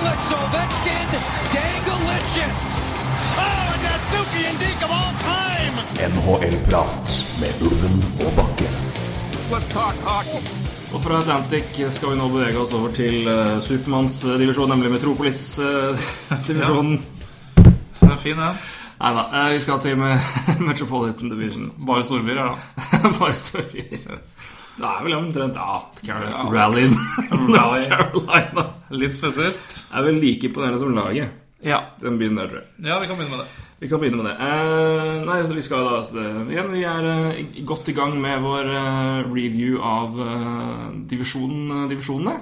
Alex Ovechkin, Dangalicious! Oh, and Datsuki and Deke of all time! NHL-prat med Ulven og Bakke. Let's talk hockey. Og fra Atlantic skal vi nå bevege oss over til uh, Supermannsdivisjonen, nemlig eh, Metropolis-divisjonen. Den er fin, den. Nei da, eh, vi skal til med Metropolitan Division. Bare storbyer, ja. da. Bare storyer. Det er vel omtrent ja, Car Ja. Rallyen. Rally. North Carolina. Litt spesielt. Det er vel like imponerende som laget. Ja. Den byen der, tror jeg. ja, vi kan begynne med det. Vi kan begynne med det. Eh, nei, så Vi skal da så det, igjen, vi er eh, godt i gang med vår eh, review av eh, divisjonen, divisjonene.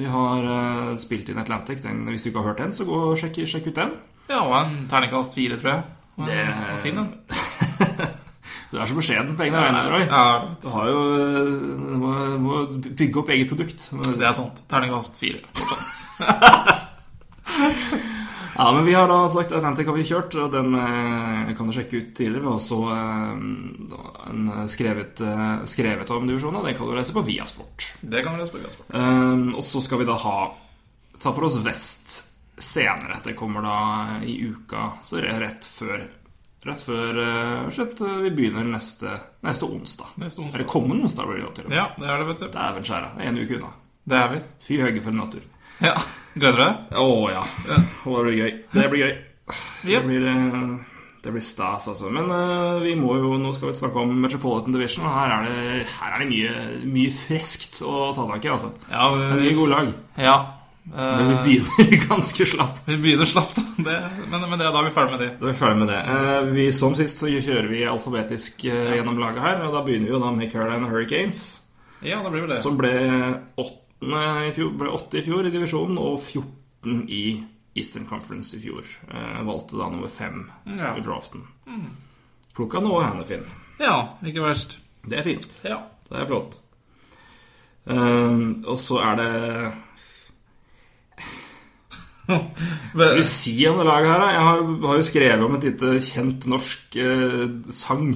Vi har eh, spilt inn Atlantic. Den, hvis du ikke har hørt den, så gå og sjekk, sjekk ut den. Ja, og en terningkast fire, tror jeg. Og Det- en- og Fin, den. Du er så beskjeden på egne vegne, Roy. Ja, Du har jo eh, du må, du må bygge opp eget produkt. det er sant. Terningkast fire. Ja, men vi har da sagt Atlantic har vi kjørt, og den eh, kan du sjekke ut tidligere. Vi har også eh, da en eh, skrevet, eh, skrevet om divisjonen, og den kan du lese på Viasport. Det kan vi da spørre oss på. Ehm, og så skal vi da ha Ta for oss Vest senere. Det kommer da i uka, så det er rett før Rett før eh, slett, eh, vi begynner neste, neste onsdag. Neste onsdag. Eller kommende onsdag blir det jo til og med. Ja, det er det, vet du. Dæven skjæra. det er En uke unna. Det er vi. Fy høgge for en natur. Ja. Gleder du deg? Å ja. Å, Det blir gøy. Det blir gøy. Det Ja. blir, eh, det blir stas, altså. Men eh, vi må jo, nå skal vi snakke om Metropolitan Division, og her er det, her er det mye, mye freskt å ta tak i, altså. Ja. Det er mye gode lag. Ja. Men vi Eh, begynner ganske slapt. vi begynner slapt, da. Det- Men, men det, da er vi ferdig med det. Da er vi ferdig med det. Eh, Vi, som sist så kjører vi alfabetisk eh, gjennom laget her, og da begynner vi jo da med Carolina Hurricanes, Ja, da blir vel det. som ble åttende i fjor, ble åtte i fjor i divisjonen og 14 i Eastern Conference i fjor. Eh, Valgte da nummer fem Ja. Mm. i draften. Plukka noe Hannefin. Ja, ikke verst. Det er fint. Ja. Det er flott. Eh, og så er det Skal du si om det laget her, da? Jeg har, har jo skrevet om et lite kjent norsk eh, sang.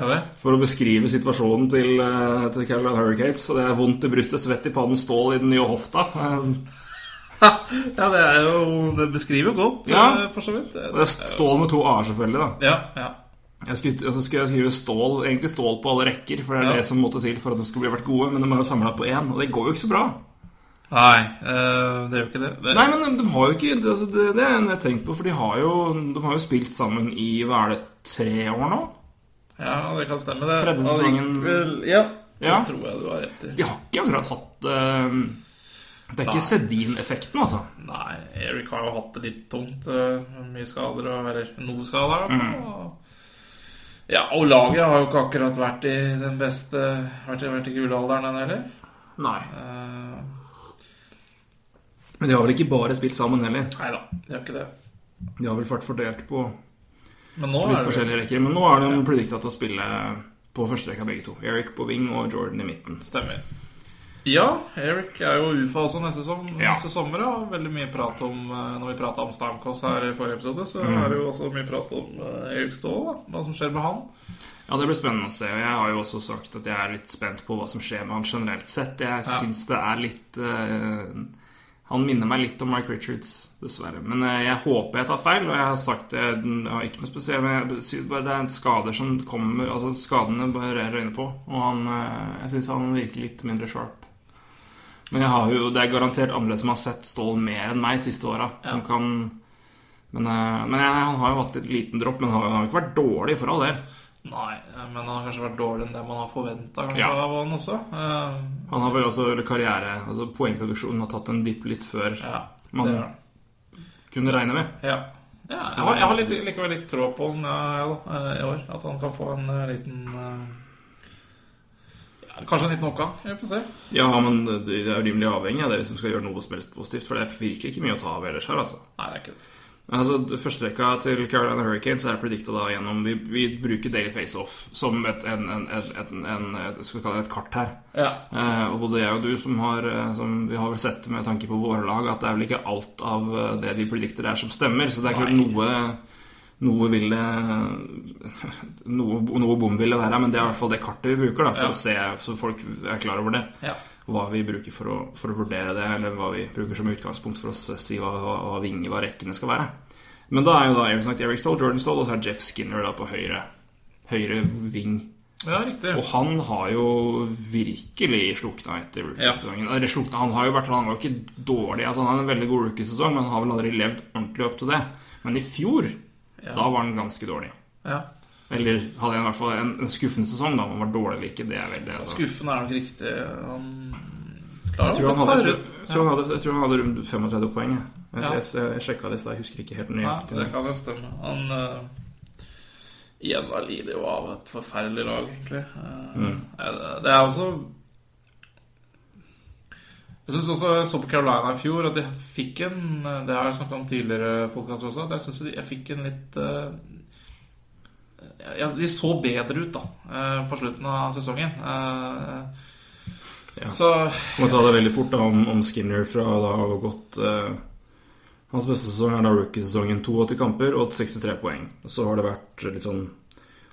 Ja, det. for å beskrive situasjonen til, eh, til Carolina Hurricanes. Og det er vondt i brystet, svett i pannen, stål i den nye hofta. Eh, ja, det er jo Det beskriver jo godt, Ja. eh, for så vidt. Det er stål med to a-er, selvfølgelig. da Ja, ja. Jeg skulle, altså, skulle jeg skrive stål egentlig stål på alle rekker, for det er Ja. det som måtte til for at de skulle bli vært gode. Men de har jo samla på én, og det går jo ikke så bra. Nei, eh, det er jo ikke det. det Nei, men de, de har jo ikke altså, Det, det er en jeg tenker på, for de har, jo, de har jo spilt sammen i hva er det, tre år nå? Ja, det kan stemme, det. Tredje sesongen. Allikevel- Ja, Ja. det tror jeg du har rett i. De har ikke akkurat hatt eh, Det er ikke Sedin-effekten, altså. Nei, Eric har jo hatt det litt tungt. eh, Mye skader, og- eller noe skader. Mm. Og, ja, og laget har jo ikke akkurat vært i den beste Vært, i- vært i gullalderen, den heller. Nei. Eh, Men de har vel ikke bare spilt sammen heller. nei da, det er ikke det. De har vel vært fordelt på Men nå litt er det forskjellige rekker. Men nå er de predikta til å spille på førsterekka, begge to. Eric på wing og Jordan i midten. Stemmer. Ja, Eric er jo UFA også neste, som, Ja. neste sommer. ja, Og veldig mye prat om eh, Når vi prata om Stamkos her i forrige episode, så Mm. er det jo også mye prat om eh, Eric Staal, da. Hva som skjer med han. Ja, det blir spennende å se. Og jeg har jo også sagt at jeg er litt spent på hva som skjer med han generelt sett. Jeg syns det er litt eh, Han minner meg litt om Mike Richards, dessverre. Men eh, jeg håper jeg tar feil, og jeg har sagt det jeg har ikke noe spesielt men jeg- Det er skader som kommer Altså, skadene bare røyner på, og han eh, Jeg syns han virker litt mindre sharp. Men jeg har jo, det er garantert andre som har sett Stål mer enn meg de siste åra. Som kan Men, eh, men jeg, han har jo hatt litt liten dropp, men han har- han har jo ikke vært dårlig for all del. Nei, eh, men han har kanskje vært dårligere enn det man har forventa Ja. av han også. Eh, Han har vel også eller karriere altså Poengproduksjonen har tatt en dipp litt før ja, man det er han. kunne regne med. Ja. ja jeg har, jeg har litt, likevel litt tråd på han ja, ja, da, eh, i år. At han kan få en eh, liten eh, ja, Kanskje en liten knockout. Vi får se. Ja, men det er jo rimelig avhengig av det hvis de skal gjøre noe som helst positivt, for det er virkelig ikke mye å ta av ellers her, altså. Nei, det er ikke det. Altså, Førsterekka til Carolina Hurricanes er predikta da gjennom Vi, vi bruker Daily Face-Off som et, en, en, et, et, en, et, skal vi kalle det et kart her. Ja. Eh, og både jeg og du som har, eh, som vi har vel sett med tanke på våre lag, at det er vel ikke alt av eh, det vi predikter er som stemmer. Så det er klart noe, noe vil det Noe, noe bom vil det være, men det er i hvert fall det kartet vi bruker, da, for Ja. å se så folk er klar over det. Ja. Hva vi bruker for å, for å vurdere det, eller hva vi bruker som utgangspunkt for å s- si hva, hva, hva vinge, hva rekkene skal være. Men da er jo da Eric, Snow, Eric Stoll, Jordan Stoll og så er Jeff Skinner da på høyre, høyre ving. ja, riktig. Og han har jo virkelig slukna etter rookiesesongen. Eller slukna, han har jo vært, han var jo ikke dårlig. Altså, han har en veldig god rookiesesong, men han har vel aldri levd ordentlig opp til det. Men i fjor, da var han ganske dårlig. Ja. Eller hadde han i hvert fall en, en skuffende sesong, da. om Han var dårlig eller ikke, det er vel det. Altså. Skuffen er nok riktig. Han klarer Jeg tror han å ta hadde, ut. jeg tror han hadde, jeg tror han hadde rundt 35 poeng. Jeg, jeg, Ja. jeg, jeg sjekka det i stad, jeg husker ikke helt Ja, nøyaktig. det kan jo stemme. Han eh, igjen da lider jo av et forferdelig lag, egentlig. Eh, eh, Det er også Jeg syns også jeg så på Carolina i fjor at jeg fikk en eh, Det har jeg snakket om tidligere podkaster også. At jeg synes jeg fikk en litt eh, ja, De så bedre ut da eh, på slutten av sesongen. Eh, Ja. Så Må ta det veldig fort da om, om Skinner fra da har gått eh, Hans beste sesong er da rookie-sesongen. 82 kamper og 63 poeng. Så har det vært litt sånn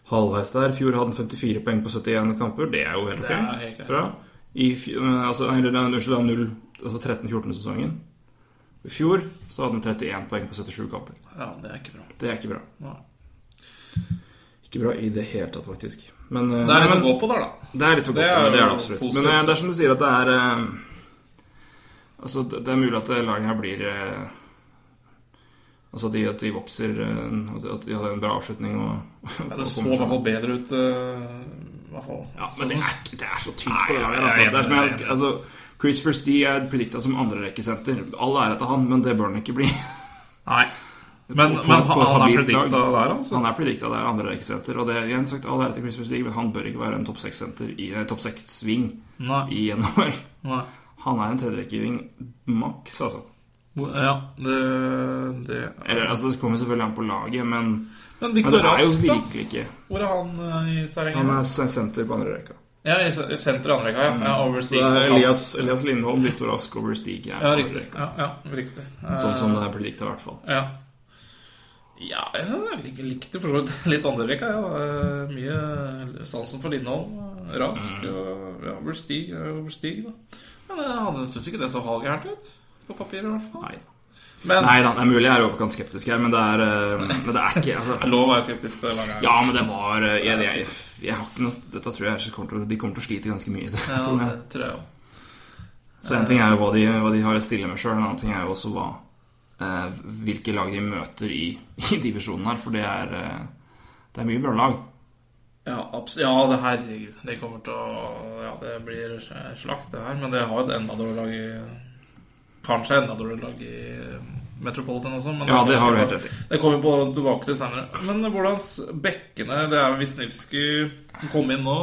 halvveis der. I fjor hadde han 54 poeng på 71 kamper. Det er jo helt ok. Det er helt greit. Bra. I fj- eh, altså, eller, nei, unnskyld, da, null- altså 13-14-sesongen. I fjor så hadde han 31 poeng på 77 kamper. Ja, det er ikke bra. Det er ikke bra. Nei. Ikke bra i det hele tatt, faktisk. Men, eh, Det er nei, litt men- å gå på der, da. det er litt å gå Det på, er men det er jo det absolutt. positivt. Men eh, det er som du sier, at det er eh, Altså, det det er mulig at det laget her blir eh, Altså at de, at de vokser eh, At de- at de hadde en bra avslutning og, og Det kommer så seg. i hvert fall bedre ut. eh, i hvert fall. Ja, Sånn men det som- er, det er så tynt på det laget. jeg er Altså. enig, Det er som jeg, jeg er altså, Chris Firstee er predikta som andrerekkesenter. All ære til han, men det bør han ikke bli. Nei. Men, På- men på et han er habilt predikta lag. der, altså? Han er predikta der, andrerekkesenter. Og det er igjen sagt all ære til Chris Firstee, men han bør ikke være en topp seks-senter i eh, topp seks-sving Nei. i NHL. Nei. Han er en tredjerekkeving maks, altså. Ja, det, det. Eller, altså, Det kommer selvfølgelig an på laget, men, Men men det Victor er jo Rask, da? virkelig ikke Hvor er han eh, i Han terrenget? er sen- senter på andre rekka. Ja, i se- i senter i andre rekka, ja. ja. Det Overstig. er Elias, Elias Lindholm, Viktor Ask og Stig er på Ja, andre riktig. rekka. Ja, ja, riktig. Eh, Sånn som det er predikta, i hvert fall. Ja. Ja, jeg synes jeg lik- likte for så vidt litt andre rekka. Ja. Eh, Mye sansen for Lindholm. eh, Rask Mm. og ja, Overstig. eh, Overstig da. Men eh, han syns ikke det så halvgærent ut. På papiret, i hvert fall. Nei. Men Nei da, det er mulig jeg er overkant skeptisk her, men det er, eh, men det er ikke altså, Jeg lov å være skeptisk til det laget. her. Ja, men det var eh, Jeg, jeg, jeg har ikke noe Dette tror jeg kommer til, å- De kommer til å slite ganske mye. Ja, Tror jeg. det tror jeg også. Så en ting er jo hva de, hva de har å stille med sjøl, en annen ting er jo også hva eh, hvilke lag de møter i, i divisjonen her, for det er, eh, det er mye bra lag. Ja, abs ja, det herregud. Det kommer til å Ja, det blir slakt, det her. Men det har jo et enda dårligere lag i Kanskje enda dårligere lag i eh, Metropolitan også. Men Ja, det har du helt rett i. Det kommer vi på tilbake til senere. Men hvordan s- bekkene Det er Wisniewski kom inn nå.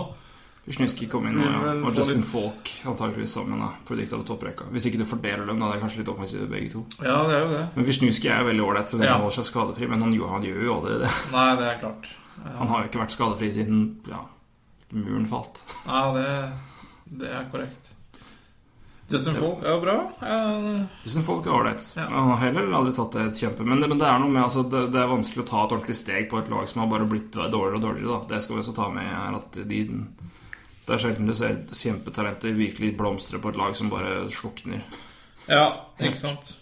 Wisniewski kom inn, og, Vil vel og få Justin litt- Falk antakeligvis sammen. da, Predicta på topprekka. Hvis ikke du fordeler dem, da er det kanskje litt offensive begge to. Ja, det er jo det. Men Wisniewski er jo veldig ålreit, så lenge Ja. han holder seg skadefri. Men han, gjør- han gjør jo aldri det. Nei, det er klart. Han har jo ikke vært skadefri siden ja, muren falt. Ja, det, det er korrekt. Justin Falk er jo bra. Eh, Tusen folk er ålreit. Ja. Han har heller aldri tatt det et kjempe... Men det, men det er noe med altså, det, det er vanskelig å ta et ordentlig steg på et lag som har bare blitt dårligere og dårligere. Da. Det skal vi også ta med her at de, det er sjelden du ser kjempetalenter virkelig blomstre på et lag som bare slukner. Ja, ikke sant.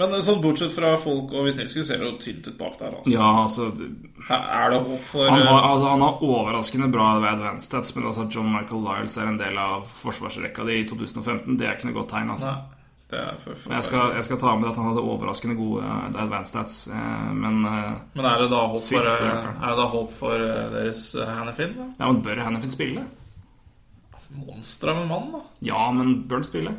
Men eh, sånn bortsett fra folk og Wisniewski ser det jo tynt ut bak der, altså. Ja, altså du- Her er det håp for han har, altså, han har overraskende bra advanced stats, men altså, at John Michael Lyles er en del av forsvarsrekka di i 2015, det er ikke noe godt tegn. altså. eh, Nei, det er for, for Jeg skal, jeg skal ta med at han hadde overraskende gode eh, advanced stats, eh, men eh, Men er det da håp for, Fytti eh, rakkeren. er det da håp for eh, deres eh, Hannifin? da? ja, men bør Hannifin spille? Monstre med mann, da. Ja, men bør han spille?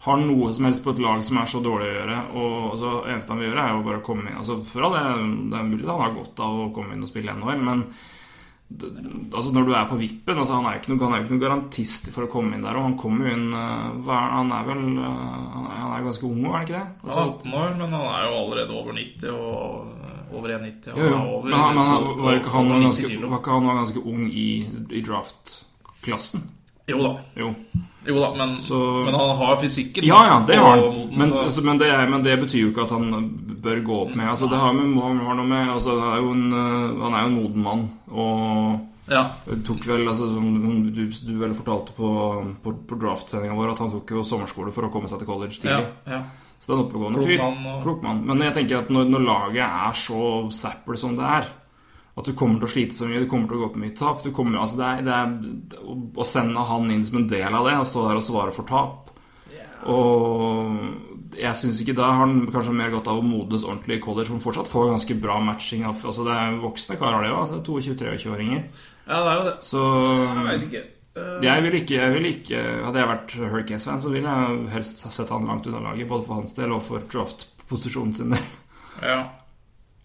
Har han noe som helst på et lag som er så dårlig å gjøre, og så eneste han vil Altså, gjøre, er jo bare å komme inn. Altså, for all det, det er mulig han har godt av å komme inn og spille i NHL, men d- Altså Når du er på vippen altså Han er jo ikke noen, han er jo ikke noen garantist for å komme inn der. Og han kommer jo inn eh, hva er- Han er vel eh, Han er, han er ganske ung, er han ikke det? Han er Altså, 18 år, men han er jo allerede over 90 og over 1,90. og jo, jo. er over Men han, men han, to- var ikke han over 90 ganske, kilo. var ikke han ganske ung i, i draft-klassen? Jo da. Jo. Jo da, men, Så- men han har fysikken. Ja, ja, det har og han. moten, Men, så- altså, men, det, er- men det betyr jo ikke at han bør gå opp med Altså, det har med, han har noe med altså, det er jo en, eh, Han er jo en moden mann, og ja. tok vel altså, Som du, du vel fortalte på, på, på draftsendinga vår, at han tok jo sommerskole for å komme seg til college ja, tidlig. ja. Så det er en oppegående Klok fyr. mann og- Klok mann. Men jeg tenker at når, når laget er så zapper som det er at du kommer til å slite så mye, du kommer til å gå på mye tap du kommer, altså det er, det er, Å å sende han inn som en del av det, og stå der og svare for tap Og jeg syns ikke da har han kanskje mer godt av å modnes ordentlig i college, for han fortsatt får ganske bra matching. av- Altså det er voksne karer, det òg. Altså 22-23-åringer. ja, det er jo det. Så Jeg vet ikke. Eh, jeg vil ikke, jeg vil ikke Hadde jeg vært Hurricanes-fan, så ville jeg helst ha sett han langt unna laget. Både for hans del og for draft-posisjonen sin del. ja.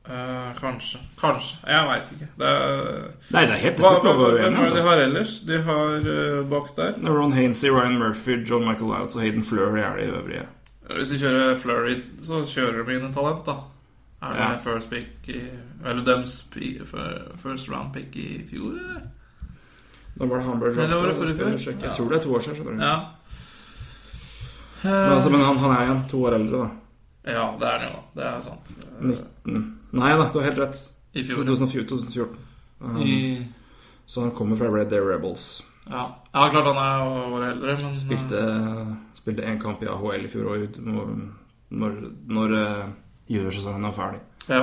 Eh, kanskje. Kanskje. Jeg veit ikke. Det er Nei, det er helt Hva, tøft å hva, være hvem uenig. er det de Altså. har ellers? De har eh, bak der Det er Ron Hainsey, Ryan Murphy, John Michael Lyles og Hayden Flurry er de øvrige. Hvis de kjører Flurry, så kjører de inn en talent, da. Er det Ja. first pick i Eller dems pi- fir- first round pick i fjor, eller? Da var det han ble draftet, Eller var det jeg, forrige før? sjekke. Ja. jeg tror det er to år siden. skjønner du. Ja. Mm. Men, altså, men han, han er igjen to år eldre, da. Eh, Ja, det er den jo, da. Det er sant. 19 Nei da, du har helt rett. I fjor. 2004, 2014. Um, I, Så han kommer fra Red Day Rebels. ja. ja, klart han er jo året eldre, men eh, Spilte, spilte en kamp i AHL i fjor òg, når, når, når eh, juniorsesongen er ferdig. Ja.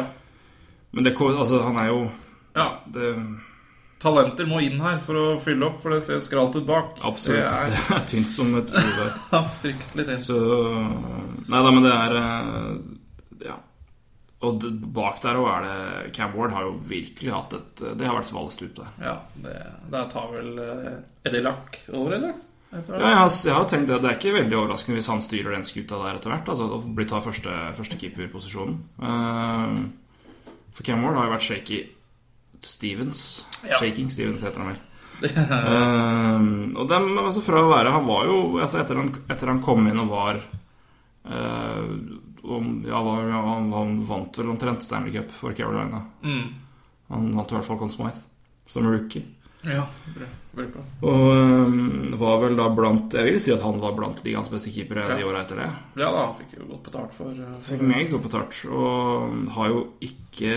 Men det, kom- altså, han er jo ja. det, Talenter må inn her for å fylle opp, for det ser skralt ut bak. Absolutt. Det er, Det tynt som et uvær. er fryktelig tynt. Så Nei da, men det er eh, Ja. Og det, bak der òg er det Cam Ward har jo virkelig hatt et Det har vært svalestup der. Ja, det, det tar vel eh, Eddie Lack over, eller? Etter hvert. Ja, jeg har, jeg har tenkt det. Det er ikke veldig overraskende hvis han styrer den skuta der etter hvert. Altså, og blir tar første, første keeperposisjonen. Eh, for Cam Ward har jo vært shaky Stevens. Ja. Shaking Stevens heter han vel. Eh, og dem, altså fra å være Han var jo altså Etter han, etter han kom inn og var eh, om, ja, var, ja, han, han vant vel omtrent Stanley Cup for Carolina. Mm. Han vant i hvert fall Conn Smythe som rookie. Ja, bra. Veldig bra. Og øhm, var vel da blant Jeg vil si at han var blant ligaens beste keepere Ja. de åra etter det. Ja da, han fikk jo godt betalt for, eh, Fikk for meget godt betalt. Og har jo ikke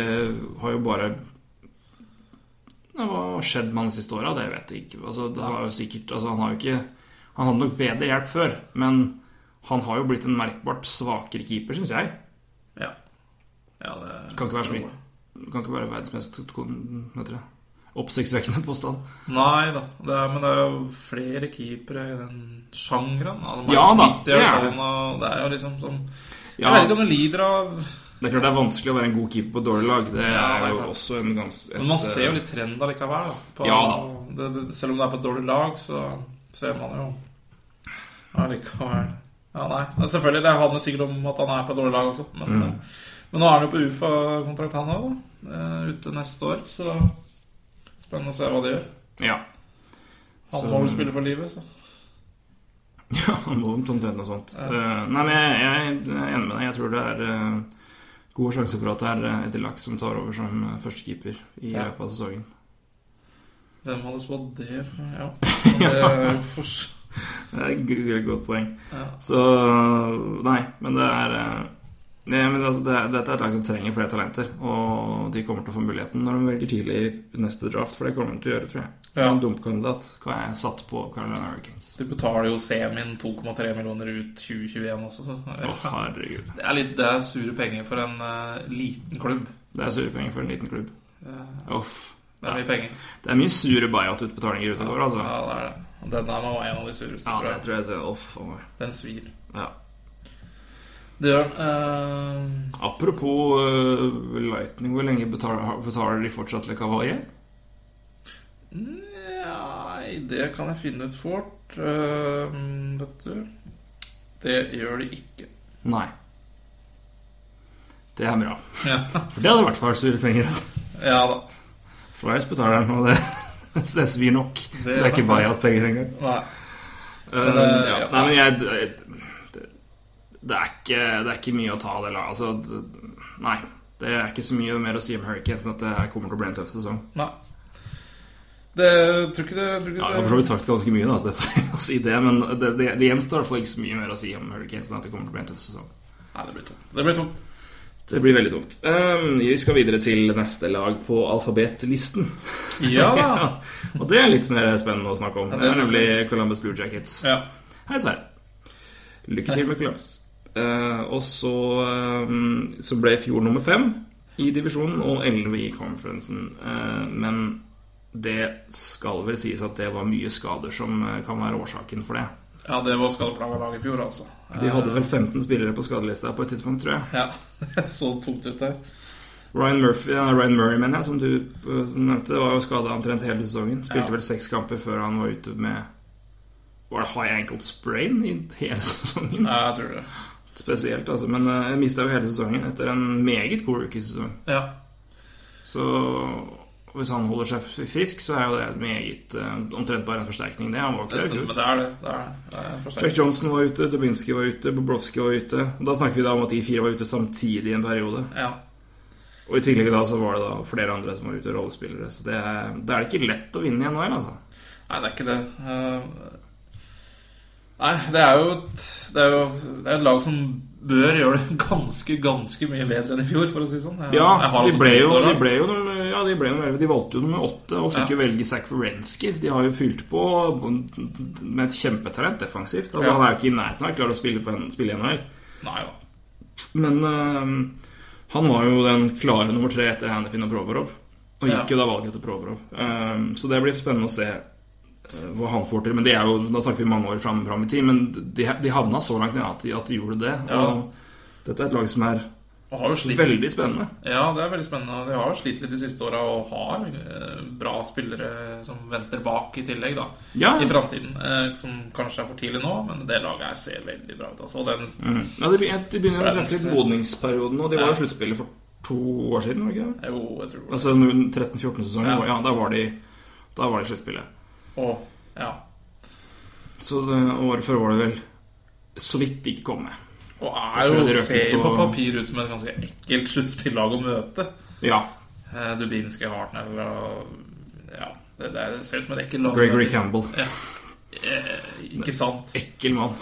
Har jo bare Nei, Hva har skjedd med han de siste åra? Det vet jeg ikke. Altså, det har jo sikkert, altså, han har jo ikke Han hadde nok bedre hjelp før, men han har jo blitt en merkbart svakere keeper, syns jeg. Ja. ja det Kan ikke være så mye. Kan ikke være verdens mest kon- hva heter det, oppsiktsvekkende påstand. Nei da, det er, men det er jo flere keepere i den sjangeren. Altså, Mike Ja da, Smith i det er det. Arizona, det er jo liksom som Jeg Ja. vet ikke om det lider av Det er klart det er vanskelig å være en god keeper på et dårlig lag. Det Ja, det er er jo klart. også en eh, ganske Men man ser jo litt trend allikevel. Da, på, Ja det, det, selv om det er på et dårlig lag, så ser man jo allikevel Ja, nei. Det er Selvfølgelig, det handler sikkert om at han er på et dårlig lag også, men, Mm. eh, men nå er han jo på UFA-kontrakt, han òg, da. eh, Ute neste år, så spennende å se hva de gjør. Ja. Han Så- må vel spille for livet, så. Ja, noe omtrent noe sånt. Eh, nei, men jeg, jeg er enig med deg. Jeg tror det er eh, gode sjanser for at det er uh, Edilak som tar over som eh, førstekeeper i Ja. løpet av sesongen. Hvem hadde spådd det? Ja. Det er jo for... Det er et gu- godt poeng. Ja. Så Nei, men det er eh, Nei, men altså, det er, Dette er et lag som trenger flere talenter, og de kommer til å få muligheten når de velger tidlig i neste draft, for det kommer de til å gjøre, tror jeg. Ja. En dumpkandidat hva jeg satt på Carolina Hurricanes. Du betaler jo semien 2,3 millioner ut 2021 også. Så. Å, herregud. Det, er litt, det er sure penger for en eh, liten klubb. Det er sure penger for en liten klubb. Det Uff. er mye penger. Det er mye sure buyout-utbetalinger ute og går, altså. Ja, det er det. Og Den der var en av de sureste, Ja, tror det jeg. tror jeg det er off for meg. Den svir. Ja. Det gjør den. Eh, Apropos eh, Lightning, hvor lenge betaler, betaler de fortsatt Le Cavalier? Nei, Eh, det kan jeg finne ut fort. Eh, vet du Det gjør de ikke. Nei. Det er bra. Ja, For det hadde i hvert fall sure penger. ja da. Flyers betaler dem, og det, så det svir nok. Det, er ikke buyout-penger engang. Nei. Men, eh, ja. ja. Nei, men jeg det, det, er ikke, det er ikke mye å ta av det laget. Altså, det, nei. Det er ikke så mye mer å si om Hurricanes enn at det her kommer til å bli en tøff sesong. Nei. Det tror ikke det tror Ja, ikke jeg har for så vidt sagt ganske mye, da, så det er feil å si det. Men det, det, det gjenstår i hvert fall ikke så mye mer å si om Hurricanes enn at det kommer til å bli en tøff sesong. Nei, det blir tungt. Det blir tungt. Det blir veldig tungt. Ehm, vi skal videre til neste lag på alfabetlisten. Ja da. Og det er litt mer spennende å snakke om. Ja, det det er synes nemlig jeg. Columbus Blue Jackets. ja. Hei, Sverre. Lykke til med Columbus. Eh, og så, eh, så ble fjor nummer fem i divisjonen og elleve i conferencen. Eh, men det skal vel sies at det var mye skader som eh, kan være årsaken for det. ja, det var skadeplaga lag i fjor, altså. De hadde vel 15 spillere på skadelista på et tidspunkt, tror jeg. Ja, det så tungt ut der. Ryan, Murphy, ja, Ryan Murray, mener jeg, som du eh, som nevnte, var jo skada omtrent hele sesongen. Spilte Ja. vel seks kamper før han var ute med Var det high ankle sprain i hele sesongen? Ja, jeg tror det. Spesielt, altså. Men eh, jeg mista jo hele sesongen etter en meget god rookiesesong. Ja. Så hvis han holder seg frisk, så er jo det et meget eh, omtrent bare en forsterkning, det. Han var ikke der i Men fjor. det er det. Det er, det er en forsterkning. Jack Johnson var ute, Dubinsky var ute, Bobrovsky var ute. Og da snakker vi da om at de fire var ute samtidig i en periode. Ja. Og i tillegg da så var det da flere andre som var ute, rollespillere. Så det er, da er det ikke lett å vinne i NHL, altså. Nei, det er ikke det. Eh, Nei, det er jo et, det er jo det er et lag som bør gjøre det ganske, ganske mye bedre enn i fjor, for å si det sånn. Jeg- Ja, jeg har de altså ble tro jo, på det de laget. ble jo nummer, ja, de ble nummer 11. De valgte jo nummer 8 og fikk Ja. jo velge Zach Werenski. så De har jo fylt på med et kjempetalent defensivt. Altså, Ja. Han er jo ikke i nærheten av å klare å spille, på en, spille i NHL. Nei da. Men eh, han var jo den klare nummer tre etter Hanifin og Provorov. Og gikk Ja. jo da valget etter Provorov. Eh, så det blir spennende å se eh, hva han får til. Men det er jo, Da snakker vi mange år fram, fram i tid, men de, de havna så langt ned at de, at de gjorde det. Ja. Og dette er et lag som er Og har jo slitt veldig spennende. Ja, det er veldig spennende. De har jo slitt litt de siste åra og har eh, bra spillere som venter bak i tillegg, da. Ja. I framtiden. eh, Som kanskje er for tidlig nå, men det laget her ser veldig bra ut. Altså. Og Den, Ja, de begynner, de begynner Browns. å treffe litt modningsperioden, og de var Ja. jo sluttspillet for to år siden, var det ikke det? Jo, jeg tror Altså 13-14-sesongen, Ja. ja, da var de Da var de i sluttspillet. Og, ja. Så det, året før var det vel så vidt de ikke kom med. og Jeg er tror jo, de røker ser jo på på- papir ut som et ganske ekkelt sluttspillag å møte. Ja. Eh, Dubinski, Hartnell og Ja, det, det ser ut som et ekkelt lag. å Gregory møte. Campbell. Ikke sant? Ekkel mann.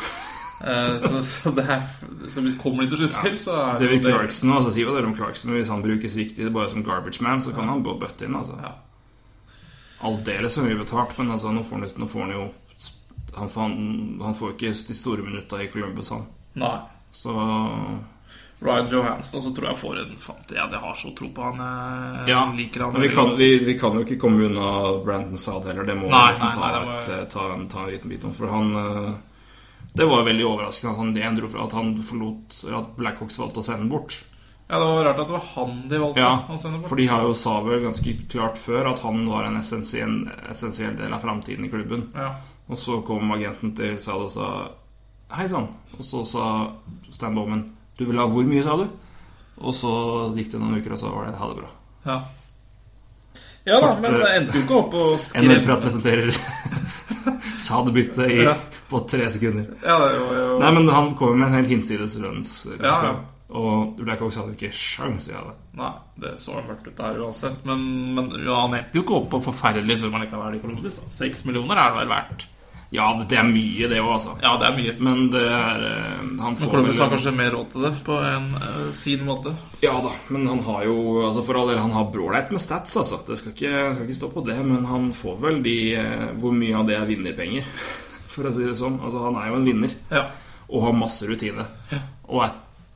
Eh, Så, så, det er, så vi kommer de til sluttspill, så er David det- Clarkson, altså si hva dere om Clarkson, men hvis han brukes riktig bare som garbage man, så kan han bare bøtte inn, altså. Ja. Aldeles for mye betalt, men altså, nå får han, nå får han jo han får, han, han får ikke de store minutta i Columbus, han. Nei. Så Ryan Johansson, så tror jeg får en fant, Ja, jeg har så tro på han. Jeg Ja, liker han. men vi veldig kan, godt. vi, vi kan jo ikke komme unna Brandon Saad heller. Det må vi Nei, nesten nei, ta, nei, det må- et, eh, ta, en- ta en liten bit om. For han eh, Det var jo veldig overraskende at han, det han dro fra, at han forlot eller At Blackhawks valgte å sende den bort. Ja, Det var rart at det var han de valgte Ja, å sende bort. For de har jo sa vel ganske klart før at han var en essensiell, essensiell del av framtiden i klubben. Ja. Og så kom agenten til Saad og sa Hei sann. Og så sa Stan Bowman Du vil ha hvor mye, sa du? Og så gikk det noen uker, og så var det ha det bra. ja. Ja da, Kort, men det eh, endte jo ikke opp og NHL-prat skremme. presenterer Sad-bytte i, Ja. på tre sekunder. Ja, det var jo Nei, men han kommer med en hel hinsides lønns. Ja, ja. Og Blackhawks hadde ikke sjans i det. Nei, det så mørkt ut der uansett. Men, men ja, han endte jo ikke opp på forferdelig sum likevel i Columbus. da. Seks millioner er det vel verdt. Ja, det er mye, det òg, altså. Ja, det er mye. Men det er eh, Han Men får Columbus har vel- kanskje mer råd til det på en, eh, sin måte. Ja da, men han har jo altså For all del, han har bråleit med stats, altså. Det skal ikke, skal ikke stå på det, men han får vel de eh, Hvor mye av det er vinnerpenger, for å si det sånn. Altså, han er jo en vinner. Ja. og har masse rutine. Og er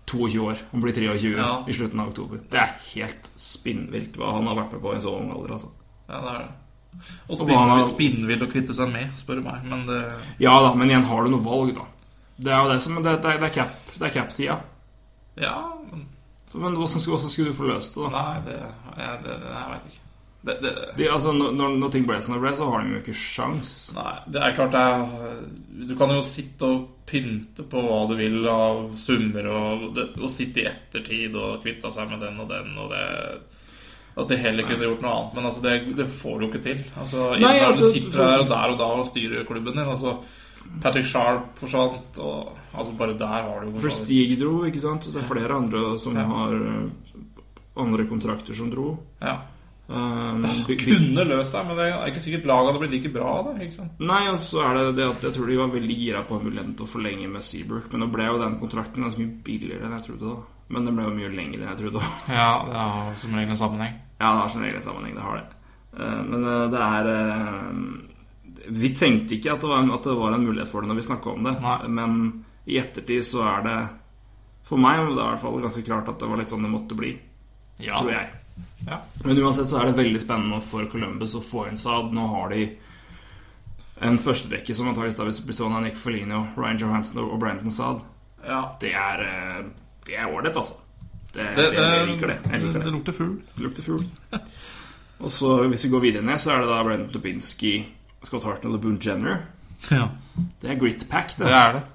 22 år. Han blir 23 Ja. i slutten av oktober. Det er helt spinnvilt hva han har vært med på i så ung alder. altså. Ja, det er det. Og Og han har- spinnvill- spinnvill å kvitte seg med, spør du meg. Men det Ja da, men igjen, har du noe valg, da? Det er jo det som Det, det, det er cap- det er cap-tida. Ja, men men hvordan skulle, hvordan skulle du få løst det, da? Nei, det, jeg, det, det jeg veit ikke. Det, det, De, altså, når, når- når ting ble som det ble, så har de jo ikke sjans. nei, det er klart det er Du kan jo sitte og pynte på hva du vil av summer, og, det, og sitte i ettertid og kvitte seg med den og den, og det At de heller kunne gjort noe annet. Men altså, det, det får du jo ikke til. Altså, Nei, Ibrahim altså, sitter for- der og der og da og styrer klubben din. Altså, Patrick Sharp forsvant, og altså, bare der har du jo For forsvant. Stig dro, ikke sant? Og så er det flere andre som har eh, andre kontrakter som dro. Ja. Um, by- by- Kunne løst det, men det er ikke sikkert laget hadde blitt like bra av det. ikke sant? Nei, og så er det det at jeg tror de var veldig gira på muligheten til å forlenge med Seabrook, men nå ble jo den kontrakten ganske mye billigere enn jeg trodde. da. Men den ble jo mye lengre enn jeg trodde. da. Ja, det har som regel en sammenheng. Ja, det har som regel en sammenheng, det har det. Eh, Men eh, det er eh, Vi tenkte ikke at det var en, at det var en mulighet for det når vi snakka om det, Nei. men i ettertid så er det For meg var det i hvert fall ganske klart at det var litt sånn det måtte bli. Ja. tror jeg. Ja. Men uansett så er det veldig spennende for Columbus å få inn Saad. Nå har de en førsterekke som antakeligvis da vil bli stående av Nick Foligno, Ryan Johansen og Brandon Saad. Ja. Det er eh, Det er ålreit, altså. Det, Det, det, jeg liker det. Jeg liker det. lukter fugl. Det lukter fugl. Og så hvis vi går videre ned, så er det da Brendan Dubinsky, Scott Hartnell og Boone Jenner. Ja. Det er grit pack, det. Det er det.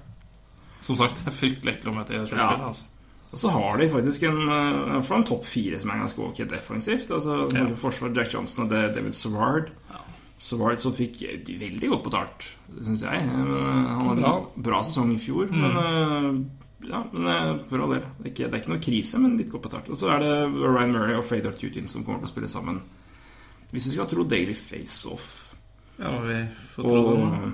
Som sagt, det er fryktelig ekkelt å møte i sluttspillet. Ja. Altså. Og så har de faktisk en, eh, en fra en topp fire som er ganske ok defensivt. Altså ja. forsvar Jack Johnson og det- David Savard. Savard som fikk eh, veldig godt betalt, syns jeg. Men, eh, han hadde Bra. en bra sesong i fjor, men eh, ja, men eh, for all del. Det er, ikke, det er ikke noe krise, men litt godt betalt. Og så er det Ryan Murray og Fredar Tutin som kommer til å spille sammen. Hvis vi skal tro Daily Face-Off Ja, men vi får tro det. og eh, nå.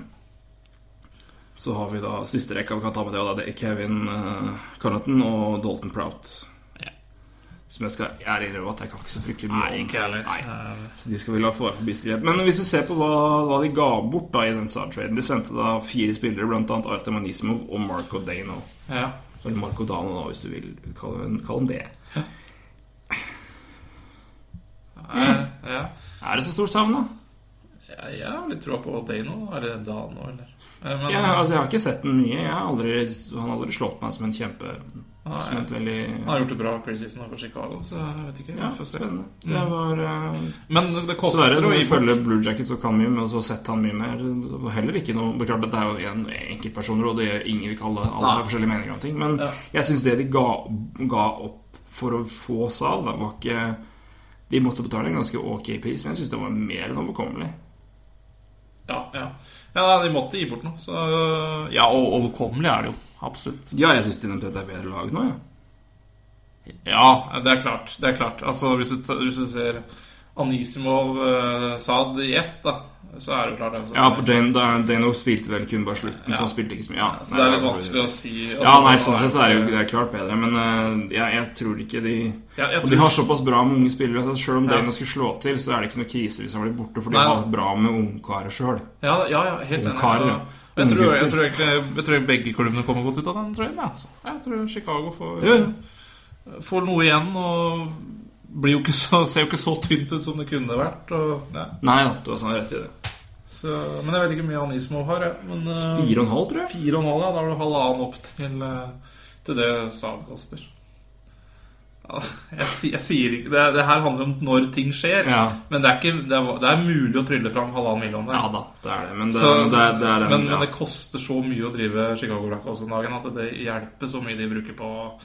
så har vi da siste rekka vi kan ta med det, og da, det er Kevin uh, Connaughton og Dalton Prout. Som jeg skal ærlig innrømme at jeg kan ikke så fryktelig mye Nei, om. ikke heller. Eh, Nei. Så de skal vi la få være forbi stillhet. Men hvis vi ser på hva, hva de ga bort da i den Sard-traden De sendte da fire spillere, bl.a. Artem Anisimov og Marco Dano. Ja. Eller Marco Dano, da, hvis du vil kalle ham kalle ham det. Ja. ja. Er det så stort savn, da? Ja, Jeg har litt tro på Dano, eller Dano, eller Eh, Men Ja, altså, jeg har ikke sett den mye. Jeg har aldri, han har aldri slått meg som en kjempe Nei. Som et veldig han har gjort det bra preseason for Chicago, så jeg vet ikke. Ja, Vi får se. spennende. Det var eh, Men det koster Dessverre, jo som i ifølge Blue Jackets og kan mye, men så har sett han mye mer. og Heller ikke noe Beklart at det er jo en enkeltpersoner, og det gjør ingen vi kaller alle Nei. har forskjellige meninger om ting. Men Ja. jeg syns det de ga, ga opp for å få Sal, da, var ikke De måtte betale en ganske ok pris, men jeg syns det var mer enn overkommelig. Ja, ja. ja, de måtte gi bort noe, så Ja, og overkommelig er det jo. Absolutt. Ja, jeg syns de nevnte at det er bedre lag nå, ja. Ja, det er klart. Det er klart. Altså, hvis du, hvis du ser Anisimov eh, Saad i ett, da, så er det jo klart hvem som Ja, for Dane, da- Dano spilte vel kun bare slutten, Ja. så han spilte ikke så mye. Ja, Så det er nei, litt for- vanskelig å si altså, Ja, nei, sånn sett så er det jo det er klart bedre, men eh, jeg, jeg tror ikke de Ja, jeg Og de tror- har såpass bra med unge spillere at selv om Ja. Dano skulle slå til, så er det ikke noe krise hvis han blir borte, for de Nei. har bra med ungkarer sjøl. Ja, ja, ja helt enig. Ungkarer, Ja. Jeg tror, unggutter. jeg, tror egentlig, jeg tror begge klubbene kommer godt ut av den trøyen. ja, Altså. Jeg tror Chicago får, får noe igjen og blir jo ikke så, ser jo ikke så tynt ut som det kunne vært. Og, ja. Nei da, du har sånn rett i det. så, men jeg vet ikke hvor mye Anismov har. jeg, Men, eh, Fire og en halv, tror jeg. fire og en halv, ja. Da har du halvannen opp til, eh, til det Saab koster. Ja, jeg, si- jeg sier ikke det, det her handler om når ting skjer. Ja. Men det er, ikke, det, er, det er mulig å trylle fram halvannen million der. Ja da, det er det. Men det, Så, det, er- det er en, men, men ja. det koster så mye å drive Chicago Blackhawks om dagen at det hjelper så mye de bruker på,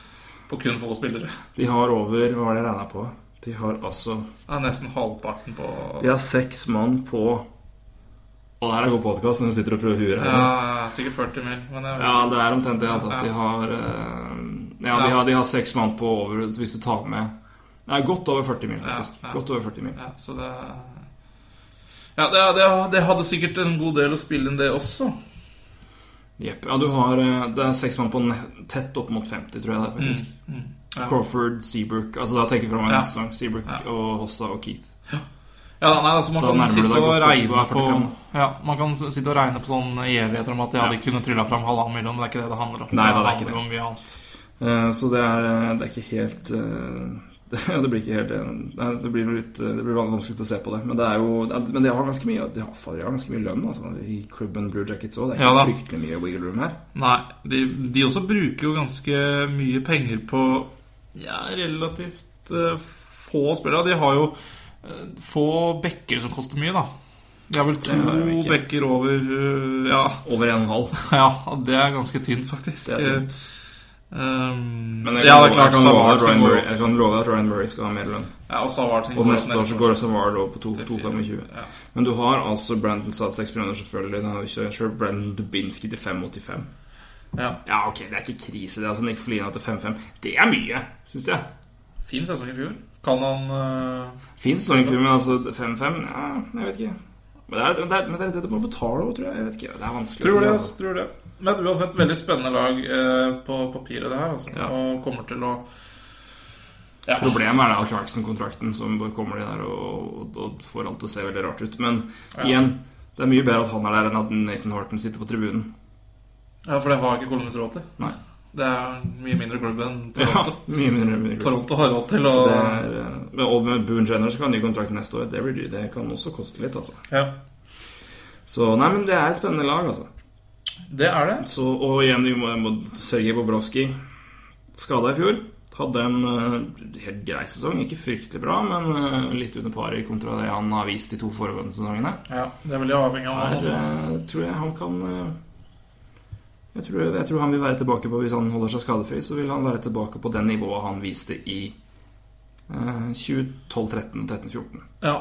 på kun få spillere. De har over Hva var det jeg regna på? De har altså Det er nesten halvparten på De har seks mann på Og det her er god podkast når du sitter og prøver huet. her. ja, Sikkert 40 mil, men jeg, Ja, det er omtrent det. Altså, at Ja. de har eh, Ja, de Ja. har, de har seks mann på over Hvis du tar med Nei, godt over 40 mil, faktisk. Ja, ja. Godt over 40 mil. ja, så det ja, det, det, det hadde sikkert en god del å spille enn det også. Jepp. Ja, du har eh, Det er seks mann på ne- tett opp mot 50, tror jeg det er. faktisk Mm, Ja. Crawford, Seabrook Altså da tenker jeg fra meg Ja. neste sesong. Seabrook og Hossa og Keith. Ja, nei, altså Man Da kan nærmer du sitte deg og godt opp til regne på 45. Ja, man kan s- sitte og regne på sånne evigheter om at de hadde Ja. kunnet trylla fram halvannen million, men det er ikke det det handler om. Nei, det er ikke handler det. om mye annet. Eh, Så det er, eh, det er ikke helt eh, det blir ikke helt eh, nei, Det blir litt eh, Det blir vanskelig å se på det. Men det er jo det er- Men de har ganske mye De har, fader, de har ganske mye lønn altså, i klubben Blue Jackets òg. Det er ikke Ja da. fryktelig mye wiggle room her. Nei, de, de også bruker jo ganske mye penger på ja, relativt eh, få spillere. De har jo eh, få bekker som koster mye, da. De har vel to har de ikke. bekker over eh, ja, Over 1,5. ja, det er ganske tynt, faktisk. Det er tynt. Eh, Ehm, Men jeg ja, kan love- det er jeg klart kan love at Savartsen Ryan går Murray- jo- jeg kan love at Ryan Murray skal ha mer lønn. Ja, og Savartsen Og går neste år så går det som var det opp på to- til 2,25. fire. Ja. Men du har altså Brandon satt 6 millioner, selvfølgelig. Da har vi kjørt kjørt Brandon Dubinski til 5,85. Ja. Ja, ok, det er ikke krise, det. altså Nick Folina til 5,5. Det er mye, syns jeg. Fin sesong i fjor. Kan han eh, Fin sesong i fjor, men altså 5,5 Ja, jeg vet ikke. Men det er, men det er, men det er det du må betale òg, tror jeg. jeg vet ikke, Det er vanskelig. å Tror si, det, altså. altså. Tror det. Men uansett, veldig spennende lag eh, på papiret, det her. Altså. Ja. Og kommer til å ja. Problemet er da Clarkson-kontrakten, som bare kommer de der og, og, og får alt til å se veldig rart ut. Men igjen, det er mye bedre at han er der enn at Nathan Horton sitter på tribunen. ja, for det har ikke Columbus råd til. Nei. Det er mye mindre klubb enn Ja, Toronto. mye mindre, mindre klubb. Toronto har råd til å Så det er, eh, men- og med Boone Jenner så kan han ny kontrakt neste år. Det, blir, dyrt. det kan også koste litt, altså. ja. Så nei, men det er et spennende lag, altså. det er det. Så, og igjen, vi må, må Sergej Bobrovskij skada i fjor. Hadde en eh, helt grei sesong. Ikke fryktelig bra, men eh, litt under paret kontra det han har vist de to foregående sesongene. Ja, det er veldig avhengig av Her han altså. også. eh, tror jeg han kan eh, jeg tror, jeg tror han vil være tilbake på Hvis han holder seg skadefri, så vil han være tilbake på det nivået han viste i eh, 2012-13 og 13-14. Ja,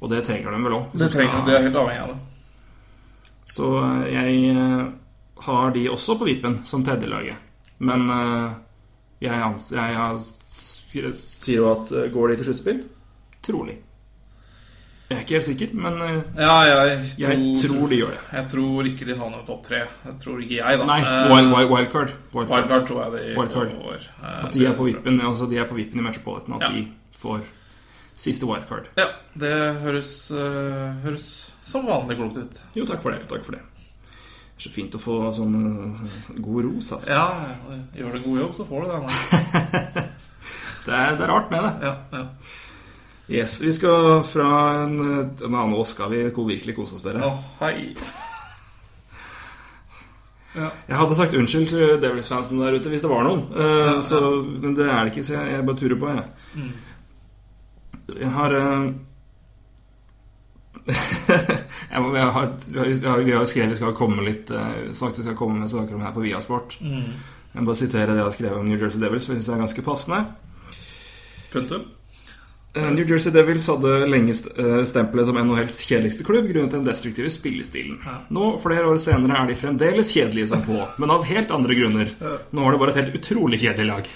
Og det trenger de vel òg. det trenger de. De er helt avhengig av det. Så eh, jeg eh, har de også på vippen som tredjelaget. Men eh, jeg, ans jeg har skre- Sier jo at eh, går de til sluttspill? Trolig. Jeg er ikke helt sikker, men eh, Ja, jeg tror, jeg tror de gjør det. jeg tror ikke de havner topp tre. Jeg tror ikke jeg, da. Nei, Eh, wild, wild, wildcard. Wildcard. Wildcard tror jeg de Wildcard. får. Eh, At de er på det tror jeg. vippen, altså de er på vippen i Metropolitan, at Ja. de får siste wildcard. Ja, det høres, eh, høres som vanlig klokt ut. Jo, takk for det. takk for det. Det er så fint å få sånn eh, god ros, altså. Ja, gjør du en god jobb, så får du det. Men. Det, er, det er rart med det. Ja, ja. Yes, Vi skal fra en eh, Nei, nå skal vi ko- virkelig kose oss, dere. Å, hei. Jeg hadde sagt unnskyld til Devils-fansen der ute hvis det var noen. Eh, ja. Mm. så, men det er det ikke, så jeg, jeg bare turer på, jeg. Jeg har eh, jeg, må, jeg, har, jeg har Vi har jo skrevet vi skal komme litt eh, sagt vi skal komme med saker om det her på Viasport. Mm. Jeg må bare sitere det jeg har skrevet om New Jersey Devils, for jeg syns det er ganske passende. Punktum. Eh, New Jersey Devils hadde lenge st- eh, stempelet som NHLs kjedeligste klubb grunnet den destruktive spillestilen. Nå, flere år senere, er de fremdeles kjedelige som få, men av helt andre grunner. Nå har de bare et helt utrolig kjedelig lag.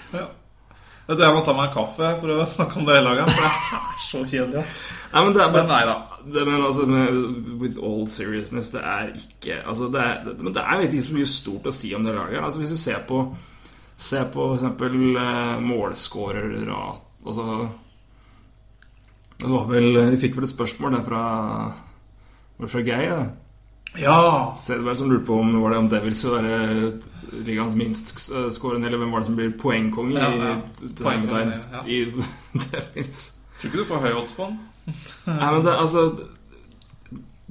Vet du, Jeg må ta meg en kaffe for å snakke om det laget. For det er så kjedelig. ass. Nei, men det er Men bare nei da. det, men altså, med, with all seriousness, det er ikke altså, det er, det, Men det er virkelig ikke så mye stort å si om det laget. her. Altså, hvis du ser på Se på f.eks. Eh, målskårerrat Altså Det var vel Vi fikk vel et spørsmål der fra var det fra Geir, det. Ja. Sedberg som lurte på om var det om Devils vil være eh, ligaens minst sk- skårende, eller hvem var det som blir poengkonge Ja, i, ja. poengkongen, Poengkongen, ja. i Devils? Tror ikke du får høy odds på den. Nei, men det, altså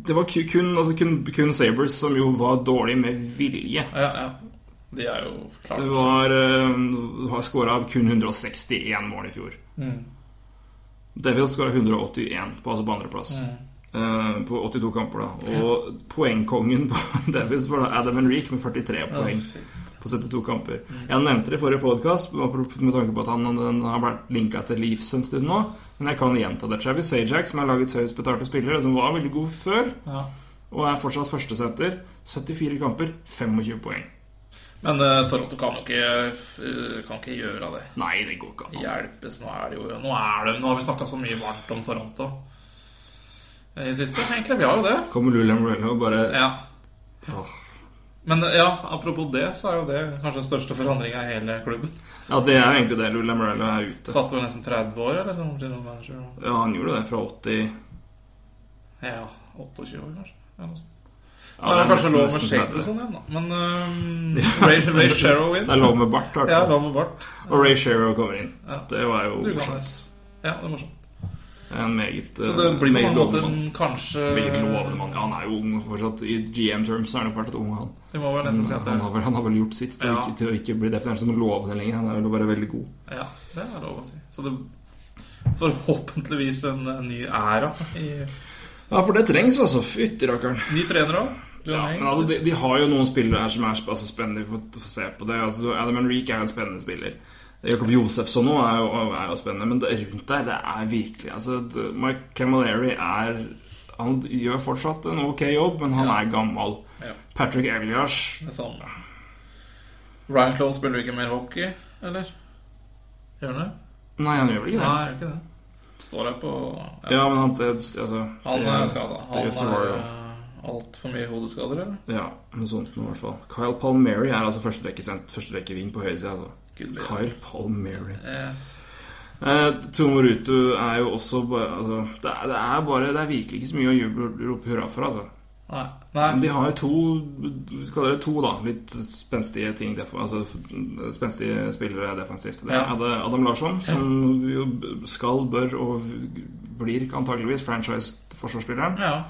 Det var ku- kun, altså, kun, kun Sabres som jo var dårlig med vilje. Ja, ja. De er jo klart Det var eh, Har skåra kun 161 mål i fjor. Mm. Devil skåra 181, på, altså på andreplass. Eh, på 82 kamper, da. Og poengkongen på Devils var da Adam Henrik med 43 poeng på 72 kamper. Jeg nevnte det i forrige podkast med tanke på at han, han har vært linka til Leafs en stund nå. Men jeg kan gjenta det. Travis Sajak, som er lagets høyest betalte spiller, og som var veldig god før, Ja. og er fortsatt førstesenter. 74 kamper, 25 poeng. Men eh, Toronto kan jo ikke, eh, kan ikke gjøre av det. Nei, det går ikke an. Hjelpes, nå er det jo Nå, er det, nå har vi snakka så mye varmt om Toronto eh, i siste. Egentlig, vi har jo det. Kommer Lula Morello og bare Ja. Åh. Men eh, ja, apropos det, så er jo det kanskje den største forandringa i hele klubben. Ja, det er jo egentlig det. Lula Morello er ute. Satt vel nesten 30 år, eller sånn, til noen manager. og- Ja, han gjorde det fra 80 ja, Ja, 28 år, kanskje. Ja, noe sånt. det det er kanskje nesten- lov med nesten Shake bedre. og sånn igjen, da. Men um, Ray, Ray Sherrow inn. Det er lov med bart, i hvert Ja, fall. lov med bart. Og Ray Shero kommer inn. Ja. Det var jo Dugende. morsomt. Ja, det er morsomt. En meget eh, Så det blir på meget mange lovende måter mann. en kanskje Meget lovende mann. Ja, han er jo ung fortsatt. I GM-terms er han jo fortsatt ung, han. Vi må vel nesten si at Mm, Han har det, vel, han har vel gjort sitt til, å Ja. ikke, til å ikke bli definert som lovende lenger. Han er vel bare veldig god. ja, det er lov å si. Så det forhåpentligvis en, en ny æra i Ja, for det trengs, altså. Fytti rakkeren. ny trener òg. John Ja, men Hanks. altså, de, de har jo noen spillere her som er sp- altså, spennende. Vi får, får se på det. Altså, du- Adam Henrik er jo en spennende spiller. Jakob Josefsson nå er, jo- er jo spennende. Men det, rundt der, det er virkelig altså, det- Mike Camilleri er Han gjør fortsatt en ok jobb, men han er gammel. Ja. Patrick Elias Det samme. Ryan Clough spiller ikke mer hockey, eller? Gjør han det? Nei, han gjør vel ikke det. Nei, gjør ikke det. Står her på ja. Ja, men han det- altså, Han det- er skada. det Han er er Cesaro. altfor mye hodeskader, eller? Ja, noe sånt noe, i hvert fall. Kyle Palmieri er altså førsterekkesent- førsterekkeving på høyresida, altså. Gud, ja. Kyle Palmieri. Yes. Eh, Tomorutu er jo også bare altså, det, er, det er bare Det er virkelig ikke så mye å juble og rope hurra for, altså. Nei. Nei. Men de har jo to vi kaller det to, da. Litt spenstige ting def- Altså f- spenstige spillere defensivt. Det Ja. er det Adam Larsson, som jo b- skal, bør og v- blir antakeligvis franchise-forsvarsspilleren Ja.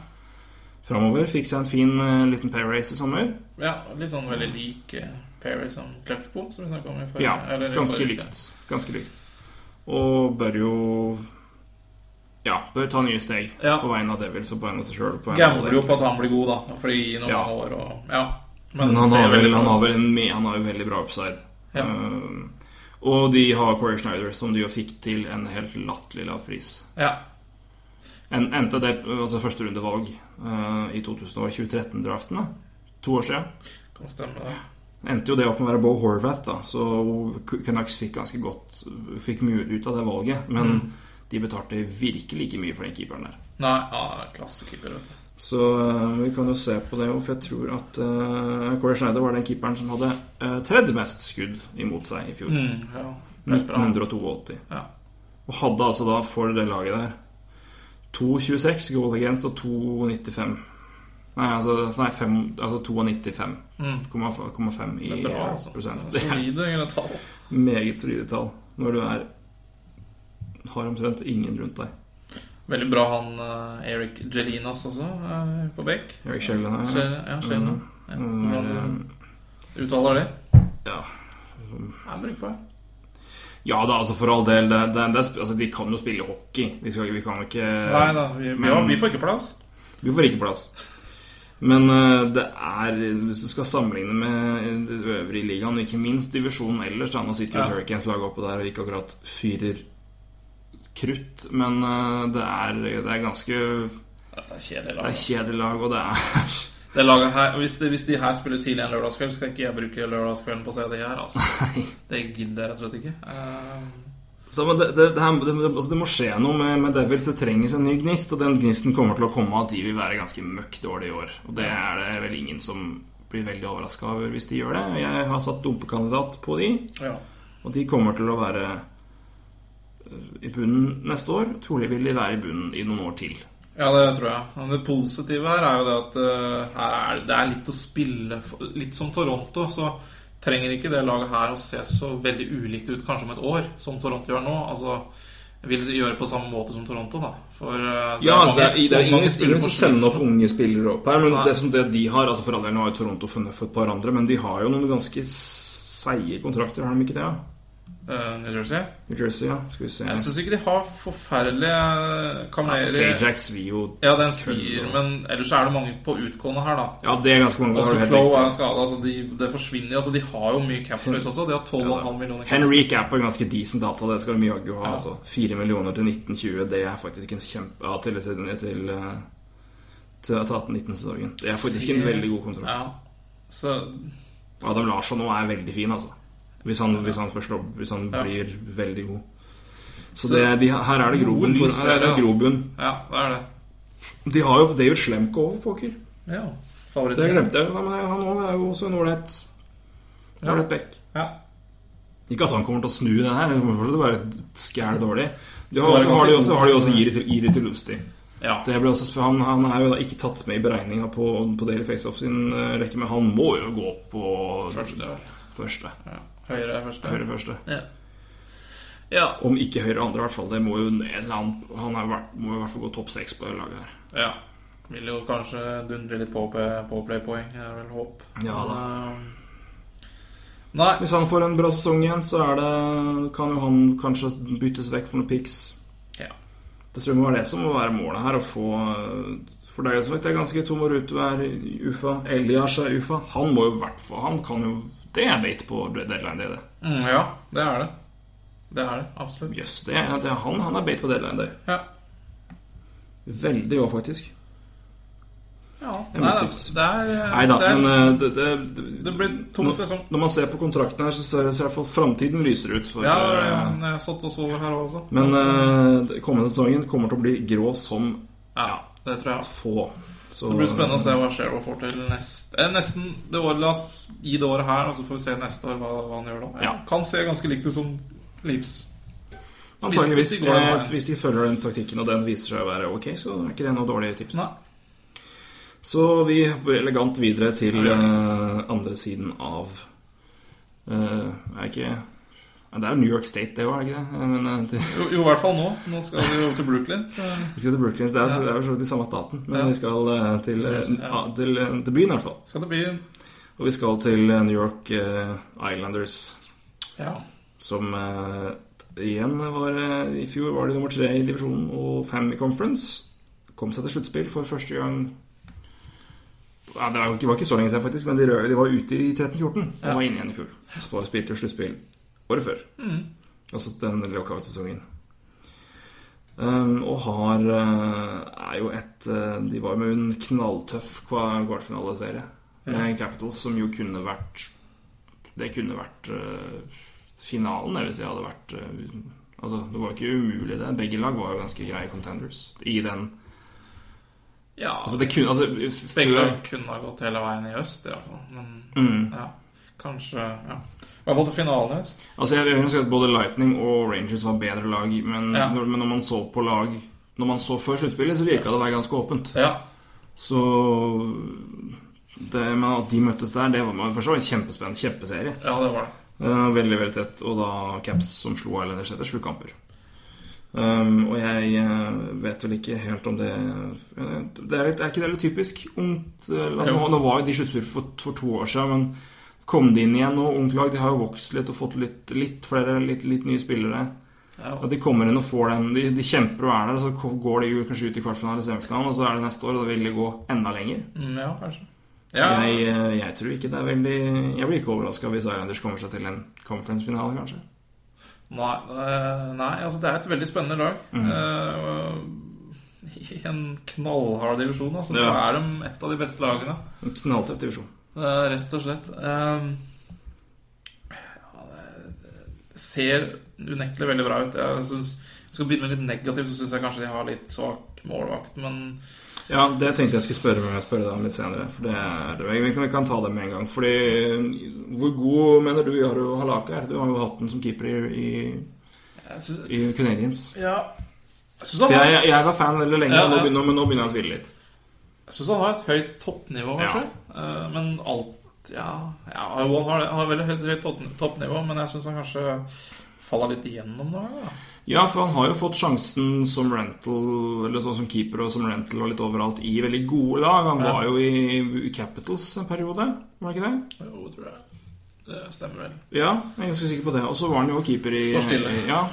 framover. Fikk seg en fin eh, liten pay race i sommer. ja. Litt sånn veldig lik eh, Perry som Kleffbo, som vi snakka om i forrige Ja, eller i ganske forrige uke. likt. Ganske likt. Og bør jo Ja, bør ta nye steg Ja. på vegne av Devils og på vegne av seg sjøl. Gambler jo på at han blir god, da, for det gir noen Ja. år og Ja. Men han ser har vel, veldig han bra har ut. vel en, me- han har jo veldig bra upside. Ja. Eh, og de har Corey Schneider, som de jo fikk til en helt latterlig lav pris. Ja. En, endte det altså førsterundevalg eh, i 2013-draften, da. To år siden. Kan stemme, det. endte jo det opp med å være Bo Horvath, da. Så Canucks fikk ganske godt Fikk mye ut av det valget. Men de betalte virkelig ikke mye for den keeperen der. Nei, ja, klassekeeper, vet du. Så eh, vi kan jo se på det, for jeg tror at eh, Corey Schneider var den keeperen som hadde eh, tredje mest skudd imot seg i fjor. Mm, ja. Helt bra. 1982. Ja. Og hadde altså da for det laget der 2,26 goal against og 2,95. Nei, altså, nei, fem, altså 2,95,5 i Mm. Det er bra, altså. prosent. Så- Det er Solide tall. Meget solide tall når du er har omtrent ingen rundt deg. Veldig bra han eh, Eric Jelinas også, eh, på bekk. Eric Sheldon er Skjer- Ja, skjer det. Ja, Hvordan Mm, du uttaler det? ja. Jeg bruker det. ja da, altså for all del. Det, det, det, er sp- altså, de kan jo spille hockey. Vi, skal, vi kan jo ikke Nei da, vi, men- ja, vi får ikke plass. Vi får ikke plass. Men eh, det er Hvis du skal sammenligne med eh, det øvrige i ligaen, og ikke minst divisjonen ellers da, Nå sitter jo Ja. Hurricanes-laget oppe der og ikke akkurat fyrer krutt, men eh, det er, det er ganske Det Dette er kjedelig er lag. kjedelig lag, og det er Det laget her, hvis, det, hvis de her spiller tidlig en lørdagskveld, skal ikke jeg bruke lørdagskvelden på å se det her. altså. Nei. Det gidder jeg rett og slett ikke. Eh, Så, men det, det, det, her, det, altså det må skje noe med, med Devils. Det trengs en ny gnist, og den gnisten kommer til å komme at de vil være ganske møkk dårlige i år. Og det er det vel ingen som blir veldig overraska over hvis de gjør det. Jeg har satt dumpekandidat på de, ja. og de kommer til å være eh, i bunnen neste år. Trolig vil de være i bunnen i noen år til. ja, det tror jeg. Men det positive her er jo det at eh, her er, det- det er litt å spille for. Litt som Toronto, så trenger ikke det laget her å se så veldig ulikt ut kanskje om et år, som Toronto gjør nå. Altså, jeg vil si gjøre det på samme måte som Toronto, da. For eh, det Ja, altså det er, det er mange ingen, spillere ingen som på sender opp slutten. unge spillere opp her. Men Nei. det som det de har altså For all del, nå har jo Toronto funnet for et par andre, men de har jo noen ganske seige kontrakter, har de ikke det? Ja? Eh, New Jersey. New Jersey, ja. Skal vi se. Jeg syns ikke de har forferdelige kamerer. Sajak svir jo Ja, den svir, men ellers er det mange på utgående her, da. Ja, det er ganske mange. Altså, det er Crow helt er riktig. skada, altså de, det forsvinner. Altså, de har jo mye capspace også. De har 12,5 millioner capspace. Henrik er på en ganske decent avtale, det skal de jaggu ha. Altså. 4 millioner til 1920, det er faktisk en kjempe ja, Til, til, til, eh, til 18-19-sesongen. Det er faktisk en veldig god kontrakt. Ja. Så Adam Larsson nå er veldig fin, altså. Hvis han, hvis han, først, hvis han Ja. blir veldig god. Så Så- det, de, her er det grobunn. Noe for- lys Her er det der, ja. grobunn. ja, det er det. De har jo David Slemko over, pokker. Ja. Det Favoritten. glemte jeg. jo. Nei, men Han også er jo også en ålreit ålreit back. Ja. Ikke at han kommer til å snu det her, det kommer fortsatt til å være skæl dårlig. De Så har, var det også, har de ganske også, har de også god- Iri til, Iri til Lusti. ja. Det ble også, sp- han, han er jo da ikke tatt med i beregninga på, på Daily Faceoff sin eh, rekke, men han må jo gå på Første, vel. første. Ja. Høyre første. Høyre første. Ja. Ja. Om ikke høyre andre, i hvert fall. Det må jo en eller annen Han er, vært- må jo i hvert fall gå topp seks på det laget her. ja. Vil jo kanskje dundre litt på på playpoeng. Det er vel håp. Ja da. Men, eh, Nei. Hvis han får en bra sesong igjen, så er det, kan jo han kanskje byttes vekk for noen pics. Ja. Det tror jeg må være det som må være målet her, å få, For deg som sagt, det er ganske tom og Ruto er UFA. Elias er UFA. Han må jo i hvert fall Han kan jo Det er bait på deadline day, det. Mm, ja, det er det. Det er det. Absolutt. Jøss, det, er- det er han. Han er bait på deadline day. Ja. Veldig òg, faktisk. ja. er Nei mitt da. tips. Det er, eh, Nei da, det er men eh, det, det, Det blir tom når, sesong. Når man ser på kontrakten her, så ser det så i hvert fall framtiden lyser ut. For, Ja, eh, ja, men jeg satt og så over her også. Men eh, det- kommende sesongen kommer til å bli grå som ja, det tror jeg. få. Så, Det blir spennende å se hva Shero får til neste eh, Nesten det året, la oss gi det året her, og så får vi se neste år hva, hva han gjør da. Ja. Kan se ganske likt ut som Leeds. Antageligvis. Hvis, Hvis- hvis de går den veien. hvis de følger den taktikken, og den viser seg å være ok, så er ikke det noe dårlig tips. Nei. Så vi hopper elegant videre til Ja, eh, andre siden av eh, Er ikke ja, Det er jo New York State, det var det ikke det? Eh, Men eh, til, Jo, jo, i hvert fall nå. Nå skal vi jo til Brooklyn. Så. vi skal til Brooklyn. Det er jo så- det er jo så vidt i samme staten, men Ja. vi skal eh, til, eh, Jersey, ja. ah, til, eh, til byen, i hvert fall. Skal det bli en Og vi skal til eh, New York eh, Islanders, Ja. som eh, igjen var eh, I fjor var de nummer tre i divisjonen og fem i conference. Kom seg til sluttspill for første gang ja, Det var jo ikke, var ikke så lenge siden, faktisk, men de, røde, de var ute i 13-14 og var inne igjen i fjor. Så var- spilte sluttspill året før. Altså den lockout-sesongen. Um, og har eh, er jo et eh, De var med en knalltøff kva- kvartfinaleserie. Med Capitals, som jo kunne vært Det kunne vært eh, finalen, det vil si hadde vært eh, Altså, det var jo ikke umulig, det. Begge lag var jo ganske greie contenders i den ja Altså, det kunne altså, f- Begge før- lag kunne ha gått hele veien i øst, i hvert fall. Men Mm. ja, kanskje ja. I hvert fall til finalen i øst. Altså, jeg, jeg husker at både Lightning og Rangers var bedre lag, men, Ja. når, men når man så på lag Når man så før sluttspillet, så virka det å være ganske åpent. Ja. Så det, Men at de møttes der, det var først var det en kjempespennende kjempeserie. ja, det var det. Eh, veldig, veldig tett. Og da Caps som slo Islanders etter sju kamper. Um, og jeg eh, vet vel ikke helt om det eh, Det er, litt, er ikke det litt typisk? Ungt eh, altså, Jo. nå, nå var jo de sluttspill for, for to år siden, men kom de inn igjen nå? Ungt lag, de har jo vokst litt og fått litt, litt flere, litt, litt nye spillere. Ja. At de kommer inn og får den De, de kjemper og er der, og så ko- går de jo kanskje ut i kvartfinale, semifinalen, og så er det neste år, og da vil de gå enda lenger. Mm, ja, kanskje. Ja, Jeg, eh, jeg tror ikke det er veldig Jeg blir ikke overraska hvis Islanders kommer seg til en conference-finale, kanskje. Nei, eh, nei, altså det er et veldig spennende lag. Mhm. Eh, I en knallhard divisjon altså, så Ja. er de et av de beste lagene. En knalltøff divisjon. Eh, rett og slett. Ehm, ja, det- det ser unektelig veldig bra ut. Jeg synes, skal vi begynne med litt negativt, så syns jeg kanskje de har litt svak målvakt. Men Ja, det tenkte jeg skulle spørre meg spørre deg om litt senere. For det er, vi, kan, vi kan ta det med en gang. Fordi eh, Hvor god mener du Jaro Halaka er? Du har jo hatt den som keeper i, jeg syns i, i Canadiens. ja, jeg synes For han, har- Jeg, jeg var fan veldig lenge, Ja, og nå ja. begynner, men nå begynner jeg å tvile litt. Jeg syns han har et høyt toppnivå, kanskje. Eh, men alt Ja, ja Won har, har veldig høyt, høyt topp- toppnivå, men jeg syns han kanskje faller litt igjennom nå. Ja. Ja, for han har jo fått sjansen som rental, eller sånn som keeper og som rental og litt overalt i veldig gode lag. Han var jo i Capitals en periode, var det ikke det? Jo, tror jeg. Det stemmer vel. Ja, jeg er ganske sikker på det. Og så var han jo keeper i Står stille. Ja.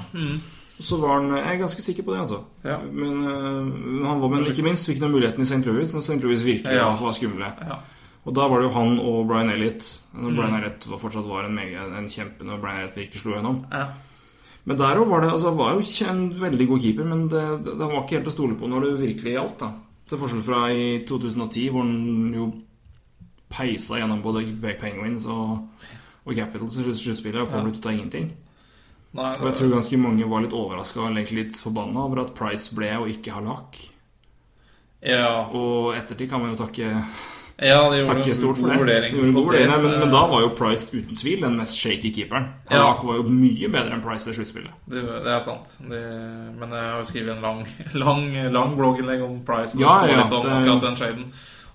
Så var han Jeg er ganske sikker på det, altså. Ja. Men, øh, han var, men ikke minst fikk han muligheten i St. Louis, når St. Louis virkelig Ja. var skumle. Ja. Mm. Og da var det jo han og Brian Elliot. Når Brian Elliot var- fortsatt var en, mega, en kjempe når Brian Elliot virkelig slo gjennom. Ja. Men der òg var det altså, Han var jo ikke en veldig god keeper, men det, det, det var ikke helt å stole på når det virkelig gjaldt. da Til forskjell fra i 2010, hvor han jo peisa gjennom både Penguins og, og Capitals i sluttspillet og kom ut av ingenting. Nei, Og jeg tror ganske mange var litt overraska og egentlig litt forbanna over at Price ble og ikke Halak. ja, Og ettertid kan man jo takke, ja, de gjorde takke en stort for det. god vurdering. Gjorde en god på vurdering, det. men, men da var jo Price uten tvil den mest shaky keeperen. Ja. Halak var jo mye bedre enn Price i sluttspillet. Det, det er sant. Det, men jeg har jo skrevet en lang, lang, lang blogginnlegg om Price. og Ja, det står ja, litt om det- akkurat den traden.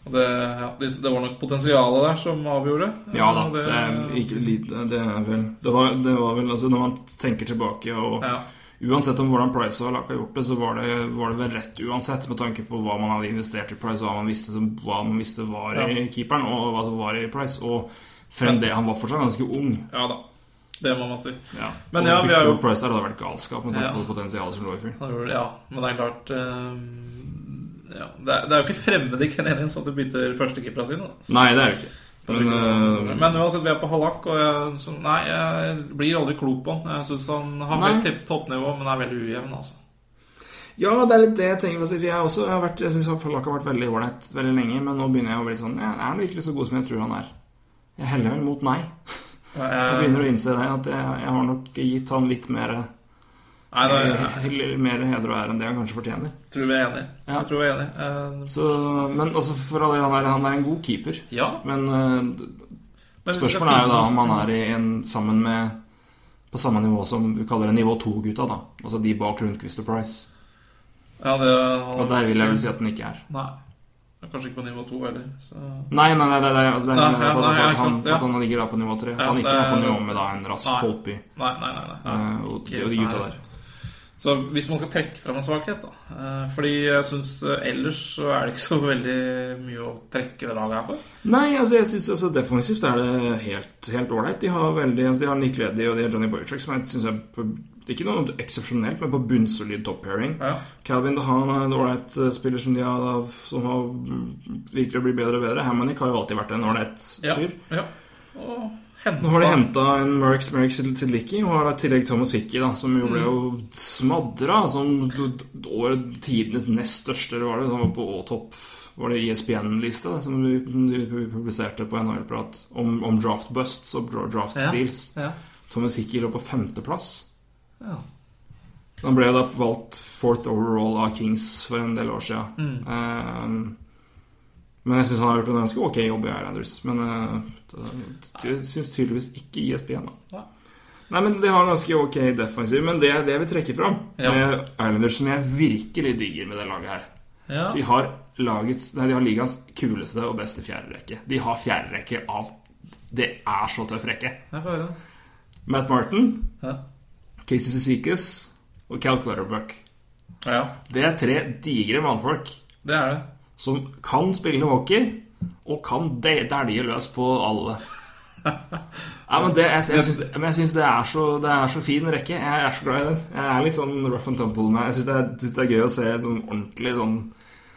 Og det, ja, det, det var nok potensialet der som avgjorde. Ja da, Og det, er ikke lite Det er vel Det var, det var vel altså Når man tenker tilbake og Ja. Uansett om hvordan Price og Halak har gjort det, så var det, var det vel rett uansett med tanke på hva man hadde investert i Price, hva man visste, som, hva man visste var i Ja. keeperen, og hva som var i Price. Og fremdeles Han var fortsatt ganske ung. ja da. Det må man si. Ja. Men og ja, vi bytte har jo- ut Price der hadde vært galskap med tanke Ja. på potensialet som lå i fyr. Han gjorde det, Ja, men det er klart eh, ja. det, er, det er jo ikke fremmed i Canadiens at du bytter førstekeepera sin. Da. Nei, det er det ikke. Men, øh, Men uansett, vi er på Hallak, og jeg, så, nei, jeg blir aldri klok på han. Jeg syns han har Nei. høyt tipp- toppnivå, men er veldig ujevn, altså. eh, Ja, det er litt det jeg tenker. på å si, For jeg, har også, jeg, har vært- jeg syns Falak har vært veldig ålreit veldig lenge, men nå begynner jeg å bli sånn ja, Er han virkelig så god som jeg tror han er? Jeg heller vel mot nei. Jeg Jeg, begynner å innse det, at jeg, jeg har nok gitt han litt mer, nei, nei, jeg, litt mer heder og ære enn det han kanskje fortjener. tror vi er enige. Ja. Jeg tror vi er enige. Så, men altså, for all del, han er, han er en god keeper. Eh, ja. Men eh, Men hvis det spørsmålet er jo da om finnes- han er i en, sammen med på samme nivå som vi kaller det nivå to-gutta, da. Altså de bak Lundqvist og Price. Ja, det han, Og der vil jeg vel si at den ikke er. Nei. Han er Kanskje ikke på nivå to heller, så Nei, nei, nei, det er det altså, det er- Nei, det er- altså, nei, at ja, ikke han, sant, ja. At han ligger da på nivå tre. At Ja, han ikke det- er på nivå med da en Rask Nei. Holtby Nei, nei, nei. nei, nei. eh, og, Ikke- og de gutta nei. der. Så hvis man skal trekke fram en svakhet, da eh, Fordi jeg syns ellers så er det ikke så veldig mye å trekke det laget her for. Nei, altså jeg synes, altså defensivt er det helt helt ålreit. De har veldig, altså de har Nick Leddy og de har Johnny Boychuk, som jeg syns er på, ikke noe eksepsjonelt, men på bunnsolid toppairing. Ja. Calvin Dehan er en ålreit eh, spiller som de har, da- som har mm, virker å bli bedre og bedre. Hammonick har jo alltid vært en ålreit Ja. fyr. ja. Og henta Nå har de henta en Merrick Merrick Sidlicki, og har i tillegg Thomas Hickey, da, som Mm. jo ble jo smadra som året tidenes nest største, eller var det, som var på topp var det E ISBN-liste da, som du du publiserte på NHL-prat om, om draft busts og dra- draft Ja. steals. Ja. Thomas Hickey lå på femteplass. Ja. Han ble jo da valgt fourth overall av Kings for en del år siden. Mm. Eh, men jeg syns han har gjort en ganske ok jobb i Islanders. Men eh, jeg syns tydeligvis ikke ISBN, da. Nei. Nei, men De har en ganske ok defensiv, men det er det vi trekker fram Ja. med Islanders, som jeg virkelig digger med det laget her. Ja. De har, lagets, nei, de har ligaens kuleste og beste fjerderekke. De har fjerderekke av Det er så tøff rekke. Jeg får høre. Matt Martin, Ja. Casey Cicicus og Cal Clutterbuck. ja. Det er tre digre mannfolk Det er det. som kan spille hockey, og kan de- dælje løs på alle. Ja, men det, jeg, jeg syns, men jeg syns det, er så, det er så fin rekke. Jeg er så glad i den. Jeg er litt sånn rough and tumble med Jeg syns det, er- syns det er gøy å se sånn ordentlig sånn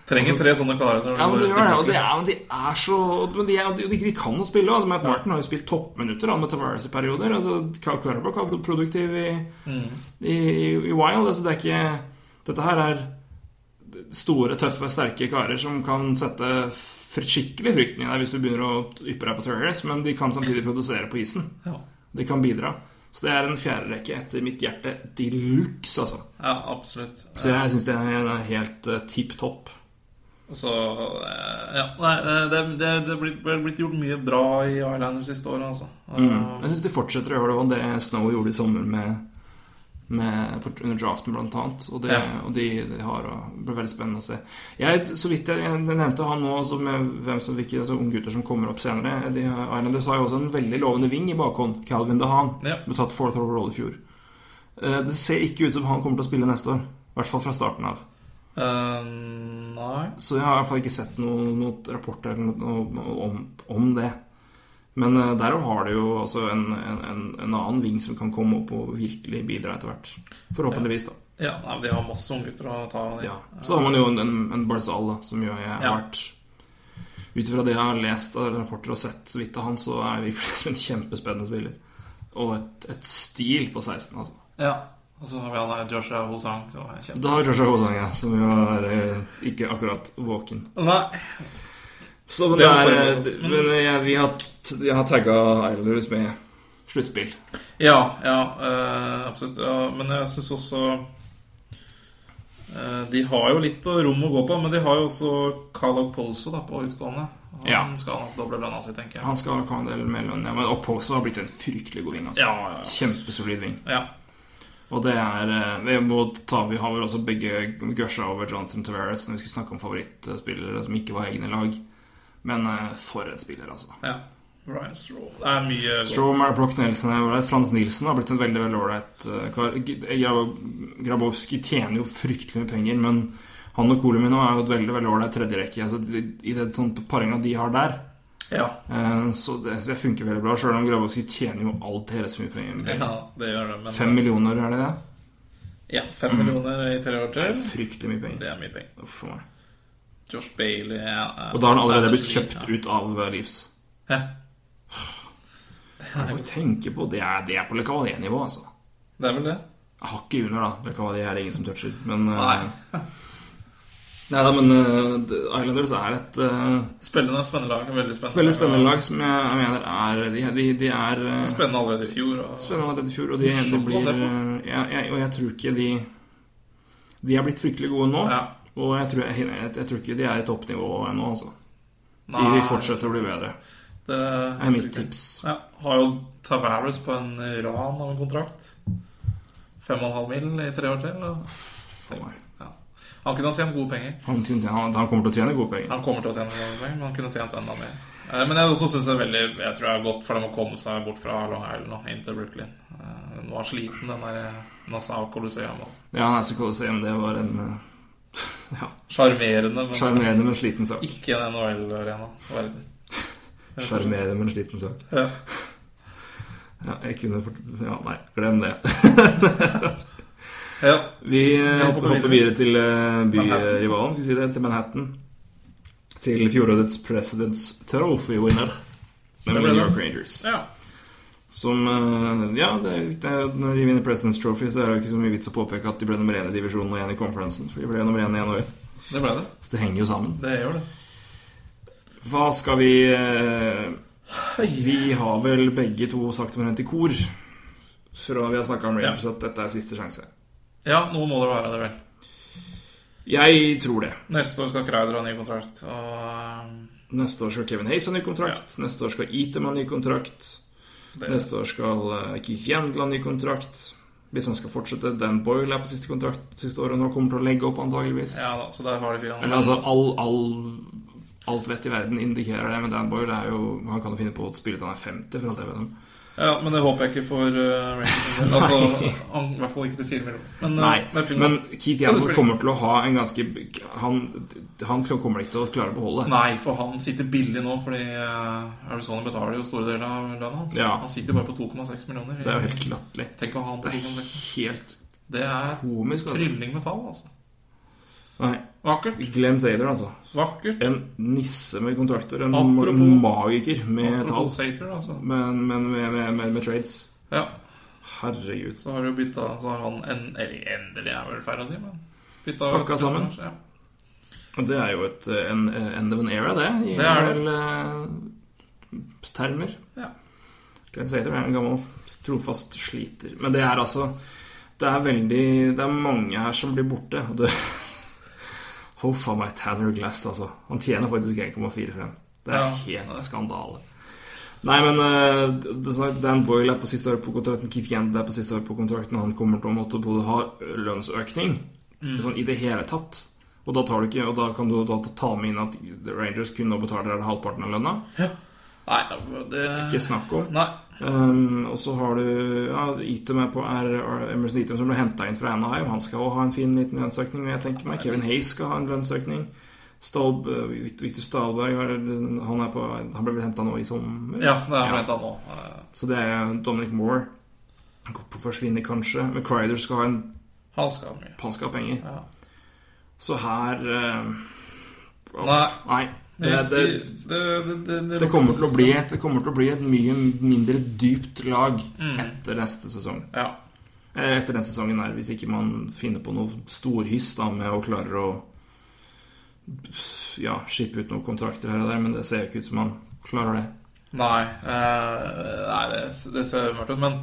Trenger tre sånne karer. når Ja, men det gjør det. går ut i Og det blokken. er, men de er så men de, er, de, de kan jo spille. Altså, Matt Martin har jo spilt toppminutter han, med Tavares i perioder. Altså, Carl Clutterbuck har vært produktiv i, i, i, i Wild. Altså, det er ikke Dette her er store, tøffe, sterke karer som kan sette fr- skikkelig frykten i deg hvis du begynner å yppe deg på Tavares, men de kan samtidig produsere på isen. Ja. De kan bidra. Så det er en fjerderekke etter mitt hjerte de luxe, altså. ja, absolutt. Eh, Så jeg syns det er en helt uh, tipp topp. Så eh, Ja. Nei, det, det, det er blitt, det er blitt gjort mye bra i Islanders siste året, altså. Eh, Jeg syns de fortsetter å gjøre det, og det Snow gjorde i sommer med, med på- under draften, blant annet. Og, det, Ja. og de, de har uh, Det blir veldig spennende å se. Jeg, så vidt jeg, jeg nevnte han nå, altså med hvem som hvilke altså unggutter som kommer opp senere. De, har- Islanders har jo også en veldig lovende ving i bakhånd. Calvin DeHaan Ja. ble tatt fourth overall i fjor. Eh, Det ser ikke ut som han kommer til å spille neste år. I hvert fall fra starten av. eh, nei. Så jeg har i hvert fall ikke sett noen noe rapporter eller noe, noe om, om det. Men eh, derav har det jo altså en, en, en, en annen ving som kan komme opp og virkelig bidra etter hvert. Forhåpentligvis, da. Ja, nei, men de har masse unggutter å ta av. de. Ja. Så har man jo en, en Barzal, da, som jo jeg har Ja. vært Ut ifra det jeg har lest av rapporter og sett så vidt av han, så er det virkelig som en kjempespennende spiller. Og et, et stil på 16, altså. Ja. Og så har vi han der Joshua Hosang, som er kjempe... Da har vi Joshua Hosang, ja, som jo er eh, ikke akkurat våken. Nei. Så, men det Det var er, forrige også. men jeg, vi har, t- jeg har tagga Islanders med sluttspill. Ja, ja, eh, absolutt. Ja, men jeg syns også eh, De har jo litt å- rom å gå på, men de har jo også Kalog Poso da, på utgående. Han Ja. skal nok doble lønna si, tenker jeg. Han skal ha en del mer lønn, ja, men Opposo har blitt en fryktelig god ving. Altså. Ja, ja, ja. Kjempesolid ving. Ja, Og det er eh, Vi, må ta, vi har vel også begge gusja over Jonathan Tavares når vi skulle snakke om favorittspillere som ikke var egne lag. Men eh, for en spiller, altså. ja. Ryan Straw. Det er mye godt. Stromer, Broch Nelson er ålreit. Frans Nilsen har blitt en veldig veldig ålreit eh, kar. G- Gra- Grabowski tjener jo fryktelig mye penger, men han og Kolomino er jo et veldig veldig ålreit tredjerekke. Altså, de- I den sånn paringa de har der, Ja. eh, så det, så det funker veldig bra. Sjøl om Grabowski tjener jo alt hele så mye penger. ja, det gjør det. Men Fem Mm. millioner, er det det? ja, fem millioner i tre år til, Fryktelig mye penger. det er mye penger. Uff for meg. Josh Bailey ja, Og da har han allerede blitt kjøpt ut av eh, Leafs. Ja. Jeg får tenke på det er, det er på Le Cavalier-nivå, altså. Det er vel det. Hakket under, da. Le Cavalier er det ingen som toucher. Men eh, Nei. Nei da, men eh, The Islanders er et eh, Spennende, spennende lag. Veldig spennende. veldig spennende lag som jeg, jeg mener er De, de, de er eh, Spennende allerede i fjor. Og... spennende allerede i fjor, og de, de Morsomt å blir se på. eh, jeg, jeg, Og jeg tror ikke de De er blitt fryktelig gode nå, Ja. og jeg tror, jeg, jeg, jeg tror ikke de er i toppnivå ennå, altså. De Nei, fortsetter å bli bedre. Det er mitt tips. Ja, har jo Tavares på en ran av en kontrakt. 5,5 mil i tre år til. Og... For meg. Ja. Han kunne ha tjent gode penger. Han, kunne tjene- han, han kommer til å tjene gode penger. Han kommer til å tjene noe penger, men han kunne tjent enda mer. Eh, Men jeg også synes det er veldig Jeg tror det er godt for dem å komme seg bort fra Long Island og inn til Brooklyn. Eh, Den var sliten, den der Nassau Colosseum. Altså. Ja, Nassau Coliseum, det var en eh, ja, Sjarmerende, men sjarmerende, men sliten sak. ikke en NHL-arena. verden. Sjarmerende, men sliten sak. Ja. Ja, jeg kunne fort... Ja, nei, glem det. Ja. Vi eh, hopper hopper, hopper videre. videre til eh, Manhattan. byrivalen, skal vi si det, til Manhattan. Til fjorårets President's Trophy-winner, nemlig New ble det. York Rangers. ja. Som eh, Ja, det, er- det, er- når de vinner President's Trophy, så er det jo ikke så mye vits å påpeke at de ble nummer én i divisjonen og én i conferencen, for de ble nummer én i NHL. Det ble det. Så det henger jo sammen. Det gjør det. Hva skal vi eh, Vi har vel begge to sagt om rent i kor fra vi har snakka om Rangers, at dette er siste sjanse. Ja, noe må det være, det vel. Jeg tror det. Neste år skal Kreider ha ny kontrakt. Og eh, Neste år skal Kevin Hayes ha ny kontrakt. Neste år skal Eatem ha ny kontrakt. det, Neste år skal eh, Keith Yandel ha ny kontrakt. Hvis han skal fortsette Dan Boyle er på siste kontrakt siste året, og nå kommer til å legge opp, antageligvis. Ja da, så der har de fire. Eller altså, all, all, alt vett i verden indikerer det, men Dan Boyle er jo Han kan jo finne på å spille til han er 50, for alt jeg vet om. Ja, men det håper jeg ikke for uh, Rangers. altså, han, I hvert fall ikke til fire millioner. Men, eh, Nei, men fire men Keith millioner. Men det Yandel spiller- kommer til å ha en ganske Han, han kommer ikke til å klare å beholde. Nei, for han sitter billig nå, fordi eh, Arizona betaler jo store deler av lønna hans. Ja. Han sitter bare på 2,6 millioner. Det er jo helt latterlig. Tenk å ha han Det på er 2,6. helt Det er komisk. Altså. trylling med tall, altså. Nei, Vakkert. Glenn Sader, altså. Vakkert. En nisse med kontrakter. En Apropos- magiker med Apropos tall. Sater, altså. Men, men med, med, med, med trades. Ja, Herregud. så har du bytta Så har han en, eller endelig, er vel feil å si, men bytta Pakka sammen. Ja. Og Det er jo et, eh, en, eh, end of an era, det. I Det er det. vel eh, termer. Ja. Glenn Sader er en gammel trofast sliter. Men det er altså Det er veldig Det er mange her som blir borte. Og det Huff a meg, Tanner Glass, altså. Han tjener faktisk 1,45. Det er Ja. helt skandale. Nei, men eh, det- det er sagt, Dan Boyle er på siste året på kontrakten, Keith Yandel er på siste året på kontrakten, og han kommer til å måtte både ha lønnsøkning sånn, i det hele tatt. Og da, tar du ikke, og da kan du da ta med inn at The Rangers kun nå betaler halvparten av lønna. Nei, det Ikke snakk om. Nei. Um, og så har du ja, Item er på er, er Emerson Item som ble henta inn fra Anaheim. Han skal også ha en fin liten lønnsøkning. vil Jeg tenker meg Kevin Hayes skal ha en lønnsøkning. Stolb, eh, Vikt- Viktor Stalberg har- han, er på, han ble vel henta nå i sommer. Ja, det er blant annet nå. Eh, Så det er Dominic Moore. Han går på å forsvinne, kanskje. Men Crider skal ha en Han skal ha mye. Han skal ha penger. Ja. Så her eh, åh, Nei. Nei. Det, det, det- det- det det, kommer til å lukter bli et, det kommer til å bli et mye mindre dypt lag Mm. etter neste sesong. Ja. Eller Eh, etter den sesongen her, hvis ikke man finner på noe storhyss da, med å klare å ja, skippe ut noen kontrakter her og der, men det ser jo ikke ut som man klarer det. Nei, eh, nei det, det ser mørkt ut, men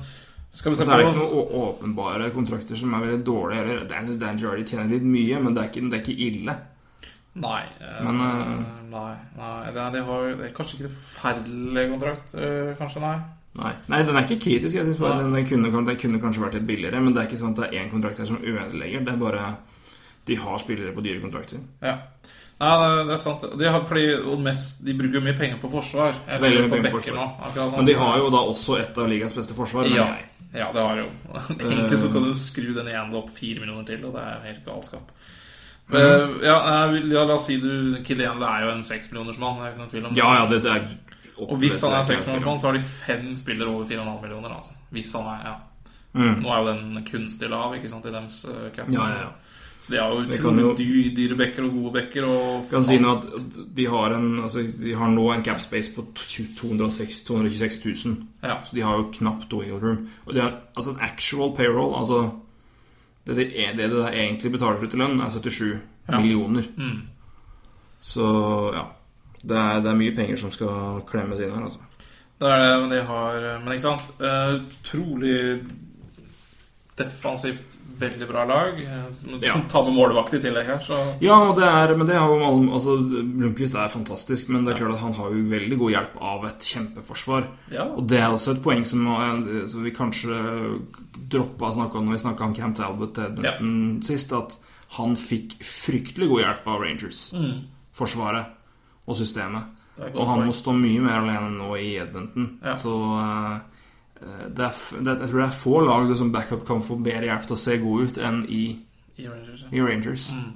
skal vi Og se så er det ikke på noen å- åpenbare kontrakter som er veldig dårlige heller. Dan- Dan Jardy tjener litt mye, men det er ikke, det er ikke ille. Nei. eh, Men, nei, nei det, er- de har, det er kanskje ikke forferdelig kontrakt. eh, kanskje, nei. Nei, Nei den er ikke kritisk. jeg synes bare Nei. den, den, kunne, den kunne kanskje vært litt billigere, men det er ikke sånn at det er én kontrakt her som ødelegger. Det er bare de har spillere på dyre kontrakter. Ja. Nei, det, det er sant. De, har, fordi, og mest, de bruker jo mye penger på forsvar. Jeg Veldig lurer mye på penger på Becker forsvar. nå, akkurat nå. Men de har jo da også et av ligas beste forsvar. mener ja, jeg. ja, det har de jo. Egentlig så kan du skru den ene opp fire millioner til, og det er helt galskap. Mm. Men, ja, nei, ja, la oss si du Kilian det er jo en seksmillionersmann. Det er ikke noe tvil om det. Ja, ja, det, det er Og hvis han er seksmannsmann, så har de fem spillere over 4,5 millioner. Altså. Hvis han er, ja. Nå er jo den kunstig lav ikke sant, i deres uh, cup. Mm. Ja, ja, ja. Så de har jo Det kan utrolig jo- dy- dyre bekker og gode bekker. Og kan si nå at de har, en, altså, de har nå en cap space på 206 226 000. Ja. Så de har jo knapt wiggle room. Og det er, altså en actual payroll altså Det det, er- det det der egentlig betaler for til lønn, er 77 Ja. millioner. Så ja. Det er, det er mye penger som skal klemmes inn her, altså. Det er det, men de har Men ikke sant? Eh, Utrolig defensivt veldig bra lag. Eh, Ja. Ta med målvakt i tillegg her, så Ja, og det er, men det har jo Malm altså, Blomkvist er fantastisk, men det er klart at han har jo veldig god hjelp av et kjempeforsvar. Ja. Og det er også et poeng som, eh, som vi kanskje droppa å snakke om når vi snakka om Camp Talbot til Edmonton sist, at han fikk fryktelig god hjelp av Rangers. Forsvaret og systemet. Mm. Det er et godt Og han poeng. må stå mye mer alene nå i Edmonton. Ja. Så eh, det er, f- det, jeg tror det er få lag som backup kan få bedre hjelp til å se gode ut enn i, i Rangers. i Rangers. Mm.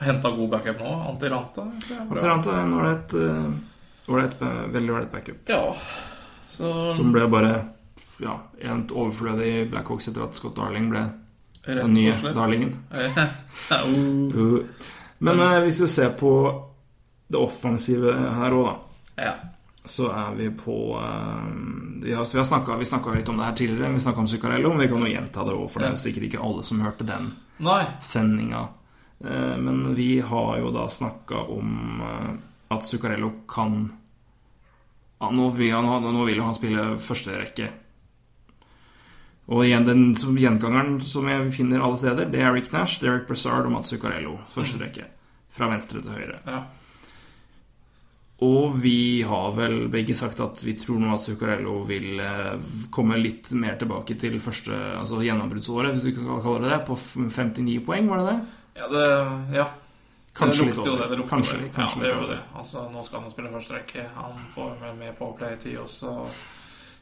Henta god backup nå. Antiranta. tror jeg er bra. Atalanta er en ålreit eh, ålreit, eh, Veldig ålreit backup. Ja. Så Som ble bare ja, en overflødig Blackhawks etter at Scott Darling ble rett den nye og slett. Eh, Darlingen. Au. Uh. Men eh, hvis du ser på det offensive her òg, da, Ja. så er vi på eh, Vi har, vi har snakka, vi snakka litt om det her tidligere, vi snakka om Zuccarello, men vi kan jo gjenta det òg, for det er sikkert ikke alle som hørte den Nei. sendinga. Eh, Men vi har jo da snakka om eh, at Zuccarello kan ja, nå, vil han, ha- nå vil jo han spille førsterekke. Og igjen, den som- gjengangeren som jeg finner alle steder, det er Rick Nash, Derek Brassard og Mats Zuccarello. Førsterekke. Fra venstre til høyre. Ja. Og vi har vel begge sagt at vi tror nå at Zuccarello vil eh, komme litt mer tilbake til første altså gjennombruddsåret, hvis vi kan kalle det det, på f- 59 poeng, var det det? Ja, det Ja. Kanskje det litt lukter jo over. det. det lukter Kanskje over. litt, kanskje ja, det litt gjør jo over. det. Altså, nå skal han spille første rekke. Han får med, med på play-tid også.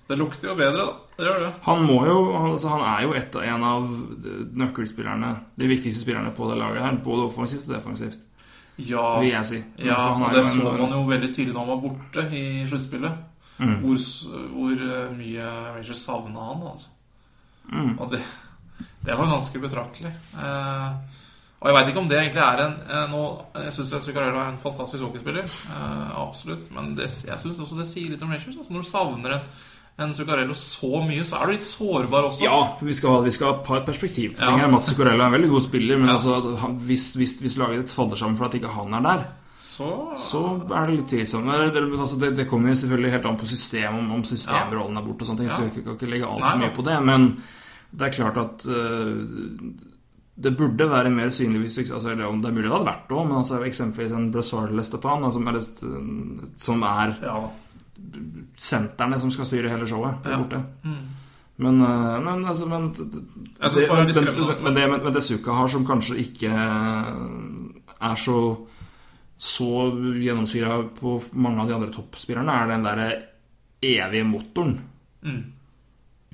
Det lukter jo bedre, da. Det gjør det. Han må jo, han- altså han er jo et, en av nøkkelspillerne, de viktigste spillerne på det laget her, både offensivt og defensivt, Ja, vil jeg si. Men ja for han er og det jo en- så man jo veldig tydelig når han var borte i sluttspillet. Mm. Hvor, s- hvor eh, mye Rangers savna han, altså. Mm. Og det, det var ganske betraktelig. Eh, og jeg veit ikke om det egentlig er en eh, nå, Jeg syns Zuccarello er en fantastisk hockeyspiller. Eh, absolutt. Men det, jeg syns også det sier litt om Rangers. Altså, når du savner en, en Zuccarello så mye, så er du litt sårbar også. Ja, for vi skal ha, vi skal ha et par perspektiv på ting Ja. her. Mats Zuccarello er en veldig god spiller, men Ja. altså, han, hvis, hvis, hvis laget ditt faller sammen for at ikke han er der, Så så er det litt tvilsomt. Men Det, det- altså, det, det kommer jo selvfølgelig helt an på system, om, om systemrollen er borte og sånne ting, så Ja. vi kan ikke legge altfor Nei, nei. mye på det. Men det er klart at eh, det burde være mer synlig hvis altså, eller, om Det er mulig det hadde vært det òg, men altså, eksempelvis en Brassard Lestepan, altså, eller, som er Ja da. sentrene som skal styre hele showet, der Ja. Mm. borte. Men, eh, men, altså, men d- d- Jeg synes bare det er litt skremmende. men, men det, men, men det Suka har, som kanskje ikke eh, er så så gjennomsyra på mange av de andre toppspillerne, er den derre evige motoren. Mm.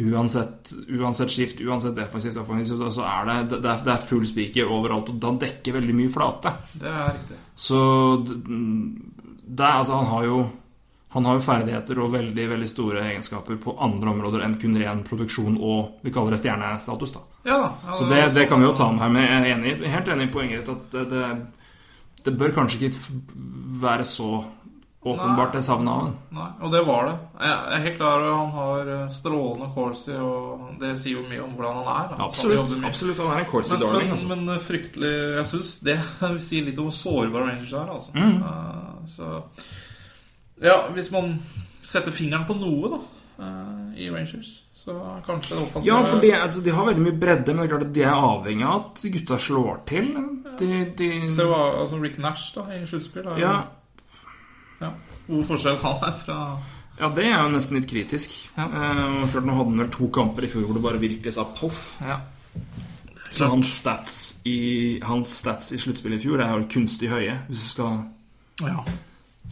Uansett, uansett skift, uansett defensivt, offensivt, så er det, det, er, det er full spiker overalt. Og da dekker veldig mye flate. Det er riktig. Så d- det, er- altså, han, har jo, han har jo ferdigheter og veldig veldig store egenskaper på andre områder enn kun ren produksjon og vi kaller det stjernestatus. da. Ja da. Ja, Så det er det, også- det kan vi jo ta med her. Men jeg er enig, i- helt enig i poenget ditt at det, det, det bør kanskje ikke f- være så åpenbart det savnet av ham. Nei, og det var det. Jeg er helt klar over at han har eh, strålende corsi, og det sier jo mye om hvordan han er. Da. Så han Absolutt. jobber mye. absolutt, Han er en Corsi Men, darling. men, Altså. men eh, fryktelig Jeg syns det sier litt om hvor sårbare Rangers er, altså. Eh, så Ja, hvis man setter fingeren på noe, da, eh, i Rangers, så kanskje det offensive Ja, for de, altså, de har veldig mye bredde, men det er klart at de er avhengig av at gutta slår til. De, de, Se hva altså Rick Nash da, i sluttspill. er jo- ja, ja. Hvor forskjell han er fra Ja, det er jo nesten litt kritisk. Ja. Eh, og klart, Nå hadde han vel to kamper i fjor hvor det bare virkelig sa poff. Ja. Så hans stats i, hans stats i sluttspillet i fjor er jo kunstig høye, hvis du skal ja.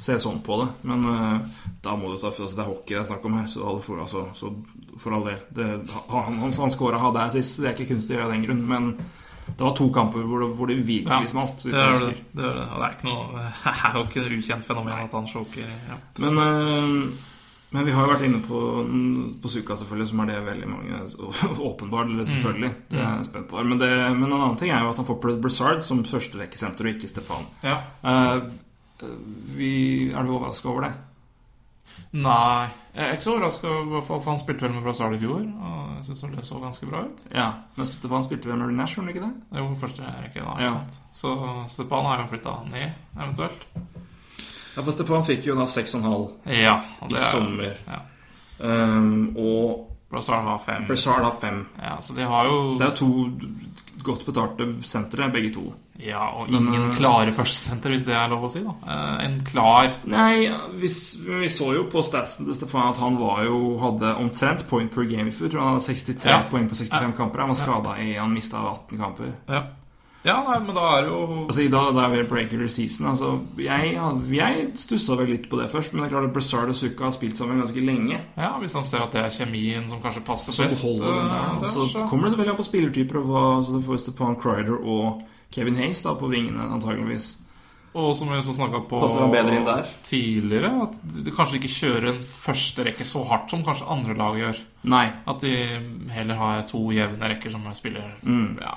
se sånn på det. Men eh, da må du ta for altså, Det er hockey det er snakk om her, så, alle får, altså, så for all del. Det, han han, han scora hadde her sist, så det er ikke kunstig høye av den grunn. Men det var to kamper hvor det, hvor det virkelig smalt. så Det vidt er jeg det. husker. det, er det. Og det er ikke noe Det er jo ikke et ukjent fenomen at han choker. Ja. Men eh, Men vi har jo vært inne på, på Suka, selvfølgelig, som er det veldig mange så- åpenbart, eller selvfølgelig. Det er jeg spent på. Men, det, men en annen ting er jo at han får Brad Broussard som førsterekkesenter, og ikke Stefan. Ja. Eh, vi, er du overraska over det? Nei. Jeg er ikke så overraska, for han spilte vel med Brazil i fjor. Og jeg syns det så ganske bra ut. Ja. Men Stefan spilte vel med Nash, gjorde han ikke det? Det er jo første rekke, da. Ja. ikke sant? Så Stepan har jo flytta ned, eventuelt. Ja, for Stefan fikk jo da 6,5 Ja. og i det er- sommer. Ja. Um, og Brazil har fem. Broussard har fem. Ja, så de har jo Så det er jo to godt betalte sentre, begge to. Ja, og Men, ingen eh, klare førstesenter, hvis det er lov å si, da. Eh, En klar Nei, vi, vi så jo på statsen til Stefan at han var jo, hadde omtrent point per game i fjor. Tror han hadde 63 Ja. poeng på 65 kamper. Han var skada i Han mista 18 kamper. Ja, ja nei, men da er det jo Altså, i dag, da er vi på regular season. Altså, jeg, hadde- jeg stussa vel litt på det først, men det er klart at Brazard og Zucca har spilt sammen ganske lenge. Ja, hvis han ser at det er kjemien som kanskje passer Så best. beholder den der. eh, Og der, så så- kommer det selvfølgelig an på spillertyper, og hva, så du får Stefan Crider og Kevin Hayes da, på vingene, antageligvis. Og som vi også snakka på Passer han bedre inn der? tidligere, at du kanskje ikke kjører en første rekke så hardt som kanskje andre lag gjør. Nei. At de heller har to jevne rekker som spiller Mm. ja,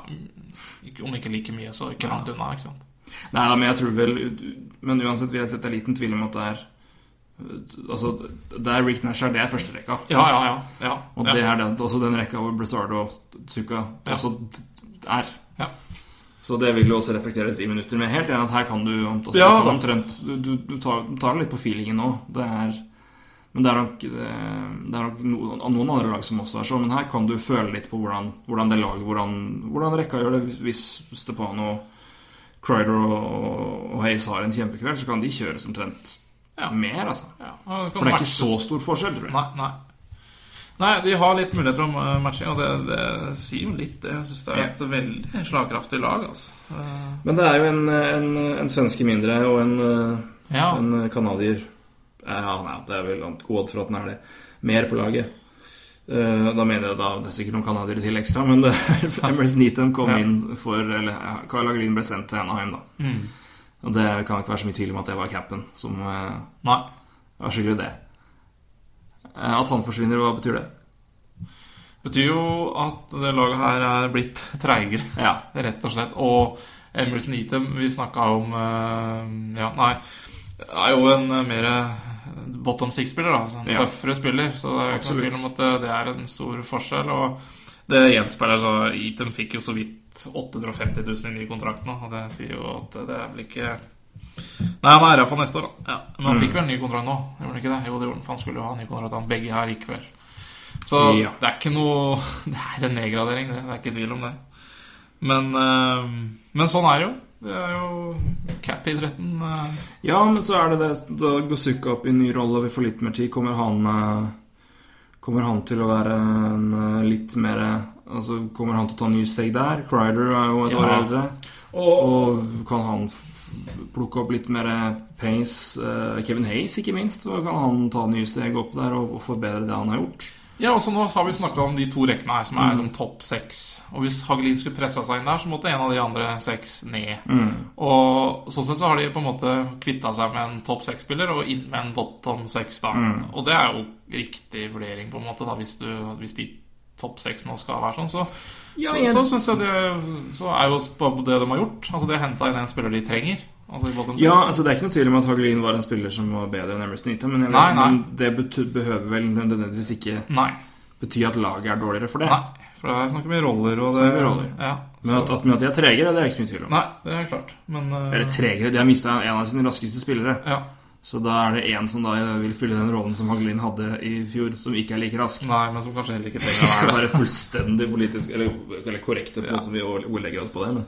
ikke- Om ikke like mye, så ikke langt unna. ikke sant? Nei da, men jeg tror vel Men uansett vil jeg sette en liten tvil om at det er Altså, der Rick Nash er, det er førsterekka. Ja, ja, ja. ja, Og ja. det er den, også den rekka hvor Brazard og Tsuka Ja. også er. Ja. Så det vil jo også reflekteres i minutter. Men jeg er helt enig at her kan du altså, Ja, du kan da. omtrent Du, du, du tar, du tar det litt på feelingen nå. Det er men det er nok, eh, det er nok noen, noen andre lag som også er sånn. Men her kan du føle litt på hvordan, hvordan det laget hvordan, hvordan rekka gjør det. Hvis- Hvis Stepan og Crider og, og Hayes har en kjempekveld, så kan de kjøres omtrent Ja. mer, altså. ja. For og kan det er ikke matches. så stor forskjell, tror jeg. Nei, nei. Nei, de har litt muligheter om eh, matching, og det, det sier jo litt. det. Jeg syns det er et veldig slagkraftig lag, altså. Men det er jo en, en, en svenske mindre og en, eh, Ja. en canadier Ja, nei, det er vel annet godt for at den er det. Mer på laget. Eh, Da mener jeg da Det er sikkert noen canadiere til ekstra, men det er Emerson Needham kom Ja. inn for Eller ja, Carl Hagelin ble sendt til Anaheim, da. Mm. Og det kan ikke være så mye tvil om at det var capen som eh, Nei. var skyld i det. Eh, At han forsvinner, hva betyr det? Betyr jo at det laget her er blitt treigere, Ja. rett og slett. Og Emerson Needham, vi snakka om eh, Ja, nei. Er jo en eh, mer eh, bottom six-spiller, da. Altså en Ja. tøffere spiller. Så det er ikke noen Absolutt. tvil om at eh, det, det er en stor forskjell. Og det gjenspeiler seg Needham fikk jo så vidt 850 000 i ny kontrakt nå, og det sier jo at det er vel ikke Nei, han er her for neste år, da. Ja. Men han Mm. fikk vel ny kontrakt nå? Gjorde han ikke det? Jo, det gjorde han, for han skulle jo ha ny kontrakt. Han begge her gikk vel. Så Ja. det er ikke noe Det er en nedgradering, det. Det er ikke tvil om det. Men, eh, men sånn er det jo. Det er jo cap-idretten. eh. Ja, men så er det det Da går Sukka opp i en ny rolle og vi får litt mer tid. Kommer han, eh, kommer han til å være en eh, litt mer eh, Altså, Kommer han til å ta nye steg der? Crider er jo et år Ja. eldre. Og, Og kan han f- plukke opp litt mer eh, pace? Eh, Kevin Hayes, ikke minst. og Kan han ta nye steg opp der og, og forbedre det han har gjort? ja, også nå har vi snakka om de to rekkene her som er som topp seks. Og hvis Hagelin skulle pressa seg inn der, så måtte en av de andre seks ned. Og sånn sett så har de på en måte kvitta seg med en topp seks-spiller og inn med en bottom seks, da. Og det er jo riktig vurdering, på en måte, da, hvis, du, hvis de topp seks nå skal være sånn, så Ja, så, jeg- så synes jeg det Så er jo sp- det de har gjort. Altså De har henta inn en spiller de trenger. Altså i bottom Ja, six. altså Det er ikke noe tvil om at Hagelin var en spiller som var bedre enn Emerson Nita, men, jeg vet- Nei, nei. men det bety- behøver vel nødvendigvis ikke Nei. bety at laget er dårligere for det. Nei. For det er snakk om roller og det Snakker om roller. Ja, Men så, at, at, men at de er tregere, det er ikke så mye tvil om. Nei, det er klart. Men eh, Eller tregere, de har mista en av sine raskeste spillere. ja. Så da er det én som da vil fylle den rollen som Hagelin hadde i fjor, som ikke er like rask. Nei, men som kanskje heller ikke Vi trenger å skal være det. være fullstendig politisk Eller, eller korrekte på Ja. hvordan vi ordlegger oss på det. Men.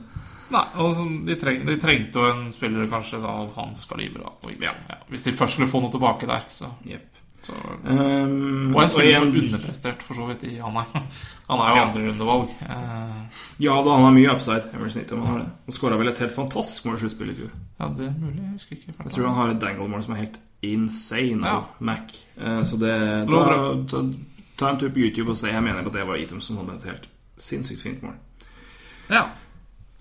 Nei, og som de, treng, de trengte jo en spiller kanskje da, av hans kaliber. Da, og, ikke- ja. Hvis de først skulle få noe tilbake der, så, Jepp. så Um, Og en spiller som igjen- er underprestert, for så vidt, i Anheim. Han er jo Ja. andrerundevalg. Eh, Ja da, han har mye upside. Emerson Nita, men han har det. Han skåra vel et helt fantastisk mål i sluttspillet i fjor. ja, det er mulig. Jeg husker ikke. Jeg tror han har et dangle-mål som er helt insane. Ja. av Mac. Eh, Så det ta, var ta, ta en tur på YouTube og se. Jeg mener at det var Item som hadde et helt sinnssykt fint mål. Ja.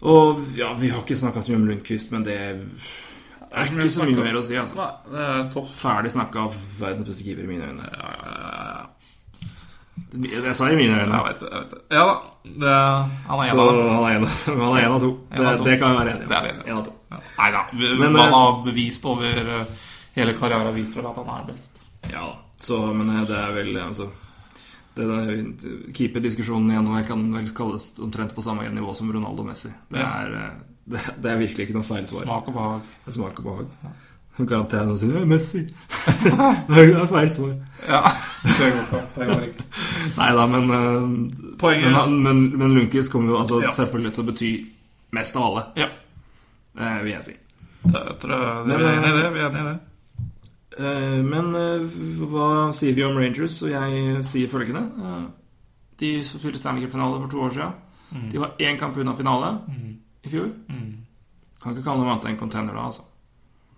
Og ja, vi har ikke snakka så mye om Lundqvist, men det Det er ikke så mye mer å si, altså. Nei, det er topp. Ferdig snakka av verdens beste keeper i mine øyne. Jeg sa i mine øyne. Jeg vet det. jeg vet det. Ja da. Det, han er Så en av dem. han er en, han er en av to. En Det, av to. det kan vi være enige om. Det er vi enige om. En av to. Nei da. Men, Men han eh, har bevist over eh, hele karrieren har vist vel at han er best. eh, Ja da. Så, men eh, det er vel altså det der eh, Keeperdiskusjonen igjen nå, jeg kan vel kalles omtrent på samme nivå som Ronaldo og Messi. Det Ja. er, eh, det, det er virkelig ikke noe særlig svar. Smak og behag. Det er Smak og behag. Garanterer noen sier «Ja, 'Messi'. det er feil svar. Ja, det går ikke. Det går ikke. Nei da, men eh, Poenget- Men, han- men, men Lunkis kommer jo altså, Ja. selvfølgelig til å bety mest av alle, Ja. eh, vil jeg si. Det tror jeg det, er vi er enige i det. Vi er enige i det. Eh, Men eh, hva sier vi om Rangers? Og jeg sier følgende. Eh, De spilte Stanley Cup-finale for to år siden. De var én kamp unna finale i fjor. Kan ikke kalle dem annet enn contender da, altså.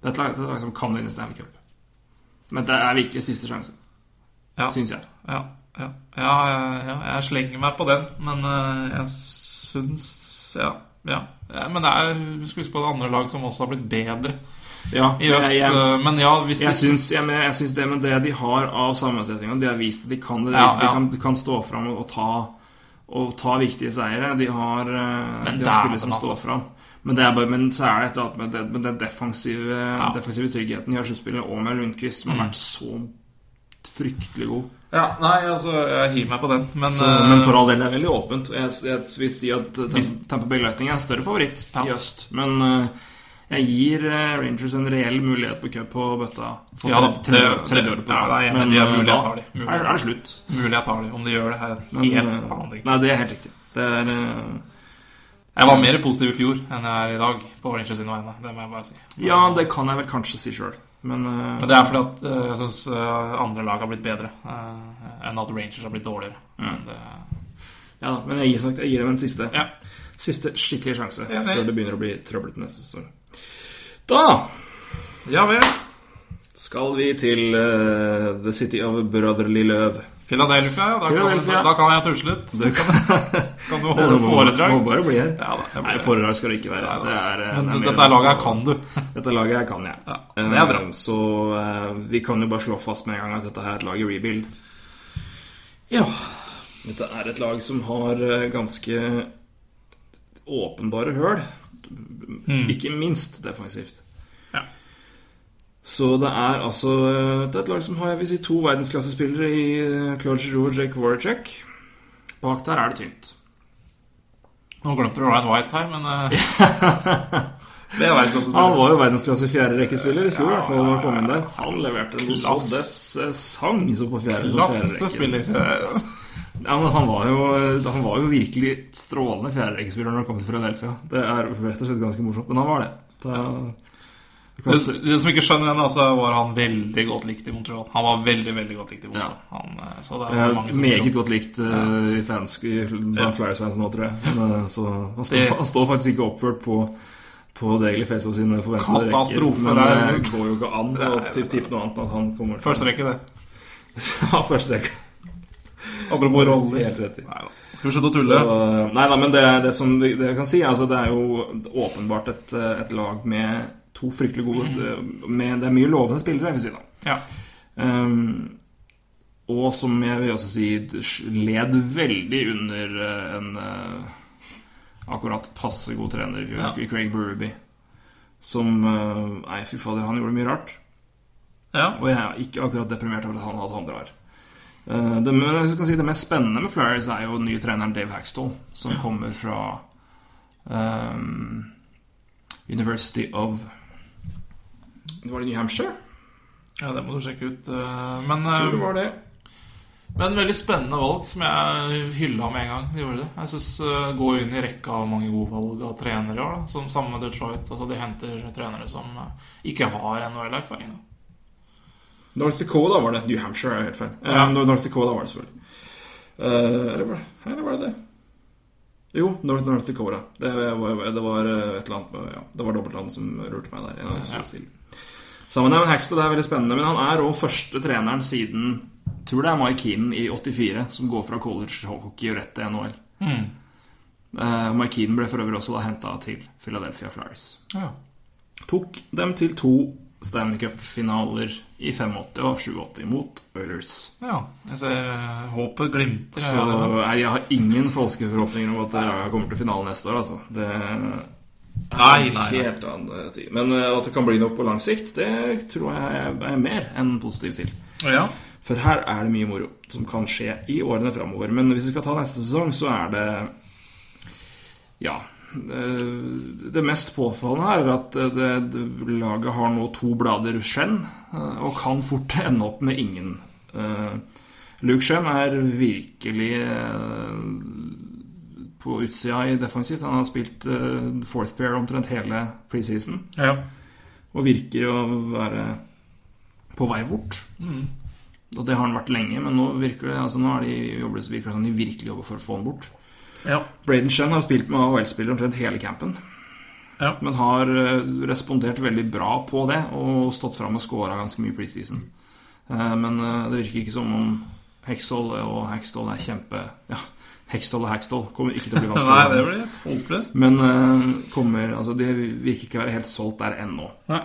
Det er et lag, det er et lag som kan vinne Stanley Cup. Men det er virkelig siste sjanse, Ja. syns jeg. Ja, ja. Ja, ja, ja, jeg slenger meg på den, men eh, jeg syns ja, ja. ja. Men det er, du skal huske på det andre lag som også har blitt bedre Ja, i øst. jeg, jeg, eh, men ja, hvis jeg, de- syns, jeg, men jeg syns det, men det de har av sammensetninger De har vist at de kan det. De, Ja, har vist at ja. de kan, kan stå fram og ta, og ta viktige seire. De har, eh, Men de har dæven, spillere som altså. står fram. Men, det er bare, men så er det et eller annet med, det, med den defensive, defensive tryggheten de har sluttspillet, og med Lundqvist, som har Mm. vært så fryktelig god. Ja, nei, altså, jeg hiver meg på den, men, Så, eh, men for all del, det er veldig åpent. Jeg, jeg vil si at eh, Tam- Hvis- Tampa Bay Lightning er en større favoritt Ja. i øst. Men eh, jeg gir eh, Rangers en reell mulighet på cup på bøtta for Ja da, tredje- tredje det- tredje det- året på ja, rad. det er jeg enig i. Men De har eh, mulighet, da har de. er- Mulighet. er det slutt. mulig jeg tar det. Om de gjør det, her er en Men, helt eh, annen ting. nei, det er helt riktig. Det er, eh, Jeg var mer positiv i fjor enn jeg er i dag på Rangers sine vegne. Det må jeg bare si. ja, det kan jeg vel kanskje si sjøl, men eh, Men det er fordi at eh, jeg syns andre lag har blitt bedre eh, enn at Rangers har blitt dårligere. Mm. Men Det, ja, da, men jeg gir, som sagt, jeg gir dem en siste. ja. Siste skikkelige sjanse Enig. før det begynner å bli trøblete neste sesong. Da ja vel. skal vi til eh, The City of Brotherly Løv. Philadelphia, ja. Da, Philadelphia. Kan, da kan jeg tusle litt. Du kan, Kan du holde foredrag? Må bare bli her. Ja, da, jeg blir Nei, det. foredrag skal det ikke være. Nei, Det er, eh, det Men er mer- dette laget her kan du. Dette laget her kan jeg. Ja, det er bra. Eh, Så eh, vi kan jo bare slå fast med en gang at dette her er et lag i rebuild. Ja. Dette er et lag som har eh, ganske åpenbare høl. Ikke minst defensivt. Hmm. Ja. Så det er altså eh, Det er et lag som har jeg vil si, to verdensklassespillere i eh, Claude Giroux og Jake Voracek. Bak der er det tynt. Nå glemte du Ryan White her, men eh, Det er Han verdensklassespiller. var jo verdensklasse fjerde rekkespiller i fjor. i hvert fall, når han kom inn der. Han leverte noe så Klasse. det sang så på fjerde, på fjerde Lasse rekke. spiller. Eh, Ja, men han var, jo, han var jo virkelig strålende fjerderekkespiller når han kom til Philadelphia. Det er rett og slett ganske morsomt, men han var det. Da, du kan Det se- det som ikke skjønner henne, altså, var han veldig godt likt i Montreal. Han var veldig, veldig godt likt i Montreal. Han, eh, så det jeg er er mange som meget tror. godt likt eh, i fans, i Ja. blant Flyers-fans nå, tror jeg. Men, eh, så han, står, Det- han står faktisk ikke oppført på, på Daily Face og sine forventede Katastrofe, Men eh, det det er- går jo ikke an å Nei, tippe tippe noe annet enn at han kommer til Første rekke, det. Ja, første rekke. Apropos roller. Helt rett i. Nei da. Skal vi slutte å tulle? Så, nei da, men det, det som vi- det jeg kan si, altså det er jo åpenbart et, eh, et lag med to fryktelig gode det- med, Det er mye lovende spillere, jeg vil si da. Ja. Ehm, og som jeg vil også si led veldig under eh, en eh, akkurat passe god trener i fjor, Ja. Craig Berube. Som eh, Nei, fy fader, han gjorde mye rart. ja. Og jeg er ikke akkurat deprimert over at han har hatt andre år. Eh, Det, men jeg kan si, det mest spennende med Flyers er jo den nye treneren Dave Haxtall, som kommer fra ehm, University of Det var det New Hampshire? Ja, det må du sjekke ut. eh, Men, Tror det eh, var det. men veldig spennende valg, som jeg hylla med en gang. De gjorde det. Jeg synes, eh, Går inn i rekka av mange gode valg av trenere i år, da. Som sammen med Detroit. Altså, de henter trenere som eh, ikke har NHL-erfaring. da. North Dakota var det. New Hampshire er helt feil. Eh, Ja. North Dakota var det selvfølgelig. Eh, eller, var det, eller var det det? Jo, North, North Dakota. Det var, det var eh, et eller annet med- ja, Det var dobbeltland som rørte meg der. En av de som Ja. stiller. Sammen med Haxton, det er veldig spennende. Men han er òg første treneren siden Tror det er Mike Keenan i 84 som går fra college hockey og rett til NHL. Hmm. Eh, Mike Keenan ble for øvrig også da henta til Philadelphia Flyers. Ja. tok dem til to Stanley Cup-finaler i 85 og 87 mot Oilers. Ja. Jeg ser eh, håpet glimter. Så jeg, jeg har ingen falske forhåpninger om at Raja kommer til finalen neste år, altså. Det er Nei, nei, nei. helt annen tid. Men eh, at det kan bli noe på lang sikt, det tror jeg er mer enn positiv til. Ja. For her er det mye moro som kan skje i årene framover. Men hvis vi skal ta neste sesong, så er det Ja. eh, Det det mest påfallende her er at eh, det, det, laget har nå to blader Shen, eh, og kan fort ende opp med ingen. Eh, Luke Shen er virkelig eh, på utsida i defensivt. Han har spilt eh, fourth pair omtrent hele preseason ja. og virker å være på vei bort. Mm. Og det har han vært lenge, men nå virker det altså nå er de jobber, så virker det som de virkelig jobber for å få han bort. Ja. Braden Shen har spilt med AHL-spillere omtrent hele campen, Ja. men har eh, respondert veldig bra på det og stått fram og scora ganske mye i preseason. Eh, Men eh, det virker ikke som om Hexdoll og Hexdoll er kjempe Ja, Hexdoll og Hexdoll kommer ikke til å bli vanskelig. Nei, det blir helt håpløst. Men eh, kommer Altså, det virker ikke å være helt solgt der ennå. Nei.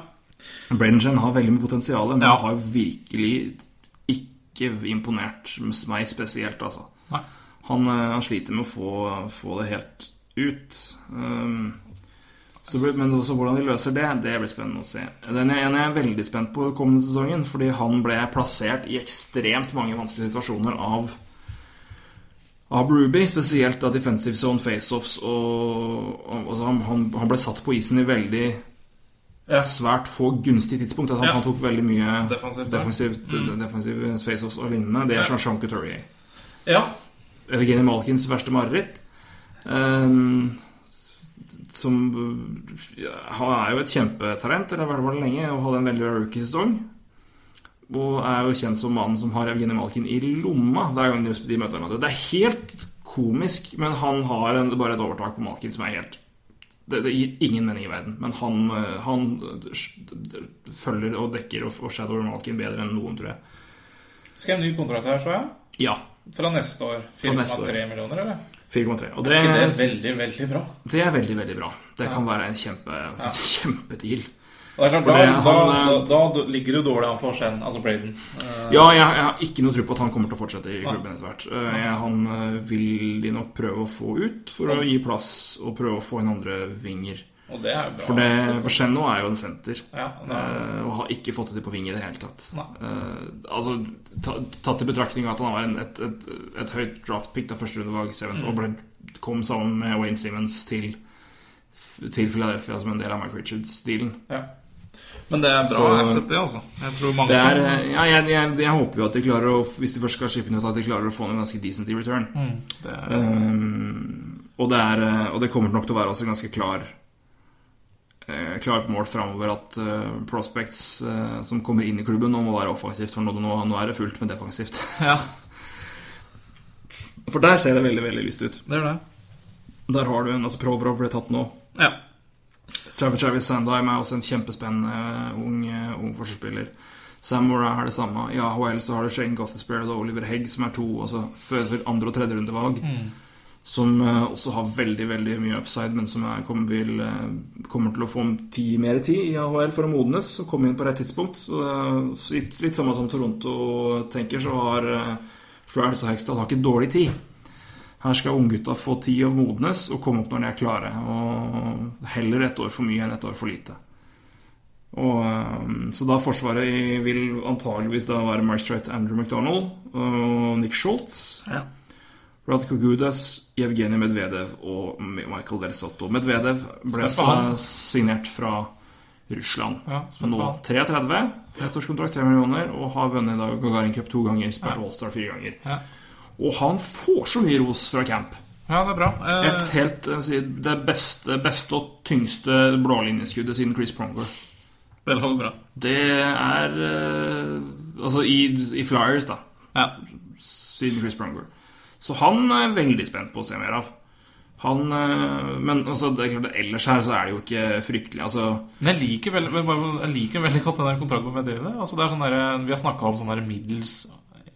Brengen har veldig mye potensial, men Ja. har virkelig ikke imponert meg spesielt, altså. Nei. Han, eh, han sliter med å få, få det helt ut. Um, så, blir- men også hvordan de løser det, det blir spennende å se. Den ene jeg er veldig spent på kommende sesongen, fordi han ble plassert i ekstremt mange vanskelige situasjoner av av Ruby, spesielt av defensive zone faceoffs. Og, og, altså, han, han, han ble satt på isen i veldig Ja. svært få gunstige tidspunkt. Altså, han, Ja. han tok veldig mye Defensivt, ja. Mm. defensivt, defensive faceoffs og lignende. Det Ja. er Jean-Jean Couturier. ja. Evgeny Malkins verste mareritt. ehm, som ja, Han er jo et kjempetalent, eller har vært det lenge, og hadde en veldig bra rookie-sesong. Og er jo kjent som mannen som har Evgeny Malkin i lomma hver gang de de møter hverandre. Det er helt komisk, men han har en, bare et overtak på Malkin som er helt det, det gir ingen mening i verden, men han, eh, han eh, følger og dekker og, og shadower Malkin bedre enn noen, tror jeg. Skal jeg ha en ny kontrakt her, så jeg? Ja. Fra neste år. Eh, Fra neste år. 4,3 millioner, eller? 4,3. Og Er ikke det det, er veldig, veldig bra. Det er veldig, veldig bra. Det kan være en kjempe, kjempedeal. Det er klart, For da, det- da, da, han, eh, da d- ligger du dårlig an for Shen, altså Braden. Eh, Ja, jeg, jeg har ikke noe tro på at han kommer til å fortsette i klubben etter hvert. Eh, Jeg, han eh, vil de nok prøve å få ut for å gi plass og prøve å få inn andre vinger. og det er jo bra. For, det, altså. for Schenno er jo en senter. Ja, det er- eh, Og har ikke fått det til på ving i det hele tatt. Nei. Eh, altså, ta, tatt i betraktning at han var en, et, et, et høyt draftpick da første runde var Mm. seventh, og ble, kom sammen med Wayne Simmons til, til Philadelphia som en del av Mike Richards-dealen. ja. Men det er bra Så- asset, det, altså. Jeg tror mange Det er, eh, som ja, jeg, jeg, jeg håper jo at de klarer å Hvis de først skal shippe den ut, at de klarer å få en ganske decent i return. det er, Um, og, det er, eh, og det kommer nok til å være også en ganske klar eh, klart mål framover at eh, prospects eh, som kommer inn i klubben, nå må være offensivt. For nå, nå, nå er det fullt med defensivt. Ja, For der ser det veldig veldig lyst ut. det er det. Der har du en altså Proverov ble tatt nå. Ja. Travis Travis Sandheim er også en kjempespennende ung, eh, ung forsvarsspiller. Sam Mora er det samme. I AHL så har du Shane Gothesberg og Oliver Hegg, som er to altså, før andre- og tredjerundevalg. Som eh, også har veldig veldig mye upside, men som er, kommer, vil, eh, kommer til å få ti, mer tid i AHL for å modnes og komme inn på rett tidspunkt. Så, eh, så litt, litt samme som Toronto tenker, så har eh, Flyers og Hextall har ikke dårlig tid. Her skal unggutta få tid å modnes og komme opp når de er klare. Og heller ett år for mye enn ett år for lite. Og, eh, så da Forsvaret i- vil antageligvis da være Mark Strait, Andrew McDonald og Nick Schultz. Ja. Radko Gudas, Jevgenij Medvedev og Michael Del Sotto. Medvedev ble Spent på han. sa- signert fra Russland. Ja, spent på nå han. 33, ettårskontrakt, 3 millioner, og har vunnet i dag Gagarin Cup to ganger, spilt All-Star fire ganger. Ja. Og han får så mye ros fra camp. ja, det er bra. Eh, Et helt, eh, si- det beste, beste og tyngste blålinjeskuddet siden Chris Pronger. Det lover bra. Det er eh, Altså i, i Flyers, da. Ja. Siden Chris Pronger. Så han er jeg veldig spent på å se mer av. Han eh, Men altså, det er klart, ellers her så er det jo ikke fryktelig. Altså Men jeg liker, eh, veldig, men bare- jeg liker veldig godt den der kontrakten med Medvedev. Altså, det er sånn der, vi har snakka om sånn der middels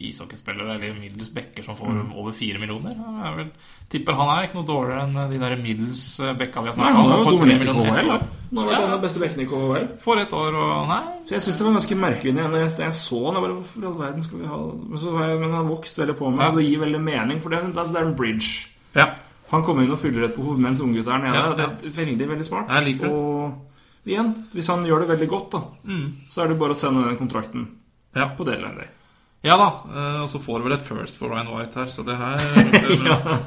ishockeyspillere eller middels backer som får Mm. over fire millioner. Han er vel, tipper han er ikke noe dårligere enn de der middels eh, bekka de har Nei, snakka han om. har jo får tre dominert i millioner KHL. ett da. år. Nå er han den beste bekken i KHL. For et år og Nei. Så jeg syns det var ganske merkelig når jeg, når jeg- jeg så han. Jeg bare, Hvorfor i all verden skal vi ha Men, så har jeg, men han vokste veldig på meg, Ja. og det gir veldig mening, for det, er en- altså, det er en bridge. Ja. Han kommer inn og fyller et behov mens unggutta er nede. Ja, ja. Det er veldig, veldig smart. Jeg liker det. Mm. og igjen, hvis han gjør det veldig godt, da, så er det bare å sende den kontrakten Ja. på deadline day. ja da. eh, Og så får du vel et first for Ryan White her, så det her Ja.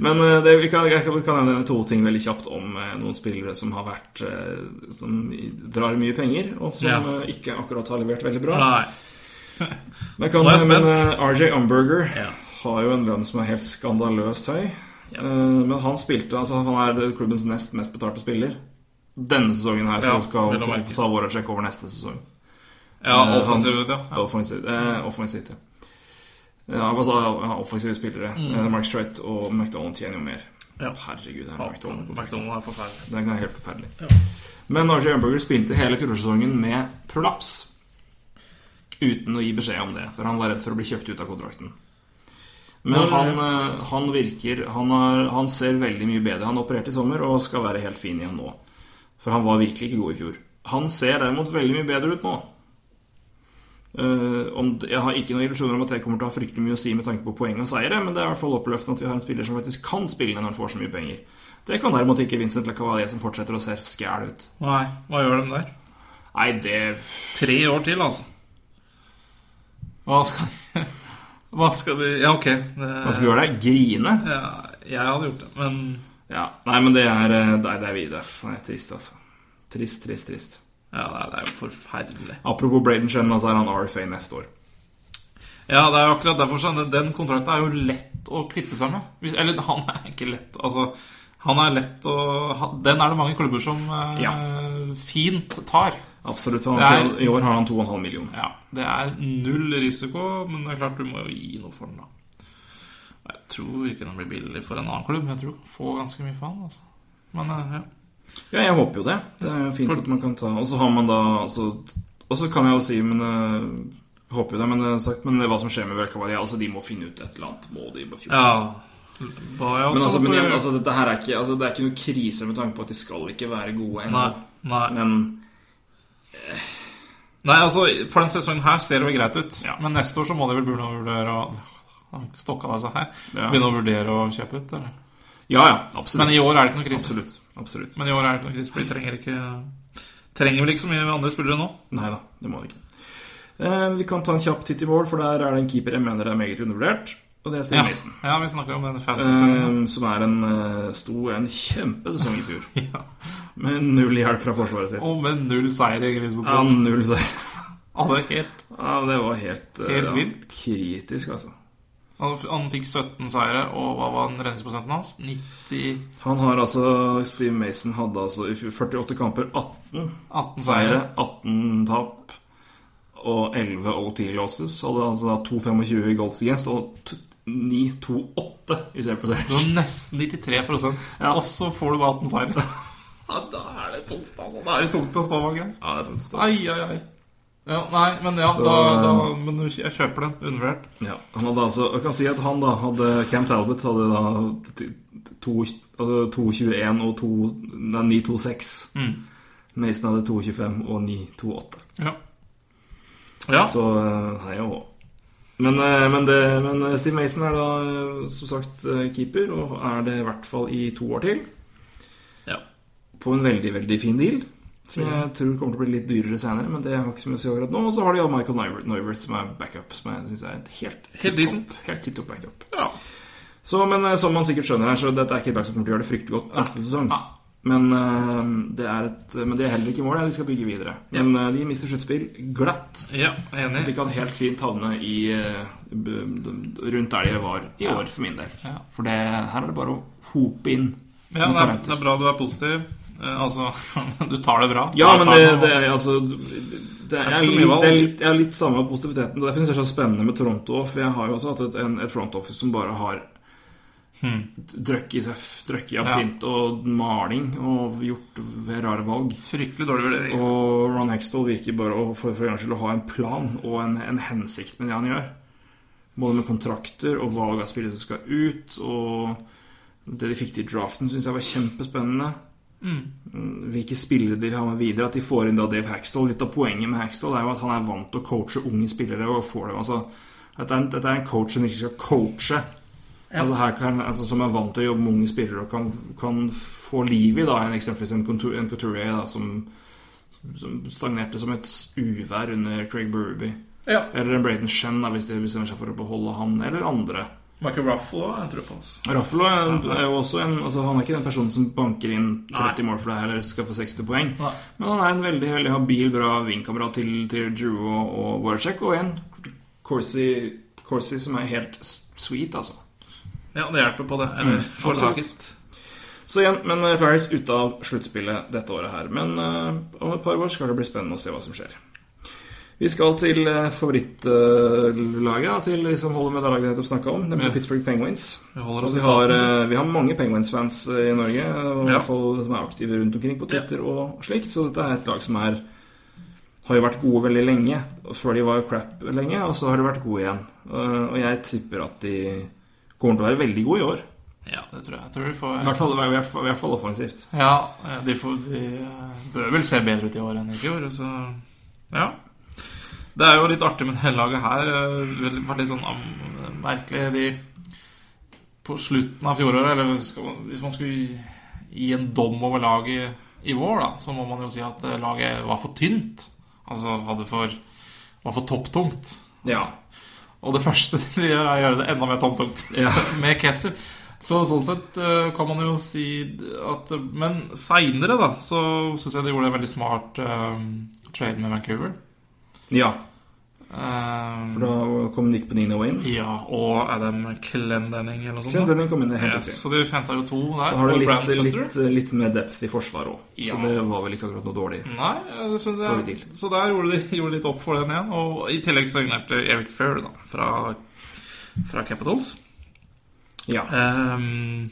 Men eh, det, vi kan, jeg kan kan nevne to ting veldig kjapt om eh, noen spillere som har vært eh, Som i- drar mye penger, og som Ja. eh, ikke akkurat har levert veldig bra. Nei. Men, jeg kan, Nå er jeg men spent. eh, RJ Umberger Ja. har jo en lønn som er helt skandaløst høy. Eh, Men han spilte altså Han er det klubbens nest mest betalte spiller. Denne sesongen her Ja, så skal vel å han merke. ta våre sjekk over neste sesong. Ja, Eh, offensivt, ja. Ja. Offensivt, eh, offensivt, ja. Ja, altså, ja, offensive spillere. Eh, Mark Strait og McDonald tjener jo mer. Mm. Ja. Herregud, det er Ja, McDonald. McDonald er forferdelig. Det er helt forferdelig. Men RJ Umberger spilte hele fjorårssesongen med prolaps. Uten å gi beskjed om det, for han var redd for å bli kjøpt ut av kontrakten. Men Når- han, eh, han virker han, har, han ser veldig mye bedre. Han opererte i sommer og skal være helt fin igjen nå. For han var virkelig ikke god i fjor. Han ser derimot veldig mye bedre ut nå. Eh, om, det- jeg har ikke noen illusjoner om at det kommer til å ha fryktelig mye å si med tanke på poeng og seire, men det er i hvert fall oppløftende at vi har en spiller som faktisk kan spille når han får så mye penger. Det kan derimot ikke Vincent Lacavalier, som fortsetter å se skæl ut. Nei, hva gjør de der? Nei, det Tre år til, altså. Hva skal de Hva skal de Ja, ok. Hva Det, skal vi gjøre der? Grine? ja, jeg hadde gjort det, men Ja. Nei, men det er eh, Det er, det er vi. Det er det er trist, altså. Trist, trist, trist. ja, nei, det er jo forferdelig. Apropos Braden Shenna, så er han RFA neste år. Ja, det er jo akkurat derfor sånn, den kontrakten er jo lett å kvitte seg med. Hvis, eller han er ikke lett Altså, han er lett å han- Den er det mange klubber som eh, Ja. fint tar. Absolutt. Han, Det I år har han 2,5 millioner. Ja, Det er null risiko, men det er klart du må jo gi noe for den, da. Jeg tror ikke den blir billig for en annen klubb. Jeg tror du kan få ganske mye for den. Altså. Men eh, ja. Ja, jeg håper jo det. Det er jo fint For- at man kan ta Og så har man da altså, Og så kan jeg jo si, men eh, Håper jo det, men, eh, sagt, men hva som skjer med Velkavalier Altså, de må finne ut et eller annet. Må de på fjor? altså. Ja. Buyout, Men, altså, men igjen, for- altså, dette her er ikke, altså, det er ikke noe krise med tanke på at de skal ikke være gode ennå. nei, nei. Men nei, altså, for den sesongen her ser det jo greit ut. Ja. Men neste år så må de vel begynne å vurdere å Han Stokka deg seg her. Ja. Begynne å vurdere å kjøpe ut, eller? ja, ja, absolutt. Men i år er det ikke noe krise. Absolutt. absolutt. Men i år er det ikke noe krise, for de trenger ikke Trenger vel ikke så mye andre spillere nå. Nei da, det må det ikke. Eh, vi kan ta en kjapp titt i mål, for der er det en keeper jeg mener er meget undervurdert. Og det er Stig Ja, Mason. ja vi snakka om denne fansesongen. Eh, som er en, eh, sto en kjempesesong i fjor. Ja. Med null hjelp fra forsvaret sitt. Og med null seier i Grisotot. Ja, null seier. Han, er helt- Ja, det var helt, eh, Helt ja, vilt. kritisk, altså. han, han fikk 17 seire, og hva var den renseprosenten hans? 90 Han har altså, Steve Mason hadde altså i fjor 48 kamper 18 seire, 18 seire. 18 tap og 11 OT losses. Så hadde altså da 2,25 i goals against og t- 9,28 i save Det var percentage. nesten 93 Ja. og så får du bare 18 seire. ja, da er det tungt, altså. Da er det tungt å stå bak den. Ja, det er tungt å stå. Ai, ai, ai. Ja, nei, men ja, Så- da, da, men du- jeg kjøper den. Undervurdert. Ja, han hadde altså, jeg kan si at han da hadde, Cam Talbot hadde da t- t- to- altså 2,21 og to- nei, 9,26. Mm. Mason hadde 2,25 og 9,28. Ja. ja. Så eh, hei og hå. Men, eh, men, det, men eh, Steve Mason er da eh, som sagt eh, keeper, og er det i hvert fall i to år til. Ja. På en veldig, veldig fin deal. Som jeg tror kommer til å bli litt dyrere senere, men det har ikke så mye å si akkurat nå. Og så har de jo Michael Neivert, Neivert som er backup, som jeg syns er et helt tipp-topp- decent. Helt tipp topp backup. ja. Så, men eh, som man sikkert skjønner her, så dette er ikke et lag som kommer til å gjøre det fryktelig godt neste sesong. Nei. Men, eh, det er et, men det er heller ikke målet. De skal bygge videre. Men eh, de mister sluttspill glatt. ja De enig. kan helt fint havne i, eh, b- b- rundt der de var i Ja. år, for min del. Ja. For det, her er det bare å hope inn Ja, med det, er, talenter. det er bra du er positiv. Eh, altså, du tar det bra. Ja, Du men tar det, som- det er altså det er, sånn. ikke så mye litt, valg. det er litt, jeg har litt samme positiviteten. og Derfor syns jeg det er så spennende med Toronto òg, for jeg har jo også hatt et, en, et front office som bare har Hmm. drøkk i søff, drøkk i absint og maling og gjort rare valg. Fryktelig dårlig vurdering. Og Ron Hextall virker bare å, for, for en gangs skyld å ha en plan og en, en hensikt med det han gjør. Både med kontrakter og valg av spillere som skal ut. Og det de fikk til i draften, syns jeg var kjempespennende. Mm, Hvilke spillere de vil ha med videre. At de får inn da Dave Haxtall. Litt av poenget med Haxtall er jo at han er vant til å coache unge spillere. og får det, altså dette er, en, dette er en coach som ikke skal coache. Altså her kan, altså som er vant til å jobbe med unge spillere og kan, kan få liv i da, en eksempelvis en, Couture, en Couturier da, som, som stagnerte som et uvær under Craig Berube. Ja. Eller en Braden Shen, da, hvis de bestemmer seg for å beholde han, eller andre. Michael Ruffalo jeg tror på oss. Raffalo er, er jo også en altså Han er ikke den personen som banker inn 30 Nei. mål for deg heller, skal få 60 poeng. Nei. Men han er en veldig veldig habil, bra vingkamerat til, til Drew og, og Warcheck. Og en Corsi, Corsi som er helt s- sweet, altså. Ja, det hjelper på det. Eller forlaget. Så igjen, men eh, Paris ute av sluttspillet dette året her. Men eh, om et par år skal det bli spennende å se hva som skjer. Vi skal til eh, favorittlaget, eh, til de som holder med det laget vi nettopp snakka om, nemlig Ja. Pittsburgh Penguins. Vi holder oss Vi i har, staten. eh, vi har mange Penguins-fans eh, i Norge, og i Ja. hvert fall som er aktive rundt omkring på Twitter og slikt, så dette er et lag som er har jo vært gode veldig lenge, og før de var crap lenge, og så har de vært gode igjen. Eh, Og jeg tipper at de kommer til å være veldig gode i år. Ja, det tror jeg. jeg tror vi får... I hvert fall, i hvert fall, i hvert fall offensivt. Ja, de, får, de eh, bør vel se bedre ut i år enn i fjor, så ja. Det er jo litt artig med det laget her. eh, Det har vært litt sånn am- merkelig. De, på slutten av fjoråret, eller skal, man- hvis man skulle gi, gi en dom over laget i vår, da, så må man jo si at eh, laget var for tynt. Altså hadde for, var for topptungt. Ja. Og det første de gjør, er å gjøre det enda mer tomtomt Ja. med Kessel. Så sånn sett eh, kan man jo si at Men seinere, da, så syns jeg de gjorde en veldig smart eh, trade med Vancouver. ja. Eh, For da kom Nick Benino inn. ja, og Adam Clendenning eller noe sånt. da. Trendeling kom inn helt Yes, yes. så de henta jo to der. Da har du for litt, Brandon Sutter. litt, litt mer depth i forsvaret òg, Ja. så det var vel ikke akkurat noe dårlig. Nei, jeg synes Får vi jeg, til. så der gjorde de gjorde litt opp for den igjen. Og i tillegg signerte Eric Fair da, fra, fra Capitals. Ja. Ehm,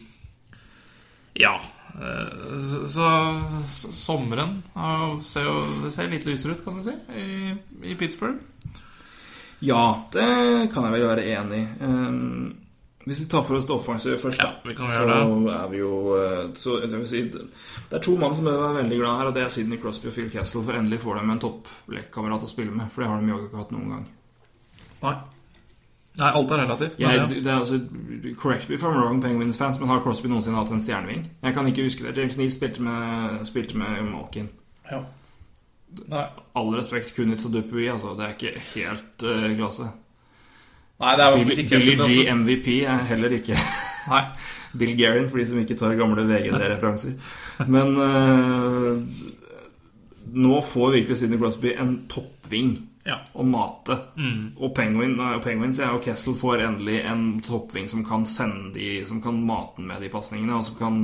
ja. eh, Så, så sommeren har- ser jo Det ser litt lysere ut, kan du si, i, i Pittsburgh. Ja, det kan jeg vel være enig i. Ehm, hvis vi tar for oss det offensive først, da, Ja, vi kan så gjøre er vi jo eh, så, jeg vil si, Det er to mann som bør være veldig glad her, og det er Sidney Crosby og Phil Castle. For endelig får de en topplekkamerat å spille med, for det har de jo ikke hatt noen gang. Nei. Nei, alt er relativt. men Jeg, ja. det er altså, correct me if I'm wrong, Penguins-fans, men har Crosby noensinne hatt en stjerneving? Jeg kan ikke huske det. James Neal spilte med, spilte med Malkin. ja. Nei. All respekt, Kunitz og Dupuy, altså. Det er ikke helt eh, klasse. Nei, det er i hvert fall Billy ikke Billy G helt sånn, altså. MVP er heller ikke Nei. Bill Guerin, for de som ikke tar gamle VGD-referanser. Men eh, nå får virkelig Sidney Crosby en toppving Ja. å mate. Mm. Og, Penguin, nei, og Penguins ja, og Kessel får endelig en toppving som kan sende de Som kan mate den med de pasningene, og som kan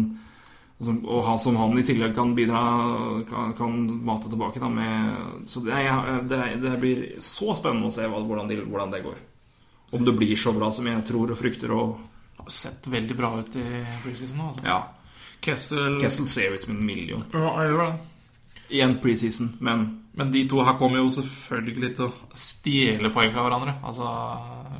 og som, og han som han i tillegg kan bidra Kan, kan mate tilbake, da, med Så det, er- det, er- det blir så spennende å se hva, hvordan, de, hvordan det går. Om det blir så bra som jeg tror og frykter og Har sett veldig bra ut i preseason nå, altså. Ja. Kessel Kessel ser ut som en million. Ja, jeg gjør det. Igjen preseason, men Men de to her kommer jo selvfølgelig til å stjele poeng fra hverandre. Altså,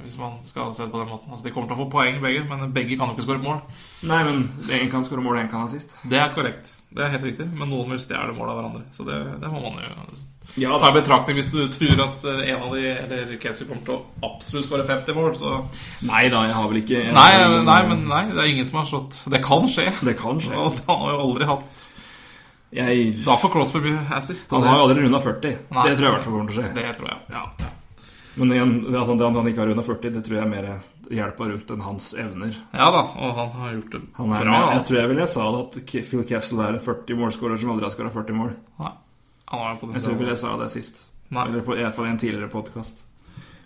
hvis man skal se det på den måten. Altså, de kommer til å få poeng, begge, men begge kan jo ikke skåre mål. Nei, men én kan skåre mål, én kan ha sist. Det er korrekt. Det er helt riktig. Men noen vil stjele mål av hverandre. Så det, det må man jo Ja, ta i betraktning hvis du tror at eh, en av de, eller Casey, kommer til å absolutt skåre 50 mål, så Nei da, jeg har vel ikke jeg Nei, har vel- nei, men nei, det er ingen som har slått Det kan skje. Det kan skje. Og Han har jo aldri hatt Jeg, Da får Crosby bli assist. og han har jo aldri runda 40. Nei. Det tror jeg i hvert fall kommer til å skje. det, det tror jeg. Ja. Men igjen, det, altså, det at han ikke har runda 40, det tror jeg er mer hjelpa rundt enn hans evner. ja da, og han har gjort det Han er, bra. jeg, da. jeg tror jeg vel jeg sa det at K- Phil Kessel er en 40-målskårer som aldri har skåra 40 mål. Nei. Han har jo Jeg tror vel potensial. jeg sa det sist. Nei. Eller på, i hvert fall i en tidligere podkast.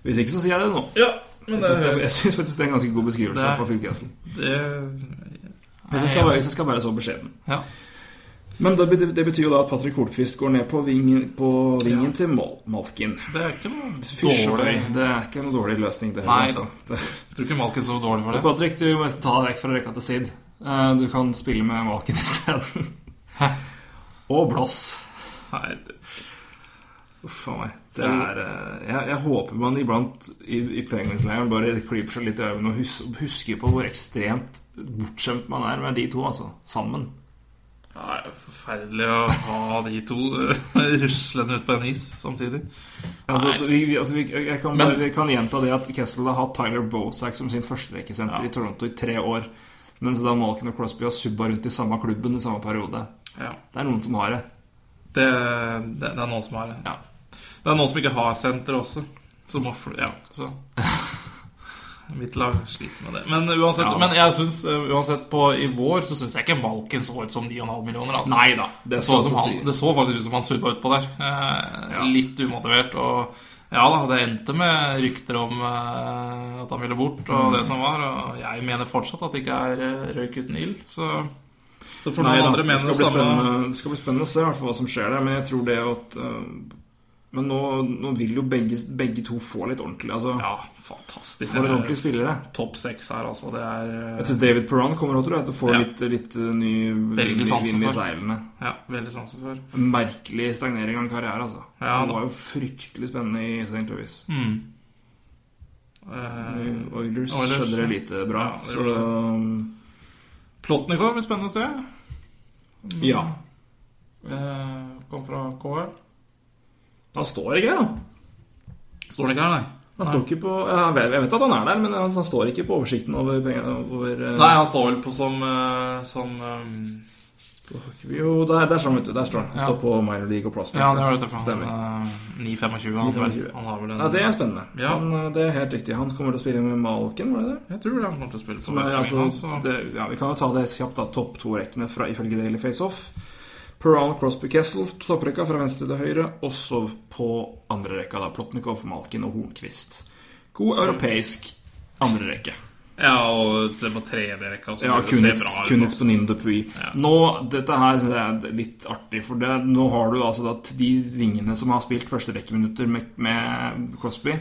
Hvis ikke, så sier jeg det nå. Ja, Jeg men det, syns det, jeg synes faktisk det er en ganske god beskrivelse Det er- for Phil Kessel. det Hvis jeg skal være, hvis jeg skal være så beskjeden. Ja. Men det, bety- det betyr jo da at Patrick Holtquist går ned på vingen, på vingen til Mal Malkin. Det er ikke noe Fysj og dårlig fløy. Det er ikke noen dårlig løsning, det. Nei, altså. Det- Jeg tror ikke Malkin så dårlig for det. Patrick, du må nesten ta deg vekk fra rekka til Sid. Eh, Du kan spille med Malkin isteden. Og Blås. Nei, Uff a meg. Det er, eh, jeg, jeg håper man iblant i, i Penguins-leiren bare klyper seg litt i øynene og hus, husker på hvor ekstremt bortskjemt man er med de to, altså. Sammen. Det er jo forferdelig å ha de to eh, ruslende ut på en is samtidig. Altså, Nei. vi, vi, altså, vi, jeg kan, Men- bare- vi kan gjenta det at Kessel har hatt Tyler Bosak som sin førsterekkesenter i Toronto i tre år. Mens da Malkin og Crosby har subba rundt i samme klubben i samme periode. Ja. Det er noen som har det. Det, det, det er noen som har det. Ja. Det er noen som ikke har senter også. Som må fly, ja, så Mitt lag sliter med det. Men uansett, Ja. men jeg synes, eh, uansett på, i vår så syns jeg ikke Malkin så ut som 9,5 millioner. Altså. Nei da. Det Det så, skal som også han, si. det så faktisk ut som han surpa utpå der. Eh, Ja. Litt umotivert. Og ja da, det endte med rykter om eh, at han ville bort, og det som var. Og jeg mener fortsatt at det ikke er eh, røyk uten ild. Så, så for Nei noen da, andre det mener skal, det bli samme. spennende- det skal bli spennende å se i hvert fall hva som skjer der. Men jeg tror det at eh, Men nå, nå vil jo begge, begge to få litt ordentlig. Altså, Ja, fantastisk. Eh, få litt ordentlige spillere. Topp seks her, altså. Det er Jeg eh, tror David Perron kommer også, tror jeg, til å få Ja. litt, litt eh, ny Veldig ny sansen vind i for. seilene. ja, veldig sansen for. Merkelig stagnering av en karriere, altså. Ja, Han da. var jo fryktelig spennende i St. Louis. Mm. I Eh, Oilers Oilers, skjedde det ja. lite bra. Ja, det så um, gjorde Plotnikov blir spennende å se. ja. Eh, kom fra KL. Han står ikke der, da. Står det ikke her, nei? Han står ikke på, jeg vet- jeg vet at han er der, men han, han står ikke på oversikten over pengene. Over, eh, Nei, han står vel på som, eh, som eh, Jo, der, der står han, vet du. Der står han. Han Ja. står på minor league og prospects. Ja, det var dette for han Stemmer. eh, 9,25. Han, vel- 9,25. han har vel en Ja, det er spennende. Ja. Han, eh, det er helt riktig. Han kommer til å spille med Malkin, var det det? Jeg tror det han kommer til å spille på Som er, venstrevinga, altså, så- det, ja, vi kan jo ta det kjapt, da. Topp to-rekkene fra ifølge Daily Faceoff. Peral Crosby Kessel, topprekka fra venstre til høyre. Også på andre rekka, da. Plotnikov, Malkin og Hornquist. God europeisk andre rekke. Ja, og se på tredjerekka, så Ja, det ser Kunitz, bra ut. Kunitz altså. på Ninde Pui. Ja. Nå, dette her er litt artig, for det, nå har du altså da t- de vingene som har spilt første rekkeminutter med, med Crosby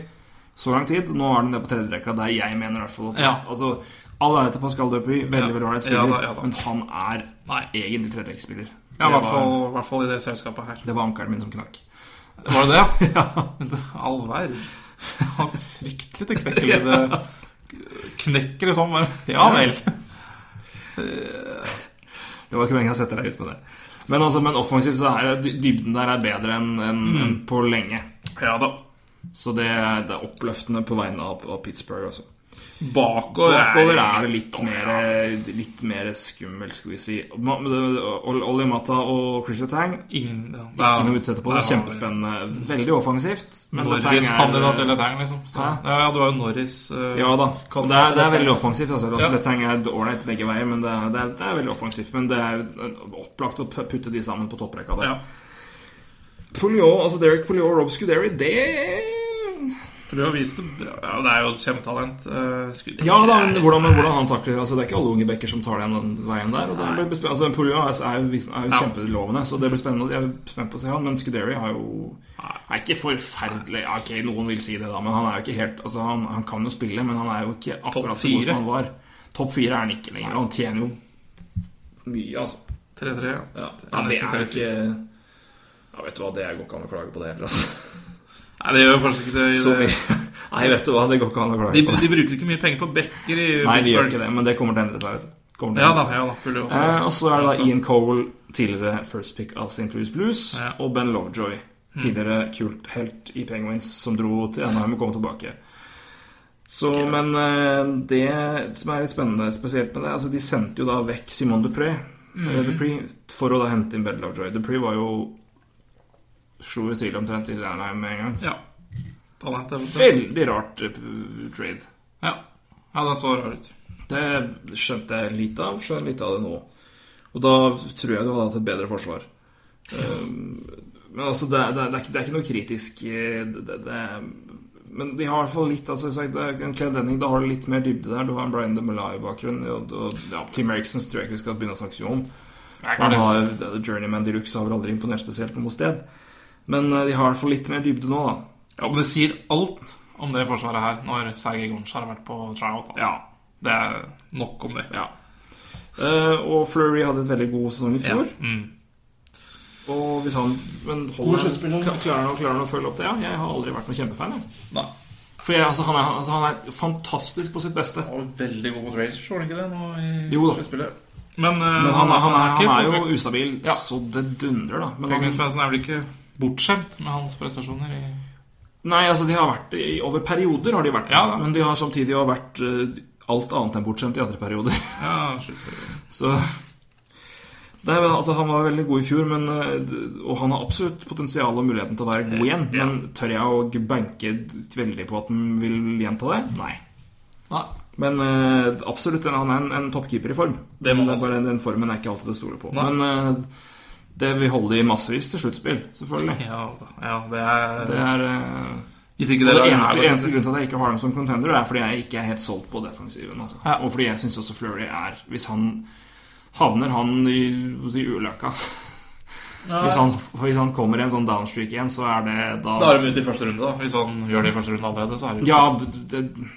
så lang tid. Nå er det nede på tredje rekka, der jeg mener i hvert fall at Ja. altså, All ære til Pascal Dupuy, veldig Ja. veldig ålreit Ja spiller, da, ja da. men han er Nei. egentlig tredjerekkespiller. Ja, det, i hvert fall, i hvert fall i det selskapet her. var- det var ankelen min som knakk. Var det det, ja? All verden. Han er fryktelig til knekker i det. Knekker det sånn, bare. Ja vel. Det var ikke meningen å sette deg ut med det. Men, altså, men offensivt så er det- dybden der er bedre enn enn- Mm. enn på lenge. Ja da. Så det, det er oppløftende på vegne av, av Pittsburgh, altså. Bakover, Bakover er det litt mer, eh, litt mer skummelt, skal vi si. Ma- Ol- Olli Mata og Chris Tang Ingen ja. ikke noe å utsette på. Det er Der har vi- kjempespennende. Veldig offensivt. Men Letang er- Norris-kandidat eller Letang, liksom. Så, Hæ? ja, ja, du har jo Norris. eh, Ja da. Kan- Det er, det er Letang. veldig offensivt. Altså. Ja. Altså, Letang er ålreit begge veier, men det er, det, er, det er veldig offensivt. Men det er jo opplagt å putte de sammen på topprekka der. Ja. Pouliot, altså Derek Pouliot og Rob Scuderi, det Prøv å vise det bra. Ja, det er jo et kjempetalent. eh, skudd- Ja da, men Det er- hvordan, men hvordan han takler altså, Det er ikke alle unge bekker som tar den veien der. Og det blir bespe- altså, Pulja er, er, jo- er jo Ja. kjempelovende, så det blir spennende. Jeg er spent på å se han, men Scuderi har jo er ikke forferdelig ja, Ok, noen vil si det, da, men han er jo ikke helt altså, han, han kan jo spille, men han er jo ikke Topp akkurat så god fire. som han var. Topp fire er han ikke lenger. og Han tjener jo mye, altså. 3-3, ja. Nei, det nesten er 3-4. ikke ja, Vet du hva, det går ikke an å klage på det heller, altså. Nei, det gjør jo faktisk ikke det. i Så det. mye. Nei, vet du hva, det går ikke an å klage De, på det. de bruker ikke mye penger på backer i Nei, de gjør Pittsburgh. ikke det, men det kommer til å endre seg, vet du. Kommer til å Ja endre da, seg. ja da. Burde jo også. Eh, og så er det da Ian Cole, tidligere first pick av St. Louis Blues, Ja. Mm. og Ben Lovejoy, tidligere kult helt i Penguins, som dro til Anaheim og kom tilbake. Så, Men eh, det som er litt spennende spesielt med det altså De sendte jo da vekk Simon Dupré, Mhm. eh, Dupré for å da hente inn Ben Lovejoy. Dupré var jo Slo jo til omtrent i Anaheim med en gang. Ja. Talent, eventuelt. Veldig rart eh, p- trade. Ja. ja, den så rar ut. Det skjønte jeg litt av. Skjønner litt av det nå. Og da tror jeg du hadde hatt et bedre forsvar. Um, men altså, det, er- det, er- det, er ikke, det er ikke noe kritisk eh, det, det, er- Men de har i hvert fall litt altså, som sagt, det er En Clay Denning, da har du litt mer dybde der. Du har en Brian DeMolay-bakgrunn. Og, og ja, Tim Eriksen tror jeg ikke vi skal begynne å snakke så mye om. Han har, Journeyman de Luxe har vel aldri imponert spesielt noe sted. Men eh, de har i hvert fall litt mer dybde nå, da. Ja, men det sier alt om det forsvaret her når Sergej Gonsjar har vært på tryout. Altså. Ja. Det er nok om det. Ja. Eh, og Fleury hadde et veldig god sesong i fjor. Mm. Og hvis han men God holder, skuespiller. kla- klarer han å- klarer han å følge opp det? Ja, jeg har aldri vært noen kjempefan. Jeg. Nei. For jeg, altså, han, er, altså, han er fantastisk på sitt beste. Han var veldig god mot Rangers, var han ikke det? Nå i Jo da. sluttspillet? Men, eh, Men han, han, er, han er for- jo ustabil, Ja. så det dundrer, da. Men Magnus han, Svendsen er vel ikke bortskjemt med hans prestasjoner i nei, altså, de har vært i, over perioder, har de vært Ja da. men de har samtidig også vært eh, alt annet enn bortskjemt i andre perioder. ja, sluttspillet? Så Nei, men altså Han var veldig god i fjor, men, eh, og han har absolutt potensial og muligheten til å være Eh, god igjen. Men tør jeg å benke veldig på at han vil gjenta det? Nei. Nei. Men eh, absolutt, han er en, en toppkeeper i form. Det må man Men er bare, den formen er ikke alltid det store på. Nei. Men eh, det vil holde i massevis til sluttspill, selvfølgelig. Ja, da. ja, det er Det er eh, Hvis ikke det det er laget eneste, her- eneste grunnen til at jeg ikke har dem som contender, er fordi jeg ikke er helt solgt på defensiven. Altså. Ja. Og fordi jeg syns også Fleury er Hvis han havner han i, i ulykka hvis, han- hvis han kommer i en sånn downstreak igjen, så er det da Da er de ute i første runde, da. Hvis han gjør det i første runde allerede, så er det jo Ja, det,